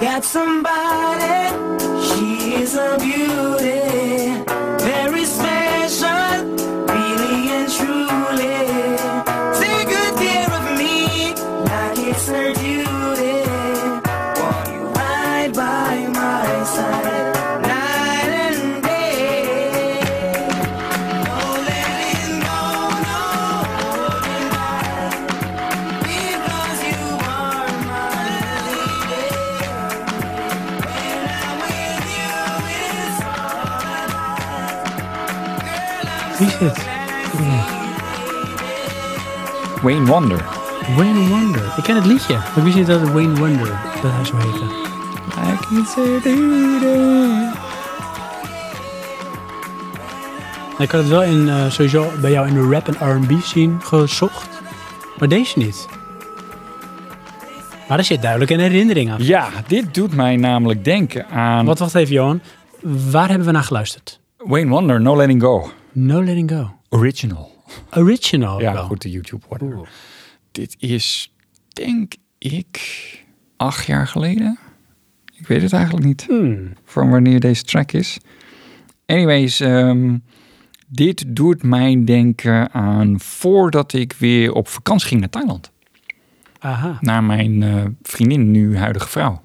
Got somebody, she's a beauty, very special, really and truly. Take good care of me, like it's her duty. While you ride by my side, night and day. No letting go, no holding back, because you are my lady. Wie is dit? Wayne Wonder. Wayne Wonder. Ik ken het liedje. Maar ik wist niet dat het Wayne Wonder, dat hij zo heette. Ik had het wel in, eh, sowieso bij jou in de rap en R&B scene gezocht. Maar deze niet. Maar er zit duidelijk een herinnering aan. Ja, dit doet mij namelijk denken aan Wat, wacht even Johan. Waar hebben we naar geluisterd? Wayne Wonder, No Letting Go. No Letting Go. Original. Original Ja, wel. goed, de YouTube order. Dit is, denk ik, acht jaar geleden. Ik weet het eigenlijk niet. Hmm. Van wanneer deze track is. Anyways, ehm, dit doet mij denken aan voordat ik weer op vakantie ging naar Thailand. Aha. naar mijn eh, vriendin, nu huidige vrouw.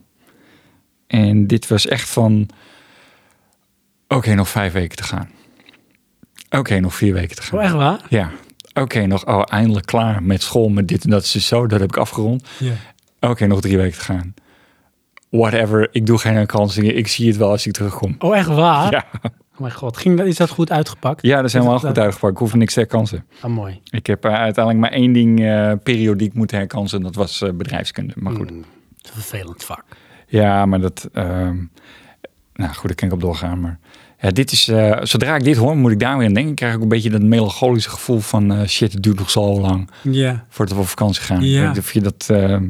En dit was echt van, oké, nog vijf weken te gaan. Oké, nog vier weken te gaan. Oh, echt waar? Ja. Oké, nog oh, eindelijk klaar met school, met dit en dat is dus zo, dat heb ik afgerond. Ja. Oké, nog drie weken te gaan. Whatever, ik doe geen vakantie, ik zie het wel als ik terugkom. Oh, echt waar? Ja, Oh mijn god. Ging, dat- is dat goed uitgepakt? ja dat is helemaal dat- goed uitgepakt. Ik hoef niks te herkansen. Ah, mooi. Ik heb eh, uiteindelijk maar één ding eh, periodiek moeten herkansen. en Dat was eh, bedrijfskunde. Maar goed, Vervelend vak. Ja, maar dat. ehm, nou goed, daar kan ik op doorgaan. Maar ja, dit is. eh, zodra ik dit hoor, moet ik daar weer aan denken. Krijg ik ook een beetje dat melancholische gevoel van. eh, shit, het duurt nog zo lang Ja. voordat we op vakantie gaan. Ja. Ik weet niet of je dat ehm,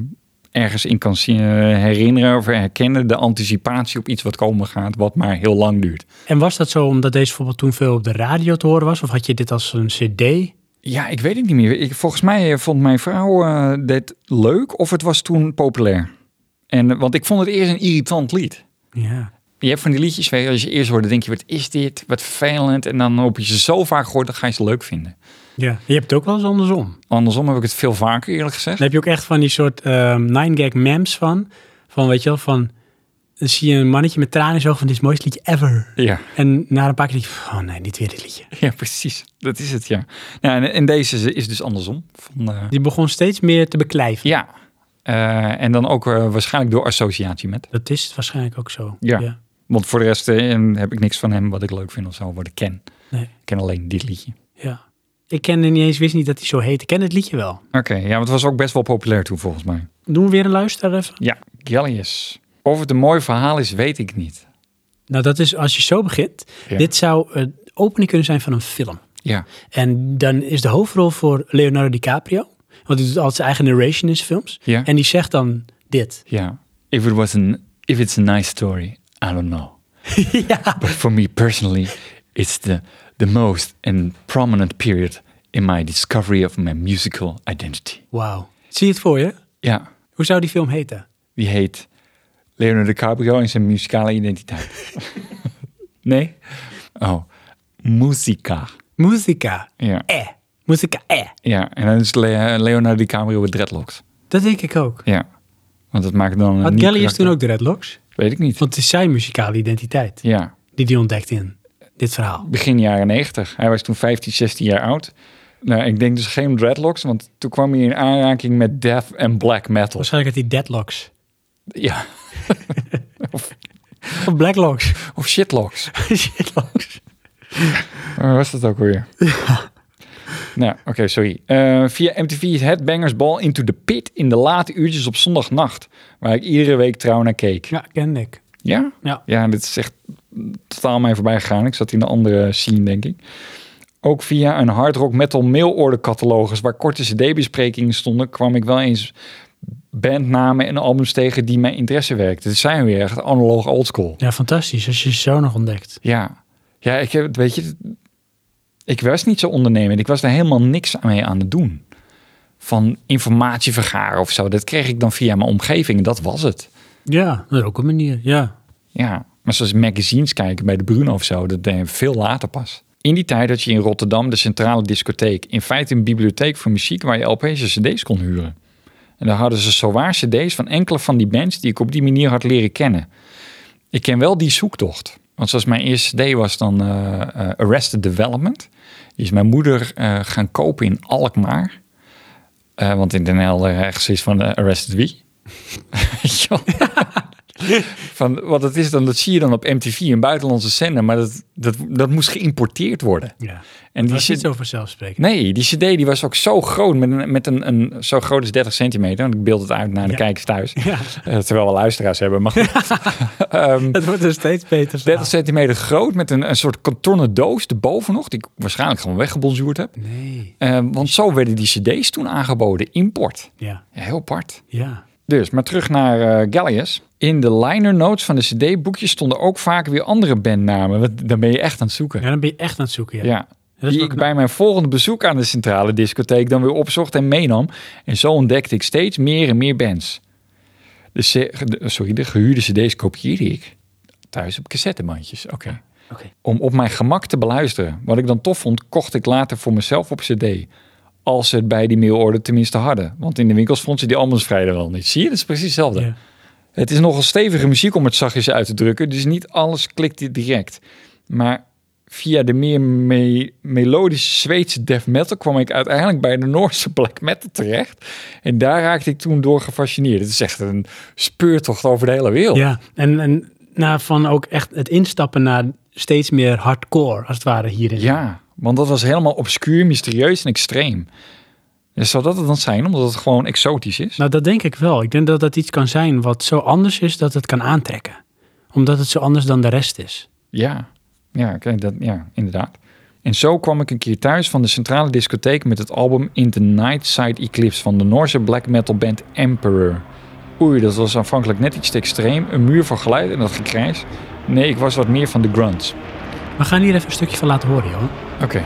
ergens in kan zien, eh, herinneren of herkennen. De anticipatie op iets wat komen gaat, wat maar heel lang duurt. En was dat zo omdat deze bijvoorbeeld toen veel op de radio te horen was? Of had je dit als een cd? Ja, ik weet het niet meer. Ik, volgens mij eh, vond mijn vrouw eh, dit leuk of het was toen populair. En, eh, want ik vond het eerst een irritant lied. Ja. Je hebt van die liedjes, weet je, als je eerst hoort, dan denk je, wat is dit? Wat vervelend. En dan op je ze zo vaak gehoord, dan ga je ze leuk vinden. ja. Je hebt het ook wel eens andersom. Andersom heb ik het veel vaker, eerlijk gezegd. Dan heb je ook echt van die soort ehm nine gag mems van. Van weet je wel, van... Dan zie je een mannetje met tranen in zijn ogen van dit is het mooiste liedje ever. Ja, (laughs) En na een paar keer denk je, oh nee, niet weer dit liedje. ja, precies. Dat is het, ja. Nou, en, en deze is- is dus andersom. Van, eh, Die begon steeds meer te beklijven. ja. Eh, en dan ook eh, waarschijnlijk door associatie met. Dat is het waarschijnlijk ook zo. Ja. Want voor de rest eh, heb ik niks van hem wat ik leuk vind of zo, wat ik ken. Nee. Ik ken alleen dit liedje. ja. Ik kende niet eens, wist niet dat hij zo heet. Ik ken het liedje wel. Oké, ja, want het was ook best wel populair toen, volgens mij. Doen we weer een luister even? Ja, Gallius. Of het een mooi verhaal is, weet ik niet. Nou, dat is als je zo begint. Ja. Dit zou een opening kunnen zijn van een film. Ja, En dan is de hoofdrol voor Leonardo DiCaprio. Want hij doet altijd zijn eigen narration in zijn films. Ja. En die zegt dan dit. Ja. If it was an if it's a nice story, I don't (laughs) know. ja. But for me personally, it's the the most and prominent period in my discovery of my musical identity. Wauw. Zie je het voor je? Ja, Hoe zou die film heten? die heet Leonardo DiCaprio en zijn muzikale identiteit. (laughs) nee? Oh, Musica. Musica. Ja. Eh. Musica eh. Ja, en dan is Le- Leonardo DiCaprio met dreadlocks. Dat denk ik ook. Ja. Want dat maakt dan... een Had nieuw Gallius karakter. toen ook dreadlocks? Weet ik niet. Want het is zijn muzikale identiteit Ja. die hij ontdekt in dit verhaal. begin jaren 90. Hij was toen 15, 16 jaar oud. Nou, ik denk dus geen dreadlocks, want toen kwam hij in aanraking met death en black metal. Waarschijnlijk had hij deadlocks. (laughs) Ja, Of (laughs) blacklocks. of shitlocks. Shitlocks. Waar was dat (laughs) ook alweer? Nou, oké, sorry. Eh, via MTV's Headbangers Ball Into the Pit in de late uurtjes op zondagnacht. Waar ik iedere week trouw naar keek. Ja, ken ik. Ja? Ja. Ja, dit is echt totaal mij voorbij gegaan. Ik zat in een andere scene, denk ik. Ook via een hard rock metal mailorder catalogus waar korte cd-besprekingen stonden, kwam ik wel eens bandnamen en albums tegen die mijn interesse werkten. Dit zijn weer echt analoog oldschool. Ja, fantastisch. Als je ze zo nog ontdekt. Ja. Ja, ik heb, weet je, ik was niet zo ondernemend. Ik was daar helemaal niks mee aan het doen. Van informatie vergaren of zo. Dat kreeg ik dan via mijn omgeving. en Dat was het. Ja, dat is ook een manier. Ja. Ja, maar zoals magazines kijken bij de Bruno of zo, dat deed je veel later pas. In die tijd had je in Rotterdam de centrale discotheek. In feite een bibliotheek voor muziek waar je LP's en CD's kon huren. En daar hadden ze zowaar CD's van enkele van die bands die ik op die manier had leren kennen. Ik ken wel die zoektocht. Want zoals mijn eerste CD was dan eh, eh, Arrested Development. Die is mijn moeder eh, gaan kopen in Alkmaar. Eh, want in Den Helder ergens is van eh, Arrested wie? (laughs) Weet je wel? van wat het is dan, dat zie je dan op MTV, een buitenlandse zender. Maar dat, dat, dat moest geïmporteerd worden. ja. En Dat die is niet zit, zo vanzelfsprekend. Nee, die CD die was ook zo groot, met een, met een, een zo groot als 30 centimeter. Want ik beeld het uit naar de Ja. kijkers thuis. Ja. Eh, terwijl we luisteraars hebben, maar goed. (laughs) Het wordt er steeds beter. 30 verhaal. centimeter groot met een, een soort kartonnen doos erboven nog, die ik waarschijnlijk gewoon weggebonzuurd heb. Nee. Eh, want zo werden die CD's toen aangeboden, import. Ja. Heel apart. Ja. Dus, maar terug naar eh, Gallius. In de liner notes van de CD-boekjes stonden ook vaak weer andere bandnamen. Want dan ben je echt aan het zoeken. Ja, dan ben je echt aan het zoeken. Ja. Ja. Dat is Die wel ik knap. bij mijn volgende bezoek aan de centrale discotheek dan weer opzocht en meenam. En zo ontdekte ik steeds meer en meer bands. De, C- de- sorry, de gehuurde cd's kopieerde ik. Thuis op cassettebandjes, oké. Oké. Om op mijn gemak te beluisteren. Wat ik dan tof vond, kocht ik later voor mezelf op cd. Als ze het bij die mailorder tenminste hadden. Want in de winkels vond ze die albums vrijwel niet. Zie je, dat is precies hetzelfde. Ja. Het is nogal stevige muziek om het zachtjes uit te drukken, dus niet alles klikt direct. Maar via de meer me- melodische Zweedse death metal kwam ik uiteindelijk bij de Noorse black metal terecht. En daar raakte ik toen door gefascineerd. Het is echt een speurtocht over de hele wereld. Ja, en, en na van ook echt het instappen naar steeds meer hardcore, als het ware, hierin. Ja, want dat was helemaal obscuur, mysterieus en extreem. Dus zou dat het dan zijn, omdat het gewoon exotisch is? Nou, dat denk ik wel. Ik denk dat dat iets kan zijn wat zo anders is dat het kan aantrekken. Omdat het zo anders dan de rest is. Ja, ja, oké, dat, ja, inderdaad. En zo kwam ik een keer thuis van de centrale discotheek met het album In the Night Side Eclipse van de Noorse black metal band Emperor. Oei, dat was aanvankelijk net iets te extreem. Een muur van geluid en dat gekrijs. Nee, ik was wat meer van de grunts. We gaan hier even een stukje van laten horen, joh. Oké.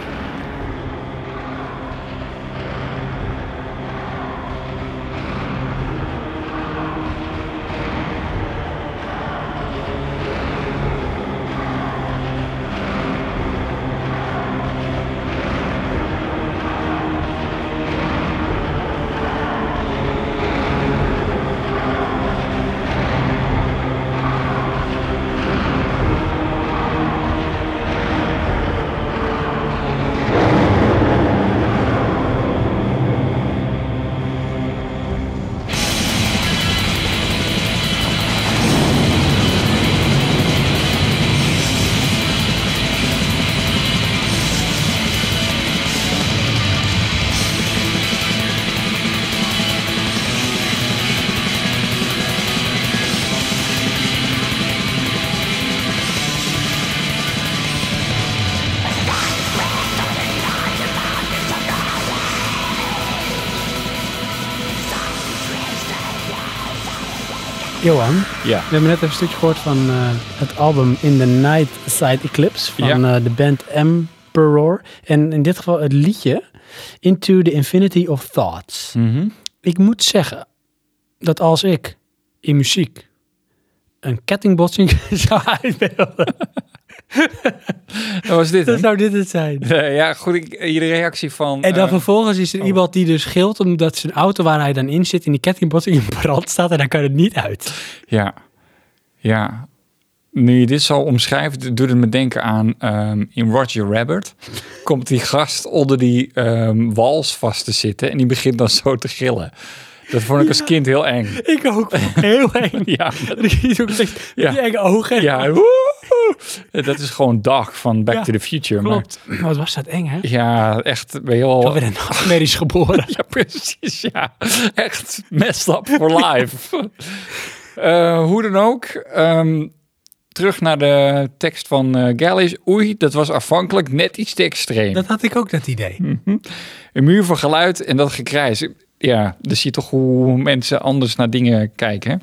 Johan, Ja. we hebben net even een stukje gehoord van eh, het album In the Night Side Eclipse van Ja. eh, de band Emperor. En in dit geval het liedje Into the Infinity of Thoughts. Mhm. Ik moet zeggen dat als ik in muziek een kettingbotsing (laughs) zou uitbeelden, Dat was (laughs) dit. dan hè? zou dit het zijn. Eh, ja, goed. Ik, eh, iedere reactie van. En dan eh, vervolgens is er iemand die dus gilt omdat zijn auto waar hij dan in zit in die kettingbotsing in brand staat en dan kan het niet uit. Ja. Ja. Nu je dit zo omschrijft, doet het me denken aan ehm, in Roger Rabbit. Komt die gast onder die ehm, wals vast te zitten en die begint dan zo te gillen. Dat vond ik als kind heel eng. Ik (laughs) ook. Heel eng. Ja, Die is ook echt Ja. die enge ogen. ja woehoe. dat is gewoon dag van Back Ja, to the Future. maar- klopt. Wat was dat eng, hè? Ik ja, echt, ben je ben al... weer een (laughs) nachtmerries geboren. Ja, precies, ja. (laughs) Echt messed up for life. Eh, hoe dan ook, ehm, terug naar de tekst van eh Gallis. Oei, dat was afhankelijk net iets te extreem. Dat had ik ook, dat idee. Een muur van geluid en dat gekrijs. Ja, dan zie je toch hoe mensen anders naar dingen kijken. hè?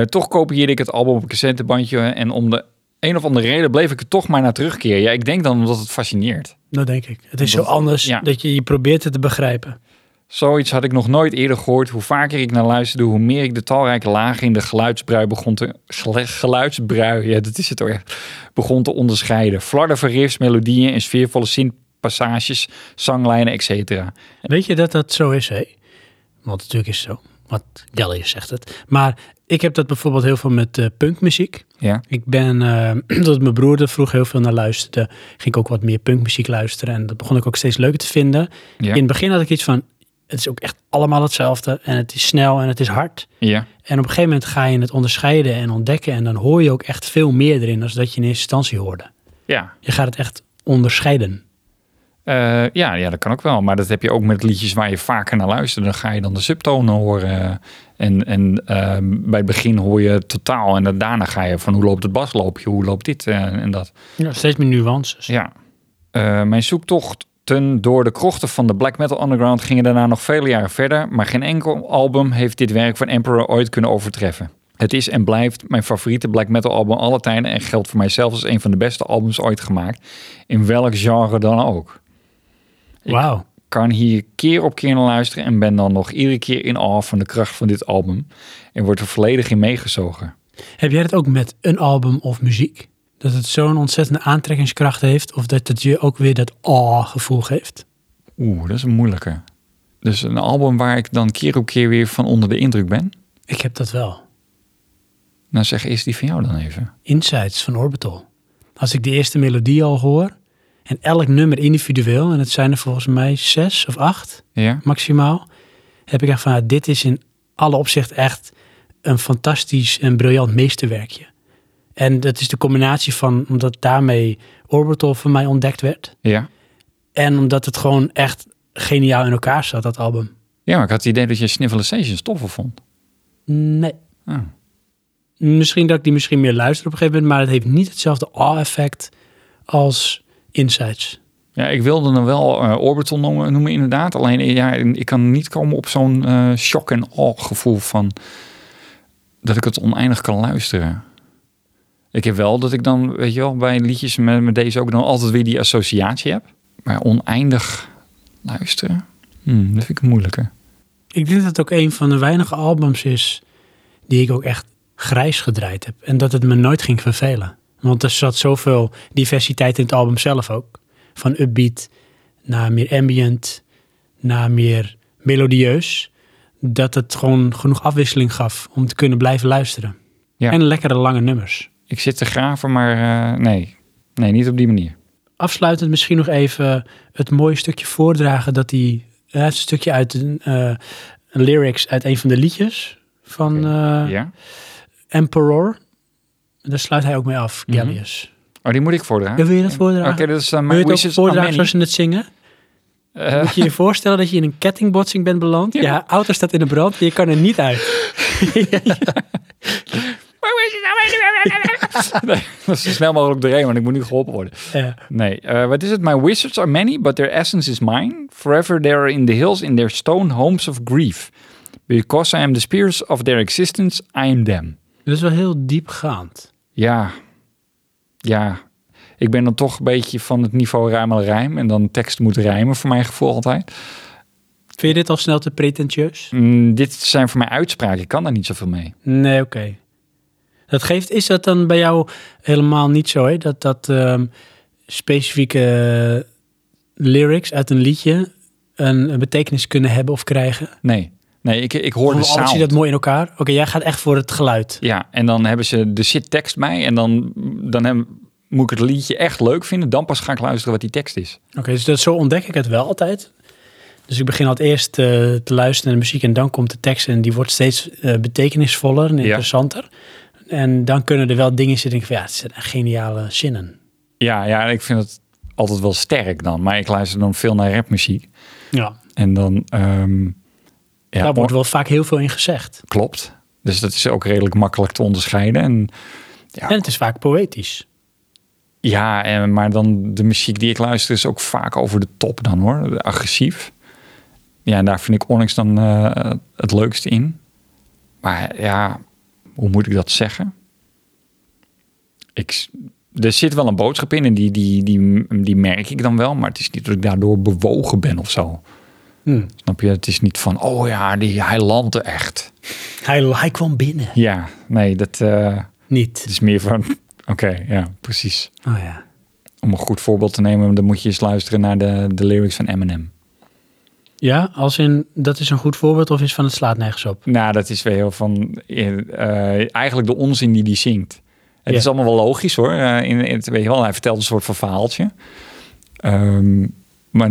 Eh, toch kopieerde ik het album op een cassettebandje en om de een of andere reden bleef ik er toch maar naar terugkeren. Ja, ik denk dan omdat het fascineert. Dat denk ik. Het is zo anders ja. dat je, je probeert het te begrijpen. Zoiets had ik nog nooit eerder gehoord. Hoe vaker ik naar luisterde, hoe meer ik de talrijke lagen in de geluidsbrui begon te... gele- Geluidsbrui, ja, dat is het hoor. Begon te onderscheiden. Flarden van riffs, melodieën en sfeervolle zinpassages, zanglijnen, etc. Weet je dat dat zo is, hè? Want natuurlijk is het zo. Wat Gallius zegt het. Maar ik heb dat bijvoorbeeld heel veel met eh, punkmuziek. Ja, Ik ben, eh, (clears throat) dat mijn broer er vroeg heel veel naar luisterde, ging ik ook wat meer punkmuziek luisteren. En dat begon ik ook steeds leuker te vinden. ja, In het begin had ik iets van, het is ook echt allemaal hetzelfde. En het is snel en het is hard. ja. En op een gegeven moment ga je het onderscheiden en ontdekken. En dan hoor je ook echt veel meer erin dan dat je in eerste instantie hoorde. ja. Je gaat het echt onderscheiden. Eh, ja, ja, dat kan ook wel. Maar dat heb je ook met liedjes waar je vaker naar luistert. Dan ga je dan de subtonen horen. En, en eh, bij het begin hoor je het totaal. En dan daarna ga je van hoe loopt het basloopje, hoe loopt dit eh, en dat. Ja. Steeds meer nuances. Ja. Eh, mijn zoektochten door de krochten van de black metal underground gingen daarna nog vele jaren verder, maar geen enkel album heeft dit werk van Emperor ooit kunnen overtreffen. Het is en blijft mijn favoriete black metal album aller tijden en geldt voor mijzelf als een van de beste albums ooit gemaakt, in welk genre dan ook. Wauw. Kan hier keer op keer naar luisteren en ben dan nog iedere keer in awe van de kracht van dit album en wordt er volledig in meegezogen. Heb jij dat ook met een album of muziek? Dat het zo'n ontzettende aantrekkingskracht heeft of dat het je ook weer dat ah gevoel geeft? Oeh, dat is een moeilijke. Dus een album waar ik dan keer op keer weer van onder de indruk ben? Ik heb dat wel. Nou, zeg eerst die van jou dan even. Insights van Orbital. Als ik de eerste melodie al hoor en elk nummer individueel, en het zijn er volgens mij zes of acht Ja? maximaal, heb ik echt van, ah, dit is in alle opzichten echt een fantastisch en briljant meesterwerkje. En dat is de combinatie van, omdat daarmee Orbital voor mij ontdekt werd. Ja. En omdat het gewoon echt geniaal in elkaar zat, dat album. Ja, maar ik had het idee dat je Snivelization toffer vond. Nee. Ah. Misschien dat ik die misschien meer luister op een gegeven moment, maar het heeft niet hetzelfde awe-effect als Insights. Ja, ik wilde dan wel eh, Orbital noemen, noemen inderdaad. Alleen eh, ja, ik kan niet komen op zo'n eh, shock en awe gevoel van dat ik het oneindig kan luisteren. Ik heb wel dat ik dan, weet je wel, bij liedjes met, met deze ook dan altijd weer die associatie heb. Maar oneindig luisteren, hmm, dat vind ik moeilijker. Ik denk dat het ook een van de weinige albums is die ik ook echt grijs gedraaid heb. En dat het me nooit ging vervelen. Want er zat zoveel diversiteit in het album zelf ook. Van upbeat naar meer ambient, naar meer melodieus. Dat het gewoon genoeg afwisseling gaf om te kunnen blijven luisteren. Ja. En lekkere lange nummers. Ik zit te graven, maar eh, nee. Nee, niet op die manier. afsluitend misschien nog even het mooie stukje voordragen dat hij eh, het stukje uit een, eh, een lyrics uit een van de liedjes van eh, Ja? Emperor. Daar sluit hij ook mee af, Mhm. Gallius. Oh, die moet ik voordragen? Ja, wil je dat Oké, voordragen? dat is dan wil mijn je het ook Wishes are voordragen many. zoals ze het zingen? Eh, Moet je je voorstellen dat je in een kettingbotsing bent beland? Je auto staat in de brand, je kan er niet uit. (laughs) nee, dat is zo snel mogelijk doorheen, want ik moet nu geholpen worden. Eh, Nee, eh, wat is het? My wizards are many, but their essence is mine. Forever they are in the hills in their stone homes of grief. Because I am the spears of their existence, I am them. (laughs) dat is wel heel diepgaand. Ja, ja. Ik ben dan toch een beetje van het niveau ruimel rijm. En dan tekst moet rijmen, voor mijn gevoel altijd. Vind je dit al snel te pretentieus? Mm, dit zijn voor mij uitspraken, ik kan daar niet zoveel mee. Nee, oké. Dat geeft, is dat dan bij jou helemaal niet zo, hè? Dat dat ehm, specifieke eh, lyrics uit een liedje een, een betekenis kunnen hebben of krijgen? Nee, nee ik, ik hoor de Of alles sound. zie je dat mooi in elkaar? Oké, jij gaat echt voor het geluid. Ja, en dan hebben ze de shit tekst bij. En dan, dan heb- moet ik het liedje echt leuk vinden. Dan pas ga ik luisteren wat die tekst is. Oké, dus dat, zo ontdek ik het wel altijd. Dus ik begin altijd eerst eh, te luisteren naar de muziek en dan komt de tekst en die wordt steeds eh, betekenisvoller en interessanter. En dan kunnen er wel dingen zitten. Ik van, ja, het zijn echt geniale zinnen. Ja, ja, ik vind het altijd wel sterk dan. Maar ik luister dan veel naar rapmuziek. Ja, En dan... ehm, ja, daar wordt wel vaak heel veel in gezegd. Klopt. Dus dat is ook redelijk makkelijk te onderscheiden. En Ja. En het is vaak poëtisch. Ja, en, maar dan de muziek die ik luister is ook vaak over de top dan hoor. Agressief. Ja, en daar vind ik Onyx dan eh, het leukste in. Maar ja, hoe moet ik dat zeggen? Ik, s- er zit wel een boodschap in en die, die, die, die merk ik dan wel. Maar het is niet dat ik daardoor bewogen ben of zo. Hmm. Snap je? Het is niet van, oh ja, die, hij landde echt. Hij, hij kwam binnen. Ja, nee, dat eh, het Niet. is meer van... (laughs) Oké, ja, precies Oh ja. om een goed voorbeeld te nemen, dan moet je eens luisteren naar de, de lyrics van Eminem. Ja, als in dat is een goed voorbeeld of is van het slaat nergens op. Nou, dat is weer heel van eh, eigenlijk de onzin die die zingt. Het Ja. is allemaal wel logisch hoor. Eh, in, in het, weet je wel, hij vertelt een soort van verhaaltje. Ehm, maar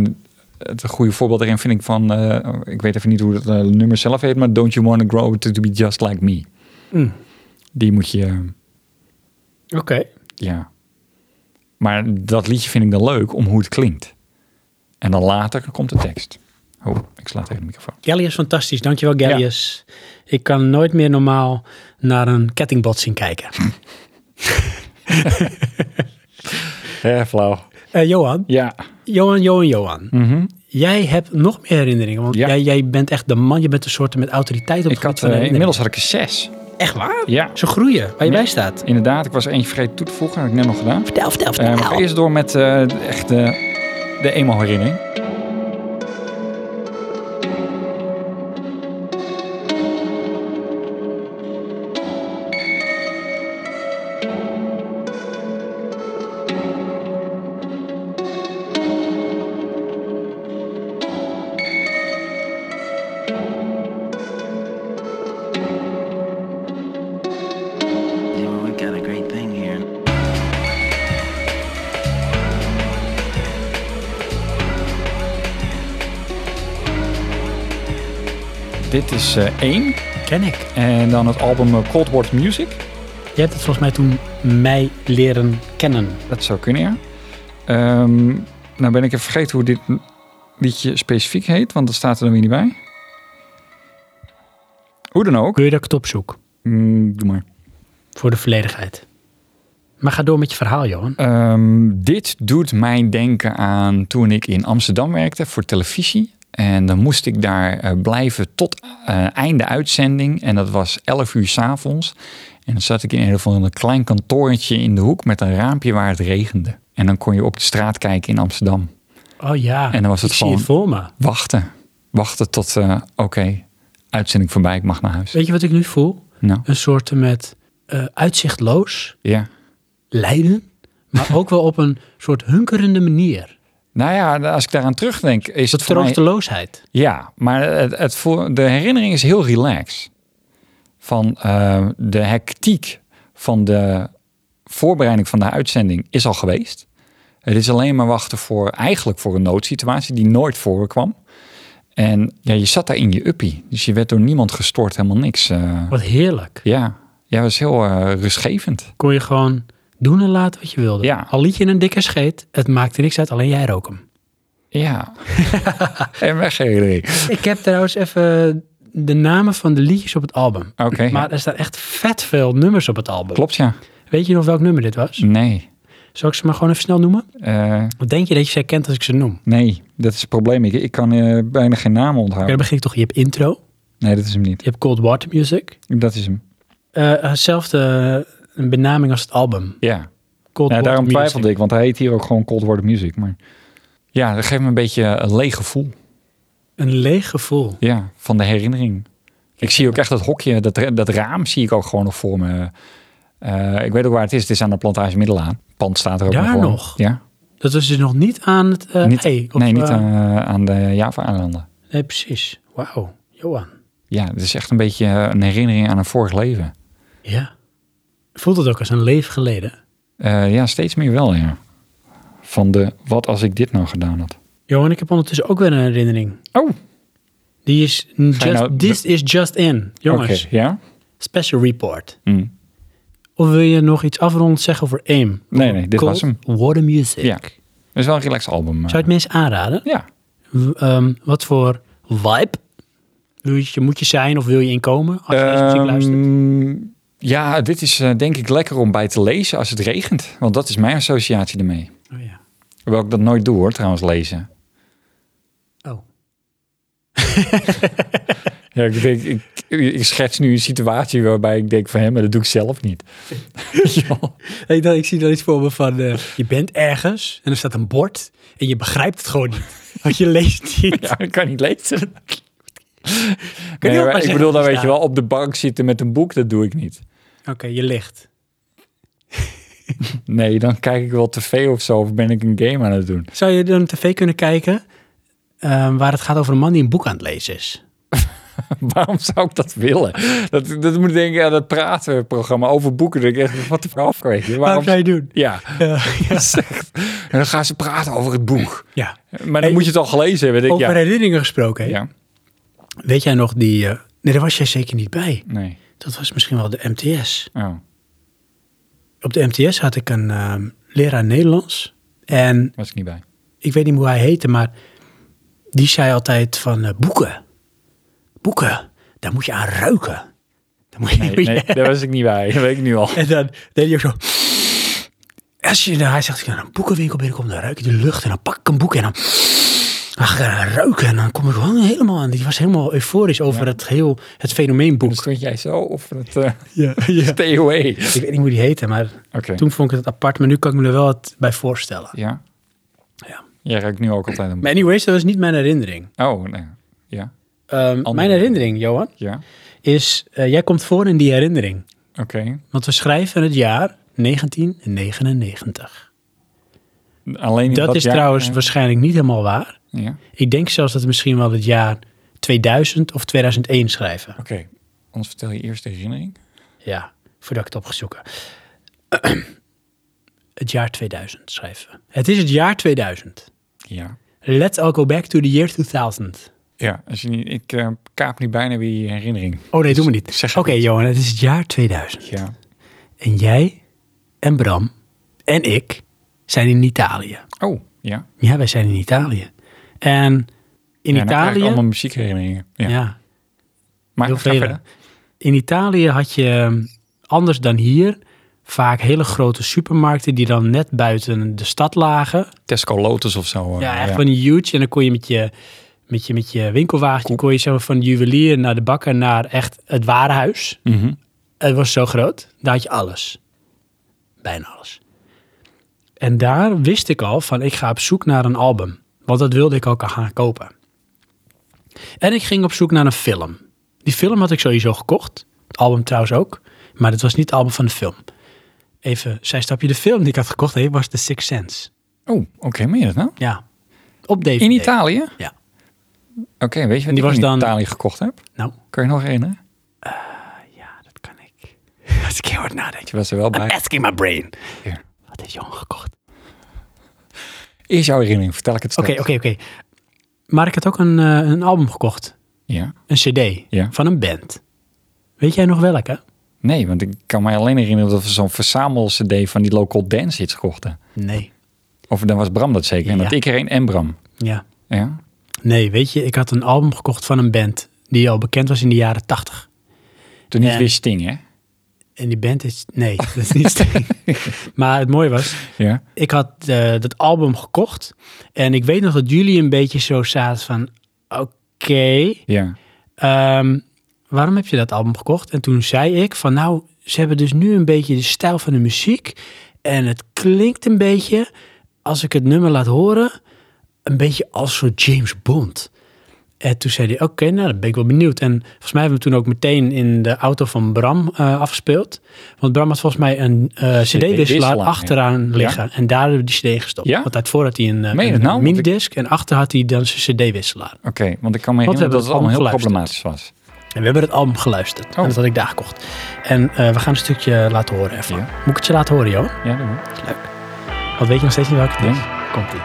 het goede voorbeeld daarin vind ik van, eh, ik weet even niet hoe het eh, nummer zelf heet, maar Don't You Wanna Grow to, to Be Just Like Me. Mm. Die moet je, eh, Oké. ja. Maar dat liedje vind ik dan leuk om hoe het klinkt. En dan later komt de tekst. Oh, ik sla tegen de microfoon. Gallius, fantastisch. Dankjewel, Gallius. Ik kan nooit meer normaal naar een kettingbotsing kijken. Hm. Ja, flauw. Eh, Johan, Ja. Mhm. Johan, Johan, Johan. Jij hebt nog meer herinneringen, want Hm. Ja. jij, jij bent echt de man. Je bent een soort met autoriteit op het Ik gebied had, van eh, herinneringen. inmiddels had ik een zes. Echt waar? Ja. Zo groeien, waar je bij staat. Inderdaad, ik was eentje vergeten toe te voegen. Dat heb ik net nog gedaan. Vertel, vertel, Eh, vertel. we gaan eerst door met eh, de- echt eh, de eenmaal herinnering. Hey, well, we've got a great thing here. Dit is eh, één. Ken ik. En dan het album eh, Cold War Music. Je hebt het volgens mij toen mij leren kennen. Dat zou kunnen, ja. Ehm, nou ben ik even vergeten hoe dit liedje specifiek heet. Want dat staat er dan weer niet bij. Hoe dan ook. Kun je dat ik het opzoek? Mm, doe maar. Voor de volledigheid. Maar ga door met je verhaal, Johan. Ehm, dit doet mij denken aan toen ik in Amsterdam werkte voor televisie. En dan moest ik daar eh, blijven tot eh, einde uitzending. En dat was 11 uur s'avonds. En dan zat ik in een van een klein kantoortje in de hoek met een raampje waar het regende. En dan kon je op de straat kijken in Amsterdam. Oh ja, En dan was het ik gewoon- zie het voor me. Wachten. Wachten tot, eh, oké, uitzending voorbij, ik mag naar huis. Weet je wat ik nu voel? Nou, Een soort met eh, uitzichtloos ja. lijden, (laughs) maar ook wel op een soort hunkerende manier. Nou ja, als ik daaraan terugdenk, is Dat het voor mij troosteloosheid. Ja, maar het, het voor, de herinnering is heel relaxed. Van eh, de hectiek van de voorbereiding van de uitzending is al geweest. Het is alleen maar wachten voor eigenlijk voor een noodsituatie die nooit voorkwam. En ja, je zat daar in je uppie. Dus je werd door niemand gestoord, helemaal niks. eh. Wat heerlijk. ja, ja, was heel eh, rustgevend. Kon je gewoon doen en laten wat je wilde. Ja. Al liet je een dikke scheet, het maakte niks uit, alleen jij rook hem. Ja. (laughs) en weg idee. Ik heb trouwens even de namen van de liedjes op het album. Oké, Oh, ja. Maar er staan echt vet veel nummers op het album. klopt Hm. ja. Weet je nog welk nummer dit was? Nee. Zal ik ze maar gewoon even snel noemen? Eh, Wat denk je dat je ze herkent als ik ze Oh. noem? nee, dat is het probleem. Ik, ik kan eh, bijna geen namen Ja, onthouden. dan begin ik toch, je hebt intro, Nee, dat is hem niet. je hebt cold water music. Dat is hem. Eh, Hetzelfde eh, benaming als het album. Ja. Cold Nou, water daarom music. twijfelde ik, want hij heet hier ook gewoon Cold War Music. Maar ja, dat geeft me een beetje een leeg gevoel. Een leeg gevoel. Ja, van de herinnering. Ik zie ook echt dat hokje, dat, ra- dat raam zie ik ook gewoon nog voor me. Eh, ik weet ook waar het is. Het is aan de plantage Middelaan. Pand staat er ook Daar voor. nog? Ja. Dat was dus nog niet aan het... eh, niet, ei, of, nee, niet eh, eh, aan de Java-eilanden. Nee, precies. Wauw. Johan. Ja, het is echt een beetje eh, een herinnering aan een vorig leven. Ja. Voelt het ook als een leven geleden? Eh, ja, steeds meer wel, ja. Van de, wat als ik dit nou gedaan had? Johan, ik heb ondertussen ook weer een herinnering. Oh, Die is... Just, nou- this is just in. oké. Jongens, Ja? special report. Hm. Of wil je nog iets afrondend zeggen over AIM? Nee, nee, dit Cold was hem. Water Music. Ja. Het is wel een relaxed album. eh. Zou je het mensen aanraden? Ja. W- ehm, wat voor Ehm, (laughs) vibe wil je, moet je zijn of wil je inkomen als je deze muziek luistert? Ehm, Ja, dit is eh, denk ik lekker om bij te lezen als het regent. Want dat is mijn associatie ermee. Oh ja. Hoewel ik dat nooit doe hoor, trouwens, lezen. (laughs) Oh. Ja, ik, denk, ik, ik schets nu een situatie waarbij ik denk van... hé, maar dat doe ik zelf niet. ja. Ik, dacht, ik zie dan iets voor me van, eh, je bent ergens en er staat een bord en je begrijpt het gewoon niet. (laughs) Want je leest niet. (laughs) Ja, ik kan niet lezen. Kun je Nee, ook maar maar ik zeggen, bedoel, dan er weet je staat. wel, op de bank zitten met een boek, dat doe ik niet. (laughs) Oké, je ligt. Nee, dan kijk ik wel tv of zo, of ben ik een game aan het doen. (laughs) Zou je dan tv kunnen kijken ehm, waar het gaat over een man die een boek aan het lezen is? Waarom zou ik dat willen? Dat, dat moet ik denken aan dat pratenprogramma over boeken. Dat ik echt, wat de vrouw weet je. Waarom Waarom zou je doen? (laughs) Ja. (laughs) Dat is echt- En dan gaan ze praten over het boek. Ja. Maar dan Hey, moet je het al gelezen hebben. Denk, ik, Over ja. herinneringen gesproken. hè? ja, Weet jij nog die... eh, nee, daar was jij zeker niet bij. nee. Dat was misschien wel de MTS. Oh. Op de MTS had ik een ehm, leraar Nederlands. En Was ik niet (laughs) bij. ik weet niet hoe hij heette, maar die zei altijd van eh, boeken. Boeken, daar moet je aan ruiken. Daar moet je, Nee, nee, daar was ik niet bij. (laughs) Dat weet ik nu al. (laughs) En dan deed hij ook zo... Als je, hij zegt, als ik naar een boekenwinkel binnenkom, dan ruik ik de lucht. En dan pak ik een boek en dan dan ga ik eraan ruiken. En dan kom ik gewoon helemaal aan. Die was helemaal euforisch over het, heel, het fenomeen Dus boek. stond jij zo of het eh Ja, ja. (laughs) stay away. Ik weet niet hoe die heette, maar Oké. toen vond ik het apart. Maar nu kan ik me er wel wat bij voorstellen. Ja. Ja. Jij ruikt nu ook altijd een Maar anyways, dat was niet mijn herinnering. Oh, nee. Ja. Ehm, mijn herinnering, Johan, Ja. is... eh, jij komt voor in die herinnering. Oké. Want we schrijven het jaar 1999. Alleen in Dat, is jaar- trouwens eh, waarschijnlijk niet helemaal waar. Ja. Oké. Ik denk zelfs dat we misschien wel het jaar 2000 of 2001 schrijven. Ons vertel je eerst de herinnering. Ja, voordat ik het op ga zoeken. (clears throat) het jaar 2000 schrijven. Het is het jaar 2000. Ja. Let's all go back to the year 2000. Ja. Als je niet, ik eh, kaap nu bijna weer je herinnering. Oh nee, doe maar zeg niet. het Oké, Johan, het is het jaar 2000. Ja. En jij en Bram en ik zijn in Italië. Oh. Ja. Ja, wij zijn in Italië. En in Ja, dan krijg ik Italië... allemaal muziekherinneringen. Ja. ja, maar heel ga vele. verder. In Italië had je, ehm, anders dan hier, vaak hele grote supermarkten die dan net buiten de stad lagen. Tesco Lotus of zo. eh, Ja, echt van die huge. En dan kon je met je, met je, met je winkelwagentje, kon je zeg maar, van de juwelier naar de bakker naar echt het warenhuis. Mhm. Het was zo groot. Daar had je alles. Bijna alles. En daar wist ik al van, ik ga op zoek naar een album. Want dat wilde ik ook al gaan kopen. En ik ging op zoek naar een film. Die film had ik sowieso gekocht. Het album trouwens ook. Maar het was niet het album van de film. Even, zij stapje, de film die ik had gekocht heeft, was The Sixth Sense. Oh, oké. Meen je dat nou? Ja, op DVD. In Italië? Ja. Oké, weet je wat Die ik was in dan- Italië gekocht heb? Nou, Kun je nog herinneren? ja, dat kan ik. (laughs) Als ik heel hard nadenk. Je was er wel I'm bij. asking my brain. Hier. Wat heeft Johan gekocht? Is jouw herinnering? Vertel ik het Oké, straks. oké, oké. Maar ik had ook een, eh, een album gekocht. Ja. Een cd Ja. van een band. Weet jij nog welke? Nee, want ik kan mij alleen herinneren dat we zo'n verzamel-cd van die local dance hits kochten. Nee. Of dan was Bram dat zeker. En Ja. dat ik er een en Bram. Ja. Ja. Nee, weet je, ik had een album gekocht van een band die al bekend was in de jaren tachtig. Toen niet En- weer Sting, hè? En die band is... Nee, dat is niet (laughs) Sting. maar het mooie was, Ja. ik had eh, dat album gekocht. En ik weet nog dat jullie een beetje zo zaten van... Oké, Ja. Ehm, waarom heb je dat album gekocht? En toen zei ik van nou, ze hebben dus nu een beetje de stijl van de muziek. En het klinkt een beetje, als ik het nummer laat horen, een beetje als zo James Bond. En toen zei hij, oké, nou, dan ben ik wel benieuwd. En volgens mij hebben we hem toen ook meteen in de auto van Bram eh, afgespeeld. Want Bram had volgens mij een eh, cd-wisselaar CD-wisselaar, ja. achteraan liggen. En daar hebben we die cd gestopt. Ja? Want daarvoor had hij een, eh, Meen je een dat nou? Want ik- minidisc en achter had hij dan zijn cd-wisselaar. Oké, want ik kan me Want we hebben herinneren dat het het allemaal heel allemaal problematisch was. En we hebben het album geluisterd. Oh. En dat had ik daar gekocht. En eh, we gaan een stukje laten horen ervan. Ja. Moet ik het je laten horen, joh? Ja, dat moet. Want weet je nog steeds niet welke het is? Ja. Komt-ie.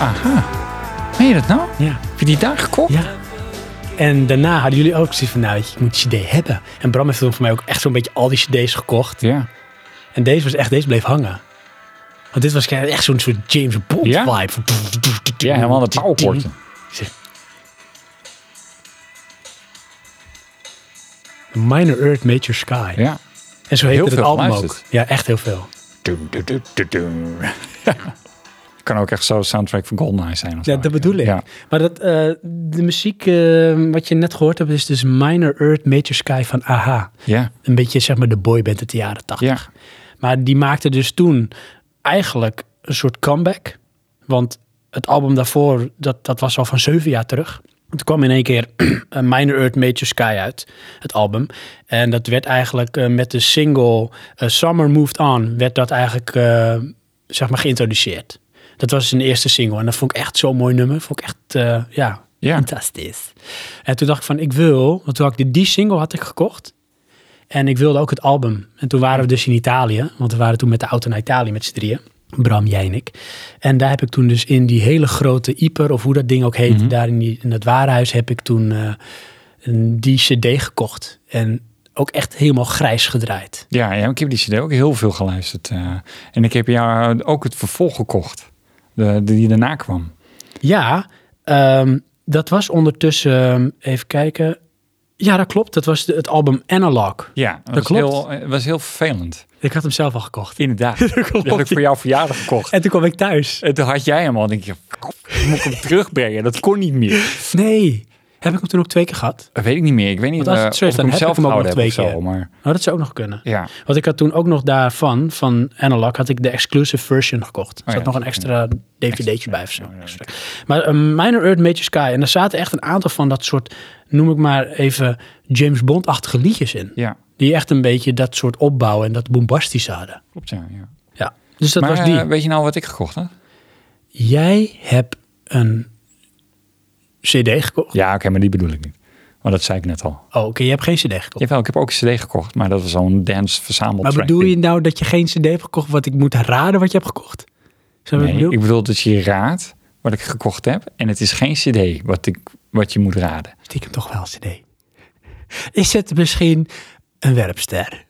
Aha. Meen je dat nou? Ja. Heb je die daar gekocht? Ja. En daarna hadden jullie ook zoiets van, nou, ik moet een cd hebben. En Bram heeft toen voor mij ook echt zo'n beetje al die cd's gekocht. Ja. En deze was echt, deze bleef hangen. Want dit was echt zo'n soort James Bond Ja. vibe. Ja, helemaal de pauwkorten. Minor Earth, Major Sky. Ja. En zo heette Heel het veel album geluisterd. ook. Ja, echt heel veel. Dun, dun, dun, dun, dun. (laughs) kan ook echt zo soundtrack van GoldenEye zijn. of Ja, zo. dat bedoel ik. Ja. Maar dat, eh, de muziek eh, wat je net gehoord hebt is dus Minor Earth, Major Sky van AHA. Ja. Een beetje zeg maar de boyband uit de jaren tachtig. Ja. Maar die maakte dus toen eigenlijk een soort comeback. Want het album daarvoor, dat, dat was al van zeven jaar terug. Toen kwam in één keer (clears throat) eh, Minor Earth Major Sky uit, het album. En dat werd eigenlijk eh, met de single eh, Summer Moved On, werd dat eigenlijk eh, zeg maar geïntroduceerd. Dat was zijn eerste single en dat vond ik echt zo'n mooi nummer. Vond ik echt, eh, ja, Ja. fantastisch. En toen dacht ik van, ik wil, want toen had ik die, die single had ik gekocht. En ik wilde ook het album. En toen waren we dus in Italië. Want we waren toen met de auto naar Italië met z'n drieën. Bram, jij en ik. En daar heb ik toen dus in die hele grote Iper, of hoe dat ding ook heet, daar in, die, in dat warenhuis heb ik toen eh, een- die cd gekocht. En ook echt helemaal grijs gedraaid. Ja, ja, ik heb die CD ook heel veel geluisterd. eh. en ik heb jou ook het vervolg gekocht, de, die daarna kwam. Ja, ehm, dat was ondertussen, ehm, even kijken. Ja, dat klopt. Dat was de- het album Analog. Ja, dat, Dat was, klopt. Heel, eh, was heel vervelend. Ik had hem zelf al gekocht. (laughs) Inderdaad. dat heb ik voor jouw verjaardag gekocht. En toen kwam ik thuis. En toen had jij hem al. denk je, moet ik (laughs) hem terugbrengen? Dat kon niet meer. Nee, heb ik hem toen ook twee keer gehad? Dat weet ik niet meer. Ik weet niet Want als eh, het zo is, of ik dan hem heb zelf ik hem ook nog gehouden heb of twee zo. keer. Maar Nou, dat zou ook nog kunnen. ja, Want ik had toen ook nog daarvan, van Analog, had ik de exclusive version gekocht. Er zat Oh ja, nog een ja. Oh extra dvd'tje bij of zo. Extra. Maar eh, Minor Earth, Major Sky. En daar zaten echt een aantal van dat soort, noem ik maar even, James Bond-achtige liedjes in. ja, Die echt een beetje dat soort opbouwen en dat bombastische hadden. klopt ja. ja. Ja, dus dat maar was die. eh, weet je nou wat ik gekocht heb? Jij hebt een cd gekocht? Ja, oké, maar die bedoel ik niet. Maar dat zei ik net al. Oh, oké, je hebt geen cd gekocht. Jawel, ik heb ook een cd gekocht, maar dat was zo'n dance verzameld. maar bedoel je nou dat je geen cd hebt gekocht, wat ik moet raden wat je hebt gekocht? Zo Nee, ik bedoel dat je raadt wat ik gekocht heb. En het is geen cd wat, ik, wat je moet raden. Stiekem toch wel CD. Is het misschien een werpster?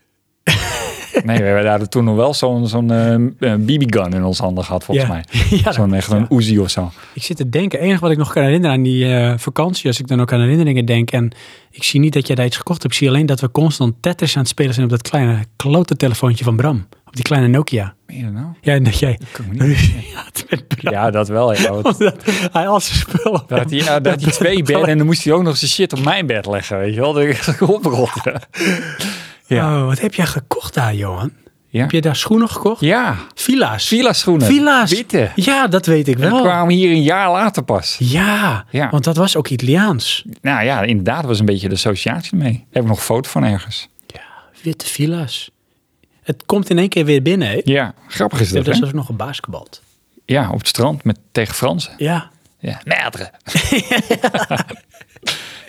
Nee, we hebben daar toen nog wel zo'n zo'n eh, eh, BB-gun in onze handen gehad, volgens Ja. (laughs) mij. Ja, dat zo'n klopt, echt een ja. Uzi of zo. Ik zit te denken, het enige wat ik nog kan herinneren aan die eh, vakantie, als ik dan ook aan herinneringen denk, en ik zie niet dat jij daar iets gekocht hebt, ik zie alleen dat we constant Tetris aan het spelen zijn op dat kleine klote telefoontje van Bram. Op die kleine Nokia. Meen je dat nou? Ja, en dat jij Kan ik me niet- (laughs) ruzie had met Bram. Ja, dat wel. (laughs) Ja. Want Omdat hij al zijn spullen... Daar had hij, ja, daar had (laughs) hij twee bedden en dan moest hij ook nog zijn shit op mijn bed leggen, weet je wel. Dat ik echt oprot. Oh, wat heb jij gekocht daar, Johan? Ja. Heb je daar schoenen gekocht? Ja, Villa's. villa schoenen. Villa's. Witte. Ja, dat weet ik Die wel. kwamen hier een jaar later pas. Ja, Ja. want dat was ook Italiaans. Nou ja, inderdaad, dat was een beetje de associatie mee. Daar heb ik nog een foto van ergens. Witte villa's. Het komt in één keer weer binnen. hè? Ik Ja, grappig is heb dat, daar hè? zelfs nog gebasketbald. Ja, op het strand met, tegen Fransen. Ja. Ja, naderen.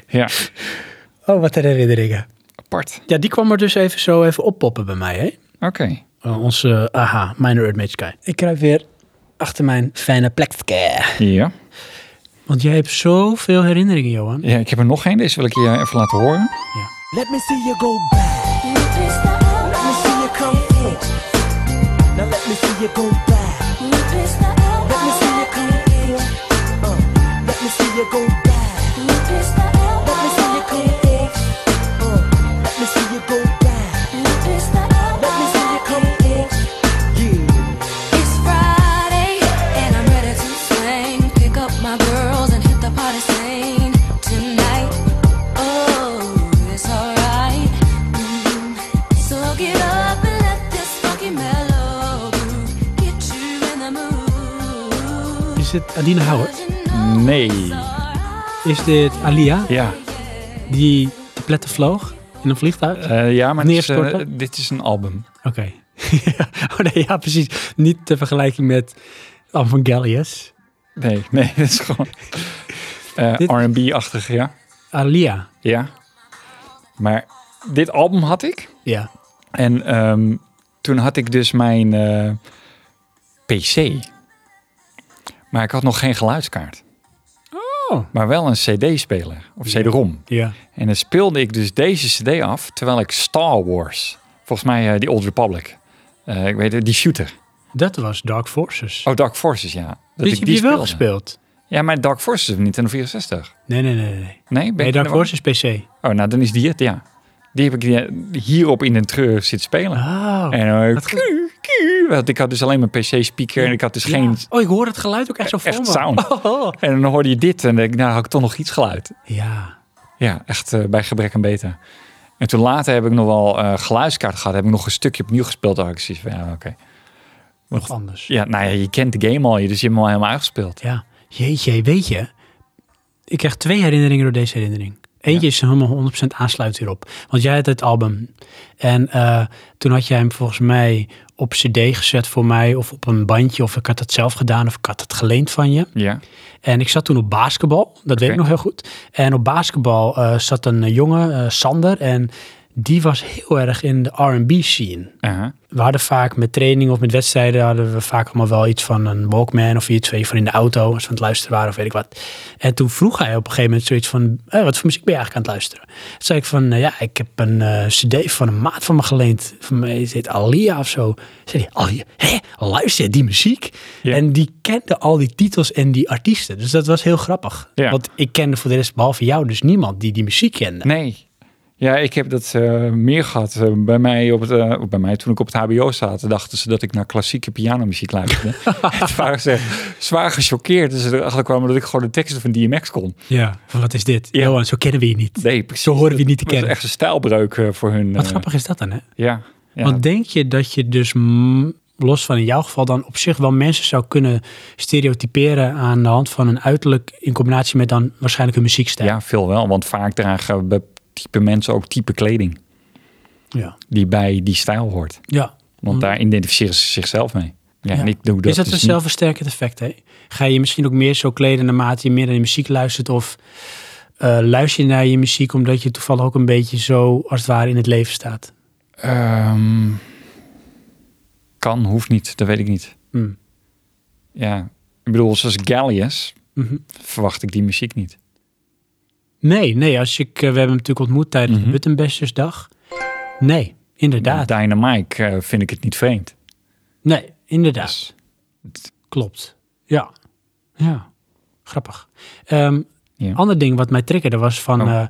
ja, Oh, wat herinneringen. apart. Ja, die kwam er dus even zo even oppoppen bij mij, hè? Oké. Oh, onze, ah aha, Minor Earth Mage Sky. Ik kruip weer achter mijn fijne plekje. Ja. Want jij hebt zoveel herinneringen, Johan. ja, ik heb er nog één. Deze wil ik je even laten horen. Let me see you go back. Let me see you come in. Now let me see you go back. Let me see you come in. Uh, let me see you go back. Let me see you come in. Uh, let me see you go back. Let me see you come in. Yeah. It's Friday and I'm ready to swing. Pick up my girls and hit the party scene tonight. Oh, it's alright. Mm. So get up and let this funky mellow groove get you in the mood. Is dit Adina Howard? Nee. Is dit Alia, Ja, die te pletten vloog in een vliegtuig? eh, ja maar dit is, eh, Neerstorten? dit is een album. Oké. (laughs) Ja, oh nee, ja, precies. Niet te vergelijken met Evangelius. Nee, (laughs) nee, dat is gewoon eh, Dit- R&B-achtig, ja. Alia. Ja. Maar dit album had ik. Ja. En ehm, toen had ik dus mijn eh, PC. Maar ik had nog geen geluidskaart. Oh. Maar wel een CD-speler of CD-ROM. Ja. En dan speelde ik dus deze CD af terwijl ik Star Wars, volgens mij eh, die Old Republic, eh, ik weet het, die shooter. Dat was Dark Forces. Oh, Dark Forces, ja. Dat die ik heb je wel speelde. gespeeld. Ja, maar Dark Forces is niet in de 64. Nee, nee, nee. Nee, Nee, ben nee ik Dark in de war? Forces PC. Oh, nou dan is die het, ja. Die heb ik eh, hierop in een treur zitten spelen. Oh. En eh, kuur, kuur, want ik had dus alleen mijn PC-speaker en ik had dus Ja. geen Oh, ik hoor het geluid ook echt zo voor echt me. sound. Oh. En dan hoorde je dit en dan denk ik, nou had ik toch nog iets geluid. Ja. Ja, echt eh, bij gebrek aan beter. En toen later heb ik nog wel eh geluidskaart gehad. Heb ik nog een stukje opnieuw gespeeld. Daar had ik zoiets van, ja, oké. Nog anders. Ja, nou ja, je kent de game al, dus je hebt hem al helemaal uitgespeeld. Ja, jeetje, weet je. Ik krijg twee herinneringen door deze herinnering. Eentje is helemaal 100% aansluit hierop. Want jij had het album. En eh, toen had jij hem volgens mij op cd gezet voor mij. Of op een bandje. Of ik had het zelf gedaan. Of ik had het geleend van je. Ja, En ik zat toen op basketbal, dat weet ik Oké. nog heel goed. En op basketbal eh, zat een eh, jongen, eh, Sander, en die was heel erg in de R&B scene. aha. We hadden vaak met training of met wedstrijden hadden we vaak allemaal wel iets van een Walkman of iets waar je voor in de auto als we aan het luisteren waren of weet ik wat. En toen vroeg hij op een gegeven moment zoiets van, "Hé, wat voor muziek ben je eigenlijk aan het luisteren? Toen zei ik van, "Nou ja, ik heb een eh, cd van een maat van me geleend. Van mij is dit Alia of zo. Zei hij, Alia, hé, luister die muziek? Ja. En die kende al die titels en die artiesten. Dus dat was heel grappig. Ja. Want ik kende voor de rest, behalve jou, dus niemand die die muziek kende. Nee. Ja, ik heb dat eh, meer gehad. Eh, bij, mij op het, eh, bij mij toen ik op het hbo zat, dachten ze dat ik naar klassieke pianomuziek (laughs) luisterde. het waren ze echt zwaar gechoqueerd. Dus ze erachter kwamen dat ik gewoon de teksten van DMX kon. Ja. Van wat is dit? Ja. Johan, zo kennen we je niet. Nee, precies. Zo horen we je niet te Dat was kennen. echt een stijlbreuk eh, voor hun. Wat eh, grappig is dat dan, hè? Ja. ja. Want denk je dat je dus, mm, los van in jouw geval, dan op zich wel mensen zou kunnen stereotyperen aan de hand van een uiterlijk in combinatie met dan waarschijnlijk een muziekstijl? Ja, veel wel. Want vaak dragen be- type mensen ook type kleding ja. die bij die stijl hoort. ja. Want daar identificeren ze zichzelf mee. Ja, Mm. Ja. en ik doe dat is dat dus een niet. zelfversterkend effect? Hè? Ga je je misschien ook meer zo kleden naarmate je meer naar je muziek luistert? Of eh, luister je naar je muziek omdat je toevallig ook een beetje zo als het ware in het leven staat? Ehm, kan, hoeft niet. Dat weet ik niet. Hm. Ja, ik bedoel, zoals Gallius Mhm. verwacht ik die muziek niet. Nee, nee. Als ik, eh, we hebben hem natuurlijk ontmoet tijdens Mhm. de Buttonbestersdag. Nee, inderdaad. Dynamite eh, vind ik het niet vreemd. Nee, inderdaad. Dus- Klopt. Ja. Ja. Grappig. Ehm Ja. Ander ding wat mij triggerde was van... Oh. eh,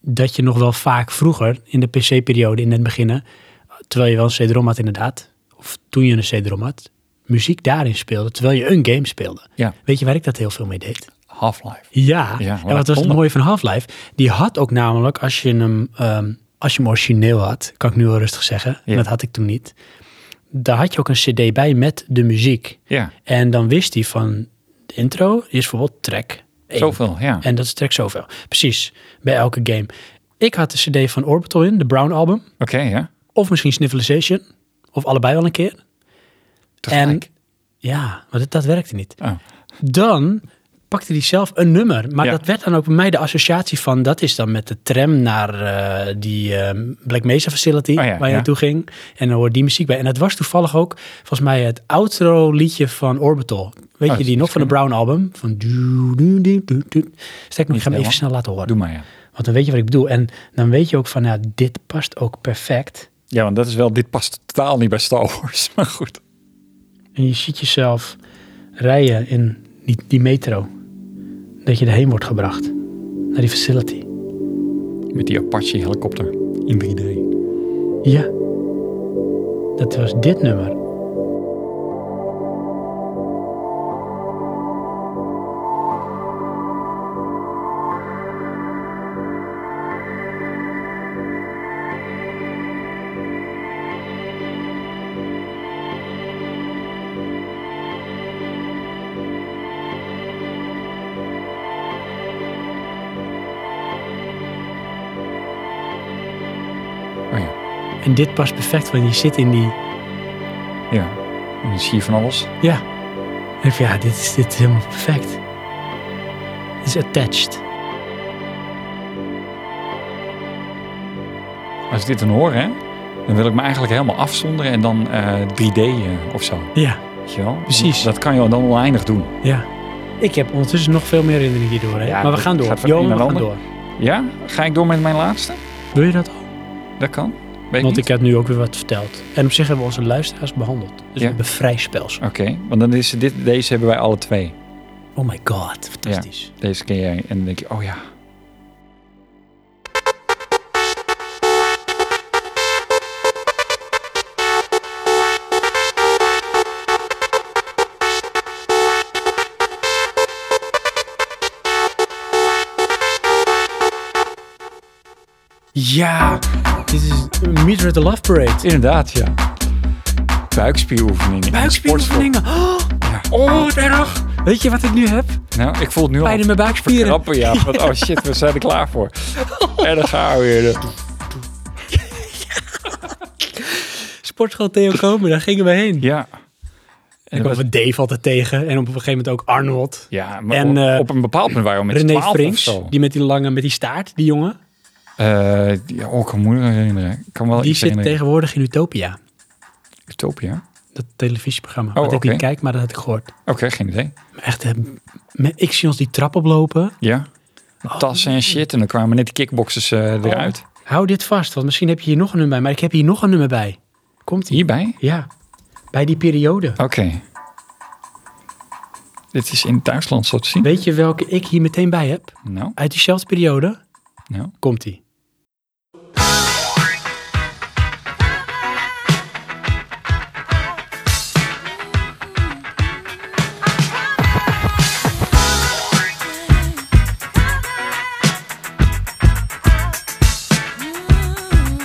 dat je nog wel vaak vroeger, in de PC-periode, in het beginnen... terwijl je wel een CD-ROM had inderdaad... of toen je een CD-ROM had... muziek daarin speelde, terwijl je een game speelde. Ja, Weet je waar ik dat heel veel mee deed? Half-Life. Ja, Ja, en wat was het wonder. mooie van Half-Life? Die had ook namelijk, als je hem, ehm, als je hem origineel had, kan ik nu wel rustig zeggen, Ja. dat had ik toen niet. Daar had je ook een cd bij met de muziek. Ja, En dan wist hij van, de intro is bijvoorbeeld track 1. zoveel, ja. Oké. En dat is track zoveel. Precies, bij elke game. Ik had de cd van Orbital in, de Brown album. ja. Of misschien Snivelization. Of allebei wel een keer. Tegelijk. Ja, maar dat, dat werkte niet Oh. dan pakte hij zelf een nummer. Maar Ja. dat werd dan ook bij mij de associatie van... dat is dan met de tram naar eh, die ehm, Black Mesa Facility... Oh ja, waar je ja. naartoe ging. En dan hoorde die muziek bij. En dat was toevallig ook volgens mij het outro liedje van Orbital. Weet Oh, dat je is die nog van de Brown album? Van... du- du- du- du- du. Stek me, ik ga hem helemaal. even snel laten horen. Doe maar, ja. Want dan weet je wat ik bedoel. En dan weet je ook van, ja, dit past ook perfect. Ja, want dat is wel, dit past totaal niet bij Star Wars. (laughs) Maar goed. En je ziet jezelf rijden in die, die metro. Dat je erheen wordt gebracht. Naar die facility. Met die Apache helikopter in 3D. Ja. Dat was dit nummer. Oh ja. En dit past perfect, want je zit in die... Ja. En dan zie je van alles. Ja. En ik van, ja, dit is, dit is helemaal perfect. Het is attached. Als ik dit dan hoor, hè, dan wil ik me eigenlijk helemaal afzonderen en dan eh, 3D eh, of zo. Ja. Weet je wel? Precies. Dat kan je dan oneindig doen. Ja. Ik heb ondertussen nog veel meer herinneringen hierdoor. Hè? Ja, maar we dat gaan door. gaat van Johan, een we naar gaan ander. door. Ja? Ga ik door met mijn laatste? Wil je dat ook? Dat kan. Weet Want niet. ik heb nu ook weer wat verteld. En op zich hebben we onze luisteraars behandeld. Dus we Ja. hebben vrij spels. Oké, want dan is dit, deze hebben wij alle twee. Oh my god, fantastisch. Deze ken jij. En dan denk je, oh ja. Ja, dit is Meet Her at the Love Parade. Inderdaad, ja. Buikspieroefeningen. in Buikspieroefeningen. Oh, oh, wat erg. Weet je wat ik nu heb? sportschool. Nou, ik voel het nu al. Pijn in mijn buikspieren. Krappen, ja. Want, (laughs) oh shit, we zijn er klaar voor. En dan gaan we weer. Sportschool Theo Komen, daar gingen we heen. Ja. ik kwam van Dave altijd tegen. En op een gegeven moment ook Arnold. Ja, maar En, op, eh, op een bepaald punt waren we met René 12 of Frings, zo. die met die lange, met die staart, die jongen. Eh, ja, oh, ik kan me moeilijk herinneren. Ik kan wel Die iets zit herinneren. tegenwoordig in Utopia. Utopia? Dat televisieprogramma. Oh, wat ik oké. niet kijk, maar dat had ik gehoord. Oké, geen idee. Maar echt, hè, me- ik zie ons die trap oplopen. Ja. Oh. Tassen en shit. En dan kwamen net die kickboxers eh, eruit. Hou dit vast, want misschien heb je hier nog een nummer bij. Maar ik heb hier nog een nummer bij. Komt ie? Hierbij? Ja, bij die periode. Oké. Dit is in het Duitsland zo te zien. Weet je welke ik hier meteen bij heb? Nou, Uit diezelfde periode nou. komt ie. Mm-hmm.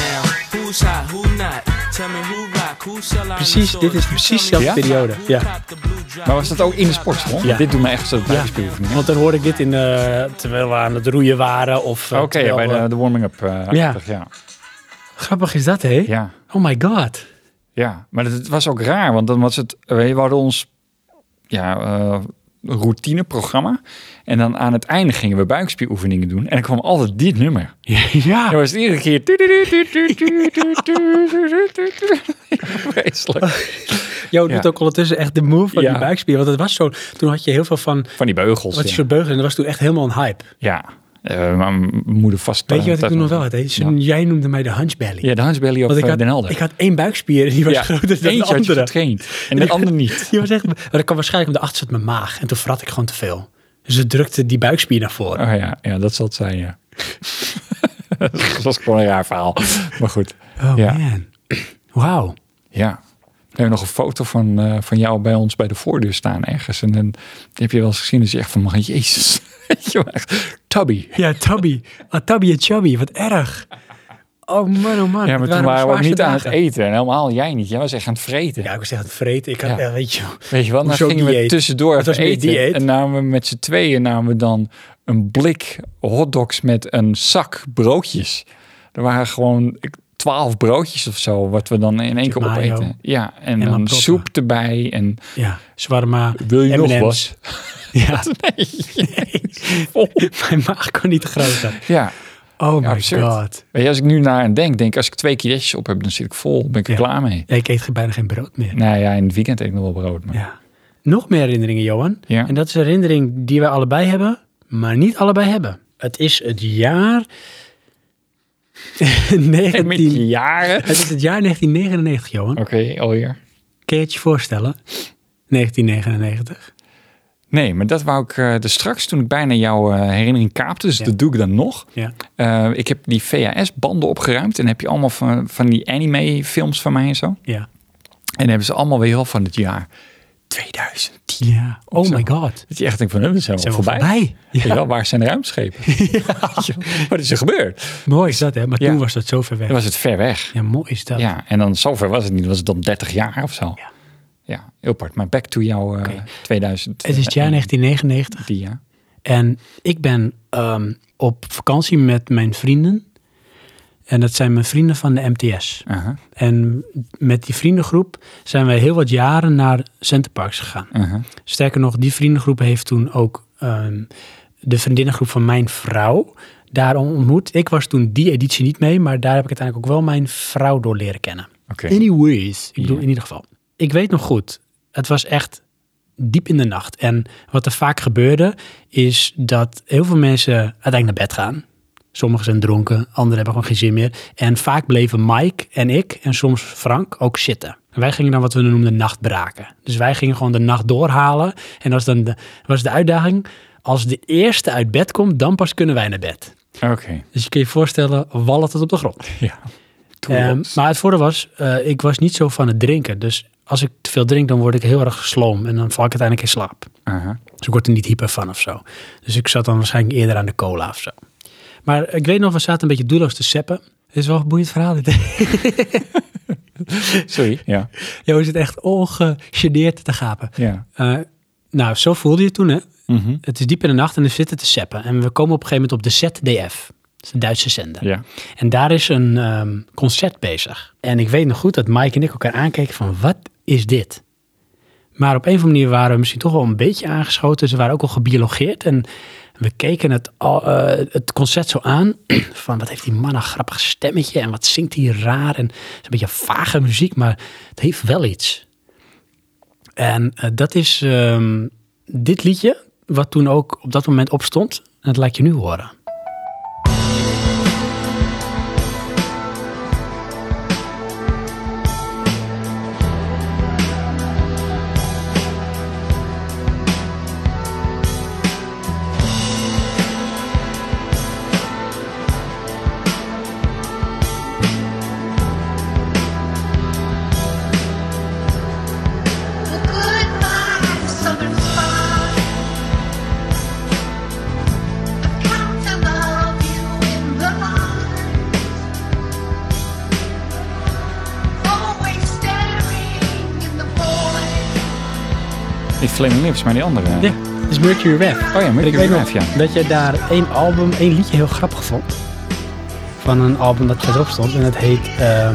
Now, who's hot, who not? Tell me who rock, who sell out Precies, in dit stores? is precies You tell me dezelfde who periode. top, who er Ja. top the blue drop, Maar was dat ook in de sportschool? Ja. Dit doet me echt zo bij Ja, de speeloefeningen. want dan hoorde ik dit in, eh, terwijl we aan het roeien waren. Of, eh, Oké, terwijl bij we- de, de warming-up. eh, Ja. achtig, ja. Grappig is dat, hè? Ja. Oh my god. Ja, maar het was ook raar, want dan was het, we hadden ons ja, eh, routineprogramma. En dan aan het einde gingen we buikspieroefeningen doen. En dan kwam altijd dit nummer. En ja. dan was het iedere keer... Vreselijk. Jo doet Ja. ook ondertussen echt de move van Ja. die buikspier. Want dat was zo. Toen had je heel veel van. Van die beugels. Wat is ja. voor beugel? En dat was toen echt helemaal een hype. Ja, Eh, mijn moeder vast... Weet je wat ik dat- toen nog wel had? hè? Zo- Jij noemde mij de hunchbelly. Ja, de Hansbelly op Want ik eh, had, Den Helder. ik had één buikspier en die was ja, groter dan eentje de had je andere. getraind (laughs) en de andere niet. Die was echt, maar dat kwam waarschijnlijk omdat achter zat mijn maag. En toen vrat ik gewoon te veel. Dus het drukte die buikspier naar voren. Oh ja, ja dat zal het zijn, ja. (laughs) dat was gewoon een raar verhaal. Maar goed. Oh ja. man. Wauw. Ja. We hebben nog een foto van, eh, van jou bij ons bij de voordeur staan ergens. En dan die heb je wel eens gezien. Dus je echt van, man, jezus. (laughs) Weet je wel, echt, Tubby. Ja, Tabby. Ah, Tabby en Chubby. Wat erg. Oh man, oh man. Ja, Het maar de toen waren we ook zwaarste niet aan het dagen. eten. En helemaal jij niet. Jij was echt aan het vreten. Ja, ik was echt aan het vreten. Ik had, Ja. ja, weet je. Weet je wel, dan Hoezo gingen we dieet? tussendoor Het was even meer eten. dieet. En namen we met z'n tweeën namen we dan een blik hotdogs met een zak broodjes. Er waren gewoon ik- twaalf broodjes of zo, wat we dan in één keer mayo. opeten. Ja, en, maar dan proppen. soep erbij. En Ja, zwarma. wil je nog M&M's. wat? Ja, (laughs) Nee. Vol. mijn maag kon niet groter. Ja, Oh Ja, my absurd. god. Weet je, als ik nu naar aan denk, denk als ik twee kilo's op heb, dan zit ik vol. Dan ben ik er Ja. klaar mee. Ja, ik eet ge- bijna geen brood meer. Nou ja, in het weekend eet ik nog wel brood. (laughs) Maar... Ja. Nog meer herinneringen, Johan. Ja. En dat is een herinnering die wij allebei hebben, maar niet allebei hebben. Het is het jaar... (laughs) 19... En met Oh. die jaren. Het is het jaar 1999, Johan. Oké, alweer. Kun je het je voorstellen? 1999. Nee, maar dat wou ik eh dus straks toen ik bijna jouw eh, herinnering kaapte. Dus Ja. dat doe ik dan nog. Ja. Eh, ik heb die VHS-banden opgeruimd. En heb je allemaal van, van die anime-films van mij en zo. En Ja. dan hebben ze allemaal weer heel van het jaar 2010. ja. Oh Zo. my god. Dat je echt denkt van, eh, we zijn, Zijn wel we voorbij. voorbij? Weet je Ja. wel, waar zijn de (laughs) ruimschepen? Wat is er gebeurd? Mooi is dat, hè? Maar Ja. toen was dat zo ver weg. Dan was het ver weg. Ja, mooi is dat. Ja, en dan zover was het niet. Was het dan 30 jaar of zo? Ja. Ja, heel apart. Maar back to jouw eh 2000. Het is het jaar 1999. Die, ja. En ik ben ehm, op vakantie met mijn vrienden. En dat zijn mijn vrienden van de MTS. Aha, En met die vriendengroep zijn wij heel wat jaren naar Centerparks gegaan. aha. Sterker nog, die vriendengroep heeft toen ook ehm, de vriendinnengroep van mijn vrouw daar ontmoet. Ik was toen die editie niet mee, maar daar heb ik uiteindelijk ook wel mijn vrouw door leren kennen. Oké. Anyways, ik bedoel Ja. in ieder geval. Ik weet nog goed, het was echt diep in de nacht. En wat er vaak gebeurde, is dat heel veel mensen uiteindelijk naar bed gaan. Sommigen zijn dronken, anderen hebben gewoon geen zin meer. En vaak bleven Mike en ik en soms Frank ook zitten. En wij gingen dan wat we noemden nachtbraken. Dus wij gingen gewoon de nacht doorhalen. En dat was dan de, was de uitdaging, als de eerste uit bed komt, dan pas kunnen wij naar bed. Oké. Dus je kunt je voorstellen, wallen tot op de grond. Ja. Ehm, Toolbox. maar het voordeel was, eh, ik was niet zo van het drinken. Dus als ik te veel drink, dan word ik heel erg sloom. En dan val ik uiteindelijk in slaap. Aha. Dus ik word er niet hyper van of zo. Dus ik zat dan waarschijnlijk eerder aan de cola of zo. Maar ik weet nog, we zaten een beetje doelloos te seppen. Het is wel een boeiend verhaal dit. (laughs) Sorry. Ja. Jo, is het echt ongegeneerd te gapen. Ja. Eh, nou, zo voelde je het toen hè. Mhm. Het is diep in de nacht en we zitten te seppen. En we komen op een gegeven moment op de ZDF. Dat is een Duitse zender. Ja. En daar is een ehm, concert bezig. En ik weet nog goed dat Mike en ik elkaar aankeken van wat is dit? Maar op een of andere manier waren we misschien toch wel een beetje aangeschoten. Ze waren ook al gebiologeerd. En we keken het, al- eh, het concert zo aan. (clears throat) Van wat heeft die man een grappig stemmetje. En wat zingt hij raar. En het is een beetje vage muziek. Maar het heeft wel iets. En eh, dat is ehm, dit liedje. Wat toen ook op dat moment opstond. En dat laat ik je nu horen. Niet Flaming Lips, maar die andere. Ja, het is Mercury Rev. Oh ja, Mercury ik weet nog Rev, ja. dat je daar één album, één liedje heel grappig vond. Van een album dat verderop stond. En dat heet, ehm,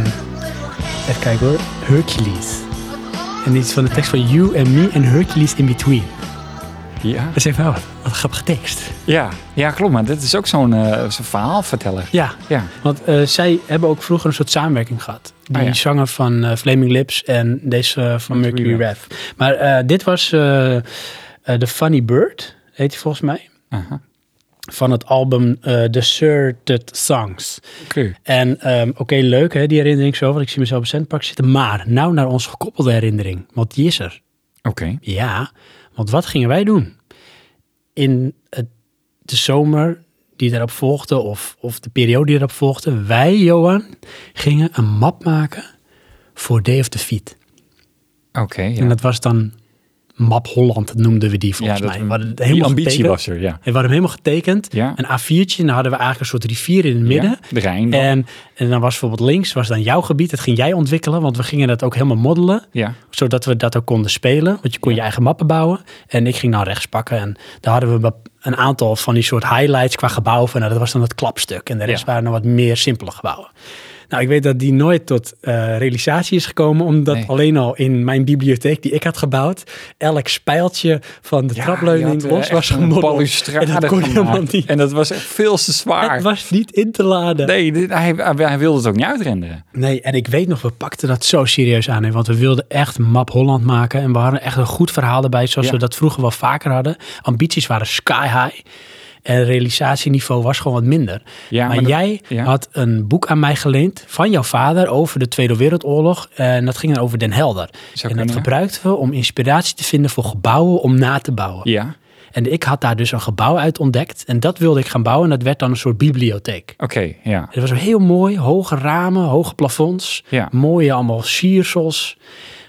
even kijken hoor, Hercules. En iets van de tekst van You and Me and Hercules in Between. Ja. Dat is even wat, wat een grappige tekst. Ja. Ja, klopt. Maar dit is ook zo'n eh, zo'n verhaalverteller. Ja, Ja. want eh, zij hebben ook vroeger een soort samenwerking gehad. Die Ah, ja. zanger van eh, Flaming Lips en deze eh, van Mercury Mercury Rev. Maar eh, dit was eh, eh, The Funny Bird, heet hij volgens mij. Aha. van het album eh Deserted Songs. Oké. En ehm, oké, leuk hè, die herinnering zo, want ik zie mezelf op centpak zitten. Maar nou naar onze gekoppelde herinnering, want die is er. Oké. Ja, want wat gingen wij doen? In het, de zomer die daarop volgde, of, of de periode die daarop volgde, wij, Johan, gingen een map maken voor Day of the Feet. Oké. En Ja. dat was dan Map Holland, noemden we die volgens Ja, dat- mij. We hadden het die helemaal ambitie getekend. was er, ja. En we hadden hem helemaal getekend. Ja. Een A4'tje, en dan hadden we eigenlijk een soort rivier in het midden. Ja, de Rijn dan. En, en dan was bijvoorbeeld links, was dan jouw gebied. Dat ging jij ontwikkelen, want we gingen dat ook helemaal moddelen. Ja. Zodat we dat ook konden spelen. Want je kon je eigen mappen bouwen. En ik ging dan rechts pakken. En daar hadden we bep- een aantal van die soort highlights qua gebouwen. Van, nou, dat was dan het klapstuk. En de rest Ja. waren dan wat meer simpele gebouwen. Nou, ik weet dat die nooit tot eh, realisatie is gekomen, omdat Nee. alleen al in mijn bibliotheek die ik had gebouwd, elk spijltje van de Ja, trapleuning je had, eh, los echt was een gemoddeld. balustrade En dat kon gemaakt. helemaal niet. En dat was echt veel te zwaar. Het was niet in te laden. Nee, dit- hij, hij, hij wilde het ook niet uitrenderen. Nee, en ik weet nog, we pakten dat zo serieus aan. hè, Want we wilden echt Map Holland maken. En we hadden echt een goed verhaal erbij, zoals Ja. we dat vroeger wel vaker hadden. Ambities waren sky high. En realisatieniveau was gewoon wat minder. Ja, maar maar dat- jij ja. had een boek aan mij geleend van jouw vader over de Tweede Wereldoorlog. eh, En dat ging dan over Den Helder. en kunnen, ja. dat gebruikten we om inspiratie te vinden voor gebouwen om na te bouwen. Ja. Oké, En ik had daar dus een gebouw uit ontdekt. En dat wilde ik gaan bouwen. En dat werd dan een soort bibliotheek. ja. Het was heel mooi, hoge ramen, hoge plafonds, Ja. mooie allemaal siersels.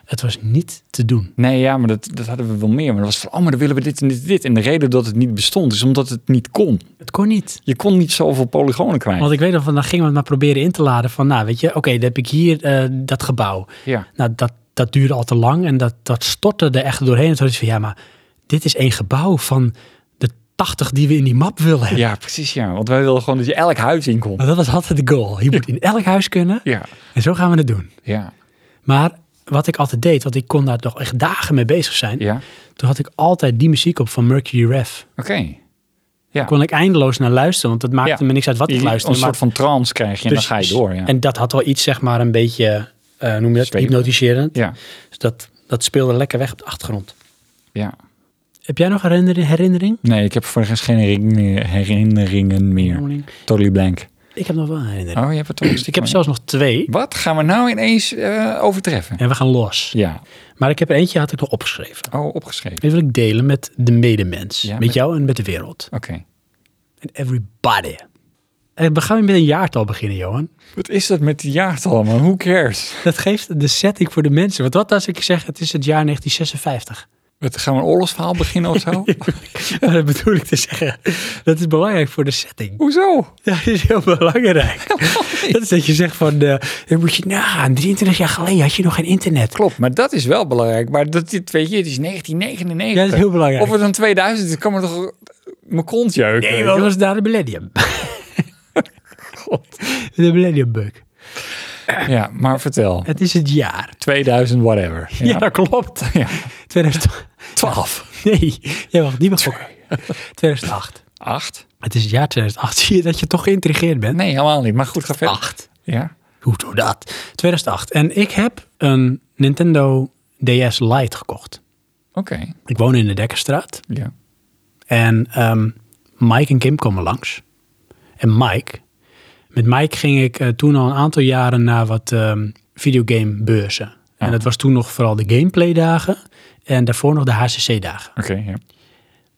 Het was niet te doen. Nee, ja, maar dat, dat hadden we wel meer. Maar dat was van, oh, maar dan willen we dit en dit en dit. En de reden dat het niet bestond is omdat het niet kon. Het kon niet. Je kon niet zoveel polygonen kwijt. Want ik weet nog, van, dan gingen we het maar proberen in te laden van, nou weet je, oké, dan heb ik hier eh, dat gebouw. Ja. Nou, dat, dat duurde al te lang en dat, dat stortte er echt doorheen. En toen dacht ik van, ja, maar dit is één gebouw van de 80 die we in die map willen hebben. Ja, precies, ja. Want wij wilden gewoon dat je elk huis in kon. Maar dat was altijd de goal. Je moet in elk huis kunnen Ja. en zo gaan we het doen. Ja. Maar wat ik altijd deed, want ik kon daar nog echt dagen mee bezig zijn. Ja. Toen had ik altijd die muziek op van Mercury Rev. Oké. Ja. Kon ik eindeloos naar luisteren, want het maakte Ja. me niks uit wat ik Je- luisterde. Een soort maar- van trance krijg je en dan ga je Precies. door, ja. En dat had wel iets, zeg maar, een beetje eh, eh, noem je dat, Zweven. hypnotiserend. Ja, Dus dat, dat speelde lekker weg op de achtergrond. ja. Heb jij nog herinnering? herinnering? Nee, ik heb voor de rest geen herinnering- herinneringen meer. Totally blank. Ik heb nog wel een herinnering. Oh, je hebt het toch een stuk ik heb van- zelfs nog twee Wat gaan we nou ineens eh, overtreffen? en we gaan los. Ja. Maar ik heb er eentje had ik nog opgeschreven. Oh, opgeschreven. Die wil ik delen met de medemens. Ja, met, met- jou en met de wereld. Oké. En everybody. En Eh, we gaan weer met een jaartal beginnen, Johan. Wat is dat met die jaartallen, man? Who cares? Dat geeft de setting voor de mensen. Want wat als ik zeg, het is het jaar (laughs) 1956? Wat, gaan we een oorlogsverhaal beginnen of (laughs) zo? dat bedoel ik te zeggen. Dat is belangrijk voor de setting. Hoezo? Dat is heel belangrijk. dat is dat je zegt van, eh, dan moet je nagaan. 23 jaar geleden had je nog geen internet. Klopt, maar dat is wel belangrijk. Maar dat, dit, weet je, het is 1999. Ja, dat is heel belangrijk. Of het dan 2000 is, kan me toch mijn kont jeuken. Nee, wel was daar de (laughs) millennium. De millennium bug. Ja, maar vertel. Het is het jaar. 2000 whatever. (laughs) Ja, dat klopt. Ja. 2000 12. Nee, jij mag niet meer fokken. 2008. 8? Het is het jaar 2008. (laughs) Zie je dat je toch geïntrigeerd bent? Nee, helemaal niet. Maar goed, ga verder. 8. Ja. Hoe doe dat? 2008. En ik heb een Nintendo DS Lite gekocht. Oké. Ik woon in de Dekkerstraat. Ja. En ehm, Mike en Kim komen langs. En Mike. Met Mike ging ik eh, toen al een aantal jaren naar wat ehm videogamebeurzen. En dat was toen nog vooral de gameplay dagen. En daarvoor nog de HCC dagen. Oké, ja.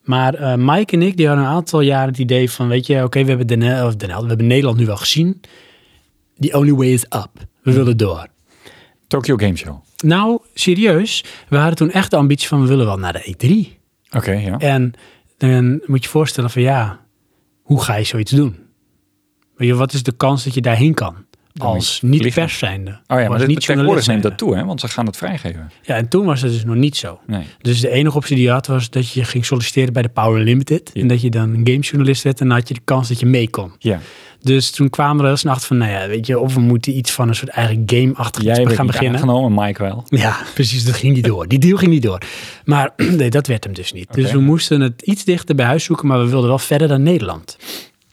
Maar eh, Mike en ik die hadden een aantal jaren het idee van... weet je, oké, we, hebben Den Hel- of Den Hel- we hebben Nederland nu wel gezien. The only way is up. Hmm. We willen door. Tokyo Game Show. Oké, Nou, serieus. We hadden toen echt de ambitie van... we willen wel naar de E3. ja. En dan moet je voorstellen van ja, hoe ga je zoiets doen? Weet je, wat is de kans dat je daarheen kan? Als moet je niet vliegen. pers zijnde. Oh ja, als maar dit, niet tegenwoordig journalist neemt dat zijnde. toe, hè? Want ze gaan het vrijgeven. Ja, en toen was dat dus nog niet zo. Nee. Dus de enige optie die je had was dat je ging solliciteren bij de Power Limited. En dat je dan een gamejournalist werd en dan had je de kans dat je mee kon. Ja. Dus toen kwamen we er heel snel achter van, nou ja, weet je, of we moeten iets van een soort eigen game-achtig Jij iets bent gaan niet beginnen. aangenomen, Mike wel. Ja, precies. Dat ging niet door. Die deal ging niet door. Maar (clears throat) nee, dat werd hem dus niet. Dus we moesten het iets dichter bij huis zoeken, maar we wilden wel verder dan Nederland.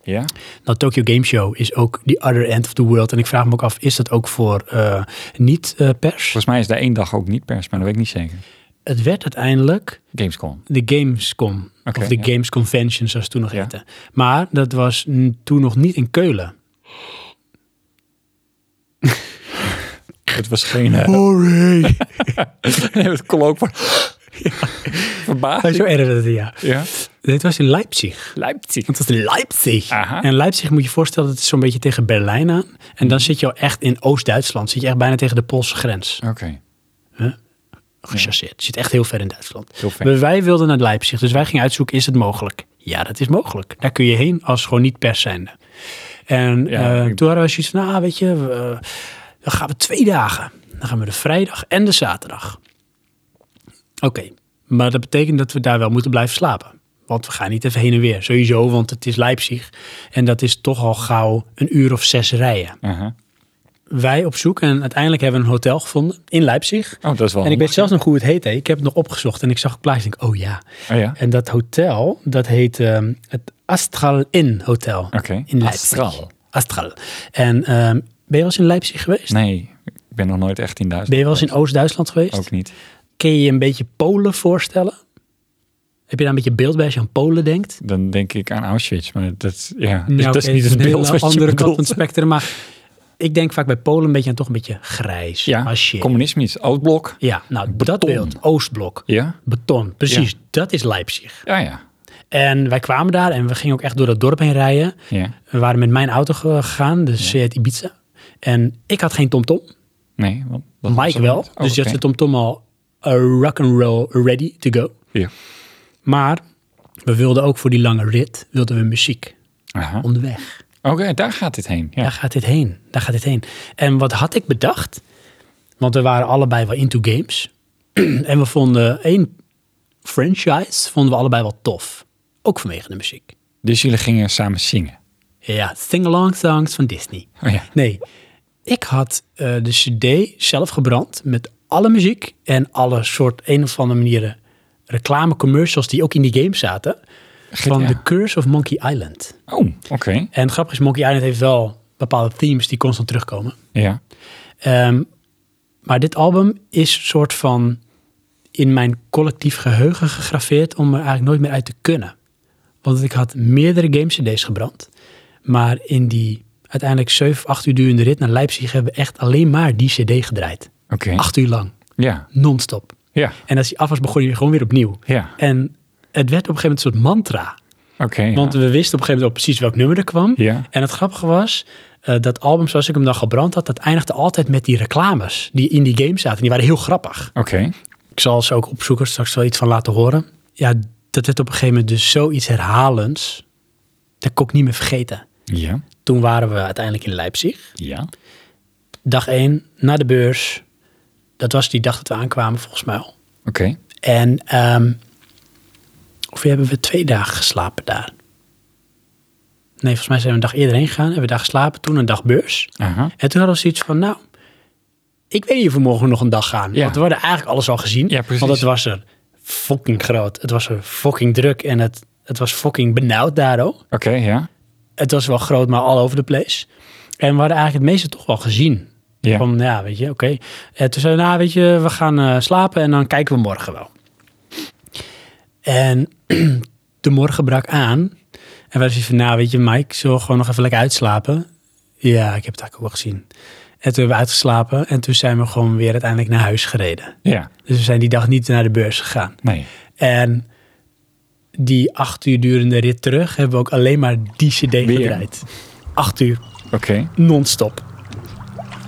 Ja. Nou, Tokyo Game Show is ook the other end of the world. En ik vraag me ook af, is dat ook voor eh, niet-pers? Volgens mij is daar één dag ook niet pers, maar dat weet ik niet zeker. het werd uiteindelijk Gamescom. de Gamescom. Oké, of de ja. Games Convention, zoals het toen nog Ja. heette. Maar dat was n- toen nog niet in Keulen. Het was geen... eh, (laughs) Hooray! het kolok (laughs) van... Verbaasd. zo erg dat het, ja. Ja. Dit was in Leipzig. Leipzig. Het was Leipzig. Aha. En Leipzig moet je voorstellen, dat is zo'n beetje tegen Berlijn aan. En Mhm. dan zit je al echt in Oost-Duitsland. Zit je echt bijna tegen de Poolse grens. Oké. Gechasseerd. Zit echt heel ver in Duitsland. Heel ver. Maar wij wilden naar Leipzig. Dus wij gingen uitzoeken, is het mogelijk? Ja, dat is mogelijk. Daar kun je heen als gewoon niet pers zijnde. En Ja, eh, ik- toen hadden we zoiets van, nou weet je, we, eh, dan gaan we twee dagen. Dan gaan we de vrijdag en de zaterdag. Oké, maar dat betekent dat we daar wel moeten blijven slapen. Want we gaan niet even heen en weer, sowieso, want het is Leipzig. En dat is toch al gauw een uur of zes rijden. Aha. Wij op zoek en uiteindelijk hebben we een hotel gevonden in Leipzig. Oh, dat is wel En ik handig. weet zelfs nog hoe het heette. Ik heb het nog opgezocht en ik zag een plaatje en ik, oh ja. Oh ja? En dat hotel, dat heet ehm, het Astral Inn Hotel Oké. in Leipzig. Astral. Astral. En ehm, ben je wel eens in Leipzig geweest? Nee, ik ben nog nooit echt in Ben Duitsland. je wel eens in Oost-Duitsland geweest? Ook niet. Kun je je een beetje Polen voorstellen? Heb je daar een beetje beeld bij als je aan Polen denkt? Dan denk ik aan Auschwitz, maar dat, ja, dus Nou, dat is oké, niet het een beeld hele wat je andere kant bedoelt. van het spectrum. Maar ik denk vaak bij Polen een beetje aan toch een beetje grijs. Ja, als je, communisme is oudblok. ja nou dat Beton. beeld, Oostblok, Ja? beton, precies, dat is Leipzig. Ja, ja. En wij kwamen daar en we gingen ook echt door dat dorp heen rijden. Ja. We waren met mijn auto ge- gegaan, dus Seat Ibiza. En ik had geen TomTom, Nee, want... dat was Mike er wel. niet. dus Oh, die had oké. zijn TomTom al uh, rock and roll ready to go. Ja. Maar we wilden ook voor die lange rit wilden we muziek Aha. Oké, onderweg. daar gaat dit heen. Ja. Daar gaat dit heen. Daar gaat dit heen. En wat had ik bedacht? Want we waren allebei wel into games. (clears throat) en we vonden één franchise vonden we allebei wel tof. Ook vanwege de muziek. Dus jullie gingen samen zingen. Ja, sing-along songs van Disney. Oh ja. Nee, ik had eh, de cd zelf gebrand met alle muziek en alle soort een of andere manieren reclame commercials die ook in die game zaten. Van ja. The Curse of Monkey Island. Oh, oké. En grappig is, Monkey Island heeft wel bepaalde themes die constant terugkomen. Ja. Ehm, Maar dit album is een soort van in mijn collectief geheugen gegraveerd om er eigenlijk nooit meer uit te kunnen. Want ik had meerdere game CD's gebrand. Maar in die uiteindelijk 7, 8 uur durende rit naar Leipzig hebben we echt alleen maar die CD gedraaid. Oké. Acht uur lang, Ja, non-stop. ja, En als die af was, begon je gewoon weer opnieuw. ja. En het werd op een gegeven moment een soort mantra. Oké. ja. Want we wisten op een gegeven moment al precies welk nummer er kwam. Ja. En het grappige was, eh, dat album zoals ik hem dan gebrand had, dat eindigde altijd met die reclames die in die game zaten. Die waren heel grappig. Oké. Ik zal ze ook opzoeken, straks wel iets van laten horen. Ja, dat werd op een gegeven moment dus zoiets herhalends. Dat kon ik niet meer vergeten. Ja, Toen waren we uiteindelijk in Leipzig. ja. Dag 1, naar de beurs. Dat was die dag dat we aankwamen volgens mij al. Oké. En ehm of hebben we twee dagen geslapen daar? Nee, volgens mij zijn we een dag eerder heen gegaan. Hebben we daar geslapen, toen een dag beurs. Aha. En toen hadden we zoiets van, nou, ik weet niet of we morgen nog een dag gaan. Ja. Want we hadden eigenlijk alles al gezien. Ja, precies. Want het was er fucking groot. Het was er fucking druk en het, het was fucking benauwd daar ook. Oké, ja. Het was wel groot, maar all over the place. En we hadden eigenlijk het meeste toch wel gezien. Ja. Van, nou ja, weet je, oké. En toen zei we, nou, weet je, we gaan eh, slapen en dan kijken we morgen wel. En (clears throat) de morgen brak aan. En wij zeiden van, nou, weet je, Mike, zullen we gewoon nog even lekker uitslapen? Ja, ik heb het eigenlijk ook wel gezien. En toen hebben we uitgeslapen en toen zijn we gewoon weer uiteindelijk naar huis gereden. Ja. Dus we zijn die dag niet naar de beurs gegaan. Nee. En die acht uur durende rit terug hebben we ook alleen maar die cd gedraaid. Acht uur, Oké. non-stop.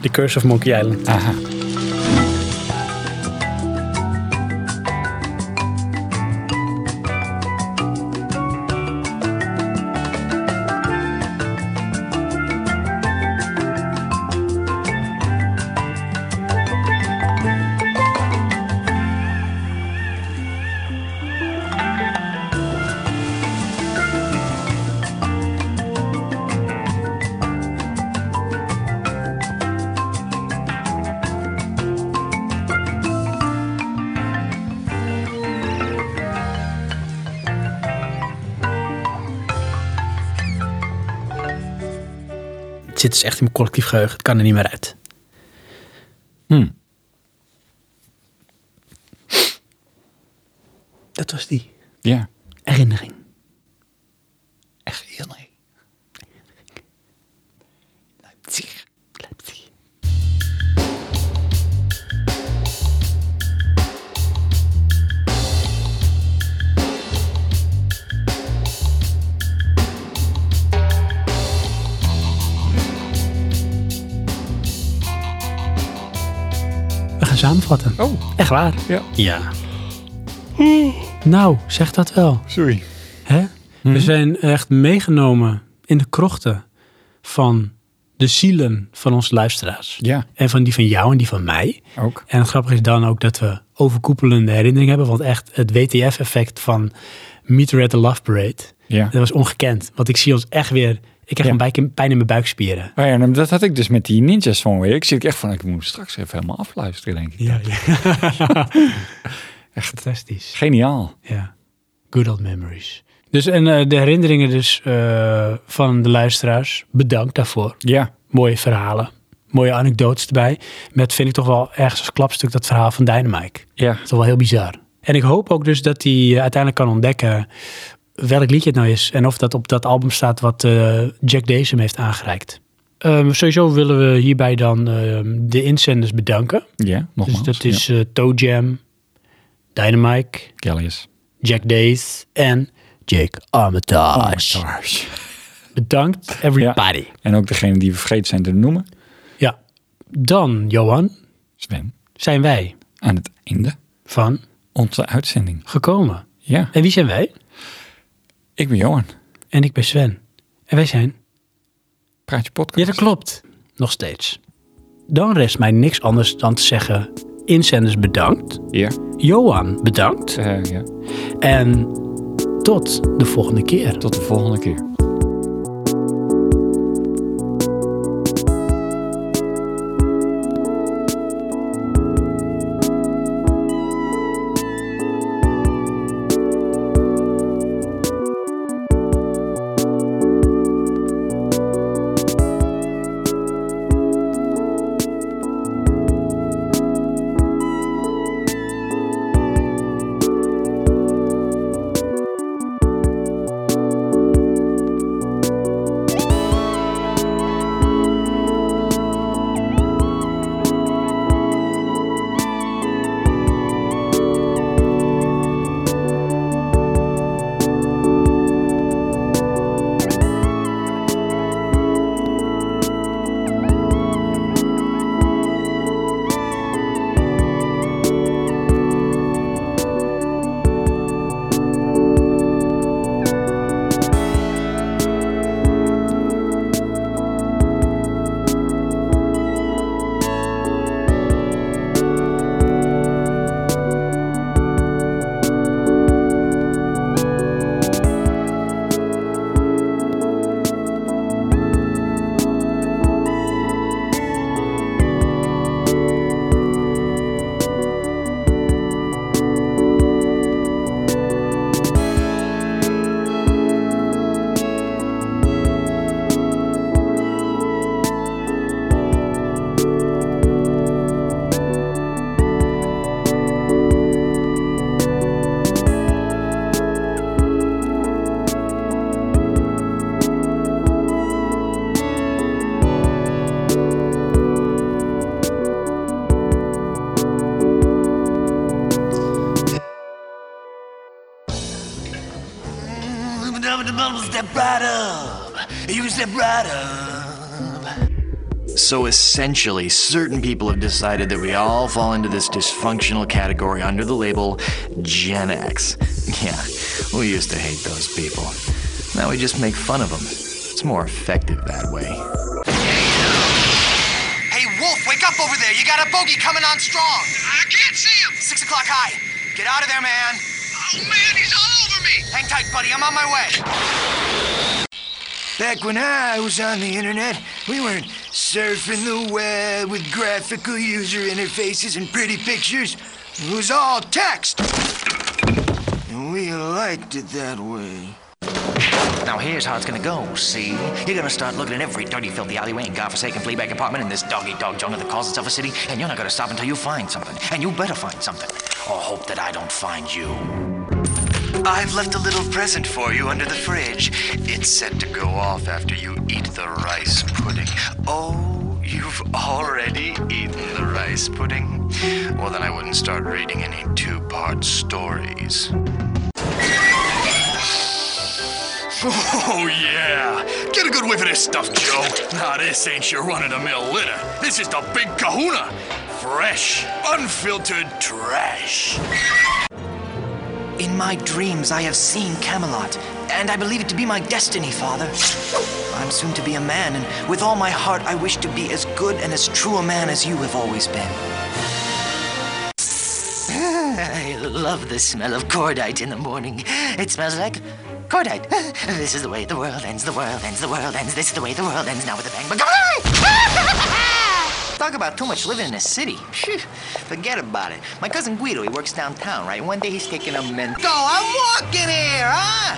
The Curse of Monkey Island. Aha. Het zit dus echt in mijn collectief geheugen. Het kan er niet meer uit. Hm. Dat was die Ja. herinnering. Echt heel nee. We gaan samenvatten. Oh, Echt waar? ja. Hm. Ja. Nou, zeg dat wel. Sorry. Hm. Hè? We zijn echt meegenomen in de krochten van de zielen van onze luisteraars. Ja, Oh. En van die van jou en die van mij. ook. En het grappige is dan ook dat we overkoepelende herinneringen hebben. Want echt het WTF-effect van Meet Her at the Love Parade. Ja. Dat was ongekend. Want ik zie ons echt weer... Ik krijg Ja. een bij- pijn in mijn buikspieren. Oh ja, nou, dat had ik dus met die ninjas van weer. Ik zit echt van, ik moet straks even helemaal afluisteren, denk ik. Ja, (laughs) echt fantastisch. Geniaal. Ja. Good old memories. Dus en eh, de herinneringen dus eh, van de luisteraars. Bedankt daarvoor. Ja. Mooie verhalen. Mooie anekdotes erbij. Met vind ik toch wel ergens als klapstuk dat verhaal van Dynamite. Ja. Dat is toch wel heel bizar. En ik hoop ook dus dat hij eh, uiteindelijk kan ontdekken eh, welk liedje het nou is. En of dat op dat album staat wat eh, Jack Days hem heeft aangereikt. Ehm, sowieso willen we hierbij dan ehm, de inzenders bedanken. Ja, nogmaals. Dus dat is eh Toe Jam, Dynamite, Ja. Kelly's. Jack Days en Jake Armitage. Stars. Bedankt everybody. Ja. En ook degene die we vergeten zijn te noemen. Dan, Johan, Sven. zijn wij Aan het einde van onze uitzending. gekomen. Ja. En wie zijn wij? Ik ben Johan. En ik ben Sven. En wij zijn Praat je podcast. Ja, dat klopt. Nog steeds. Dan rest mij niks anders dan te zeggen... Inzenders bedankt. Ja. Johan bedankt. Eh, ja. En tot de volgende keer. Tot de volgende keer. step right up. You can step right up. So essentially, certain people have decided that we all fall into this dysfunctional category under the label Gen X. Yeah, we used to hate those people. Now we just make fun of them. It's more effective that way. Hey, Wolf, wake up over there. You got a bogey coming on strong. I can't see him. Six o'clock high. Get out of there, man. Oh, man, he's all over me. Hang tight, buddy. I'm on my way. Back when I was on the internet, we weren't surfing the web with graphical user interfaces and pretty pictures. It was all text. And we liked it that way. Now here's how it's gonna go, see? You're gonna start looking in every dirty, filthy alleyway and godforsaken fleabag apartment in this dog-eat-dog jungle that calls itself a city, and you're not gonna stop until you find something. And you better find something. Or hope that I don't find you. I've left a little present for you under the fridge. It's set to go off after you eat the rice pudding. Oh, you've already eaten the rice pudding? Well, then I wouldn't start reading any two part stories. Oh, yeah. Get a good whiff of this stuff, Joe. Now, this ain't your run of the mill litter. This is the big kahuna. Fresh, unfiltered trash. In my dreams, I have seen Camelot, and I believe it to be my destiny, Father. I'm soon to be a man, and with all my heart, I wish to be as good and as true a man as you have always been. I love the smell of cordite in the morning. It smells like cordite. This is the way the world ends, the world ends, the world ends. This is the way the world ends now with a bang. But (laughs) Talk about too much living in a city. Phew, forget about it. My cousin Guido, he works downtown, right? One day he's taking a mental. I'm walking here, huh?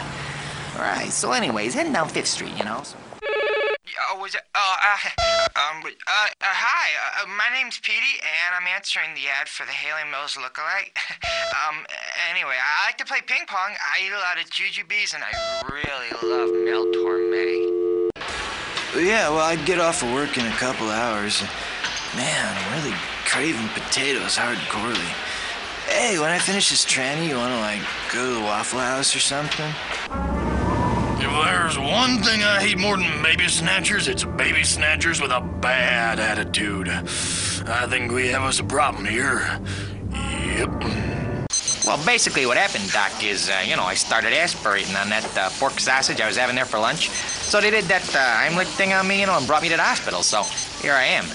Right, so anyways, heading down Fifth Street, you know. Oh, was it? Oh, uh, (laughs) um, uh, uh, hi. Uh, uh, my name's Petey, and I'm answering the ad for the Haley Mills lookalike. (laughs) um, anyway, I like to play ping pong. I eat a lot of jujubes, and I really love Mel Torme. Yeah, well, I'd get off of work in a couple hours. Man, I'm really craving potatoes hardcorely. Hey, when I finish this tranny, you wanna, like, go to the Waffle House or something? If there's one thing I hate more than baby snatchers, it's baby snatchers with a bad attitude. I think we have us a problem here. Yep. Well, basically, what happened, Doc, is, uh, you know, I started aspirating on that uh, pork sausage I was having there for lunch. So they did that uh, Heimlich thing on me, you know, and brought me to the hospital. So here I am.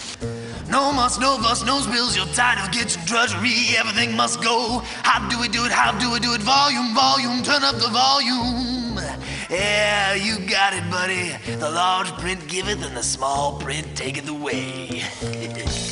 No muss, no fuss, no spills, you're tired of getting drudgery, everything must go. How do we do it? How do we do it? Volume, volume, turn up the volume. Yeah, you got it, buddy. The large print giveth and the small print taketh away. (laughs)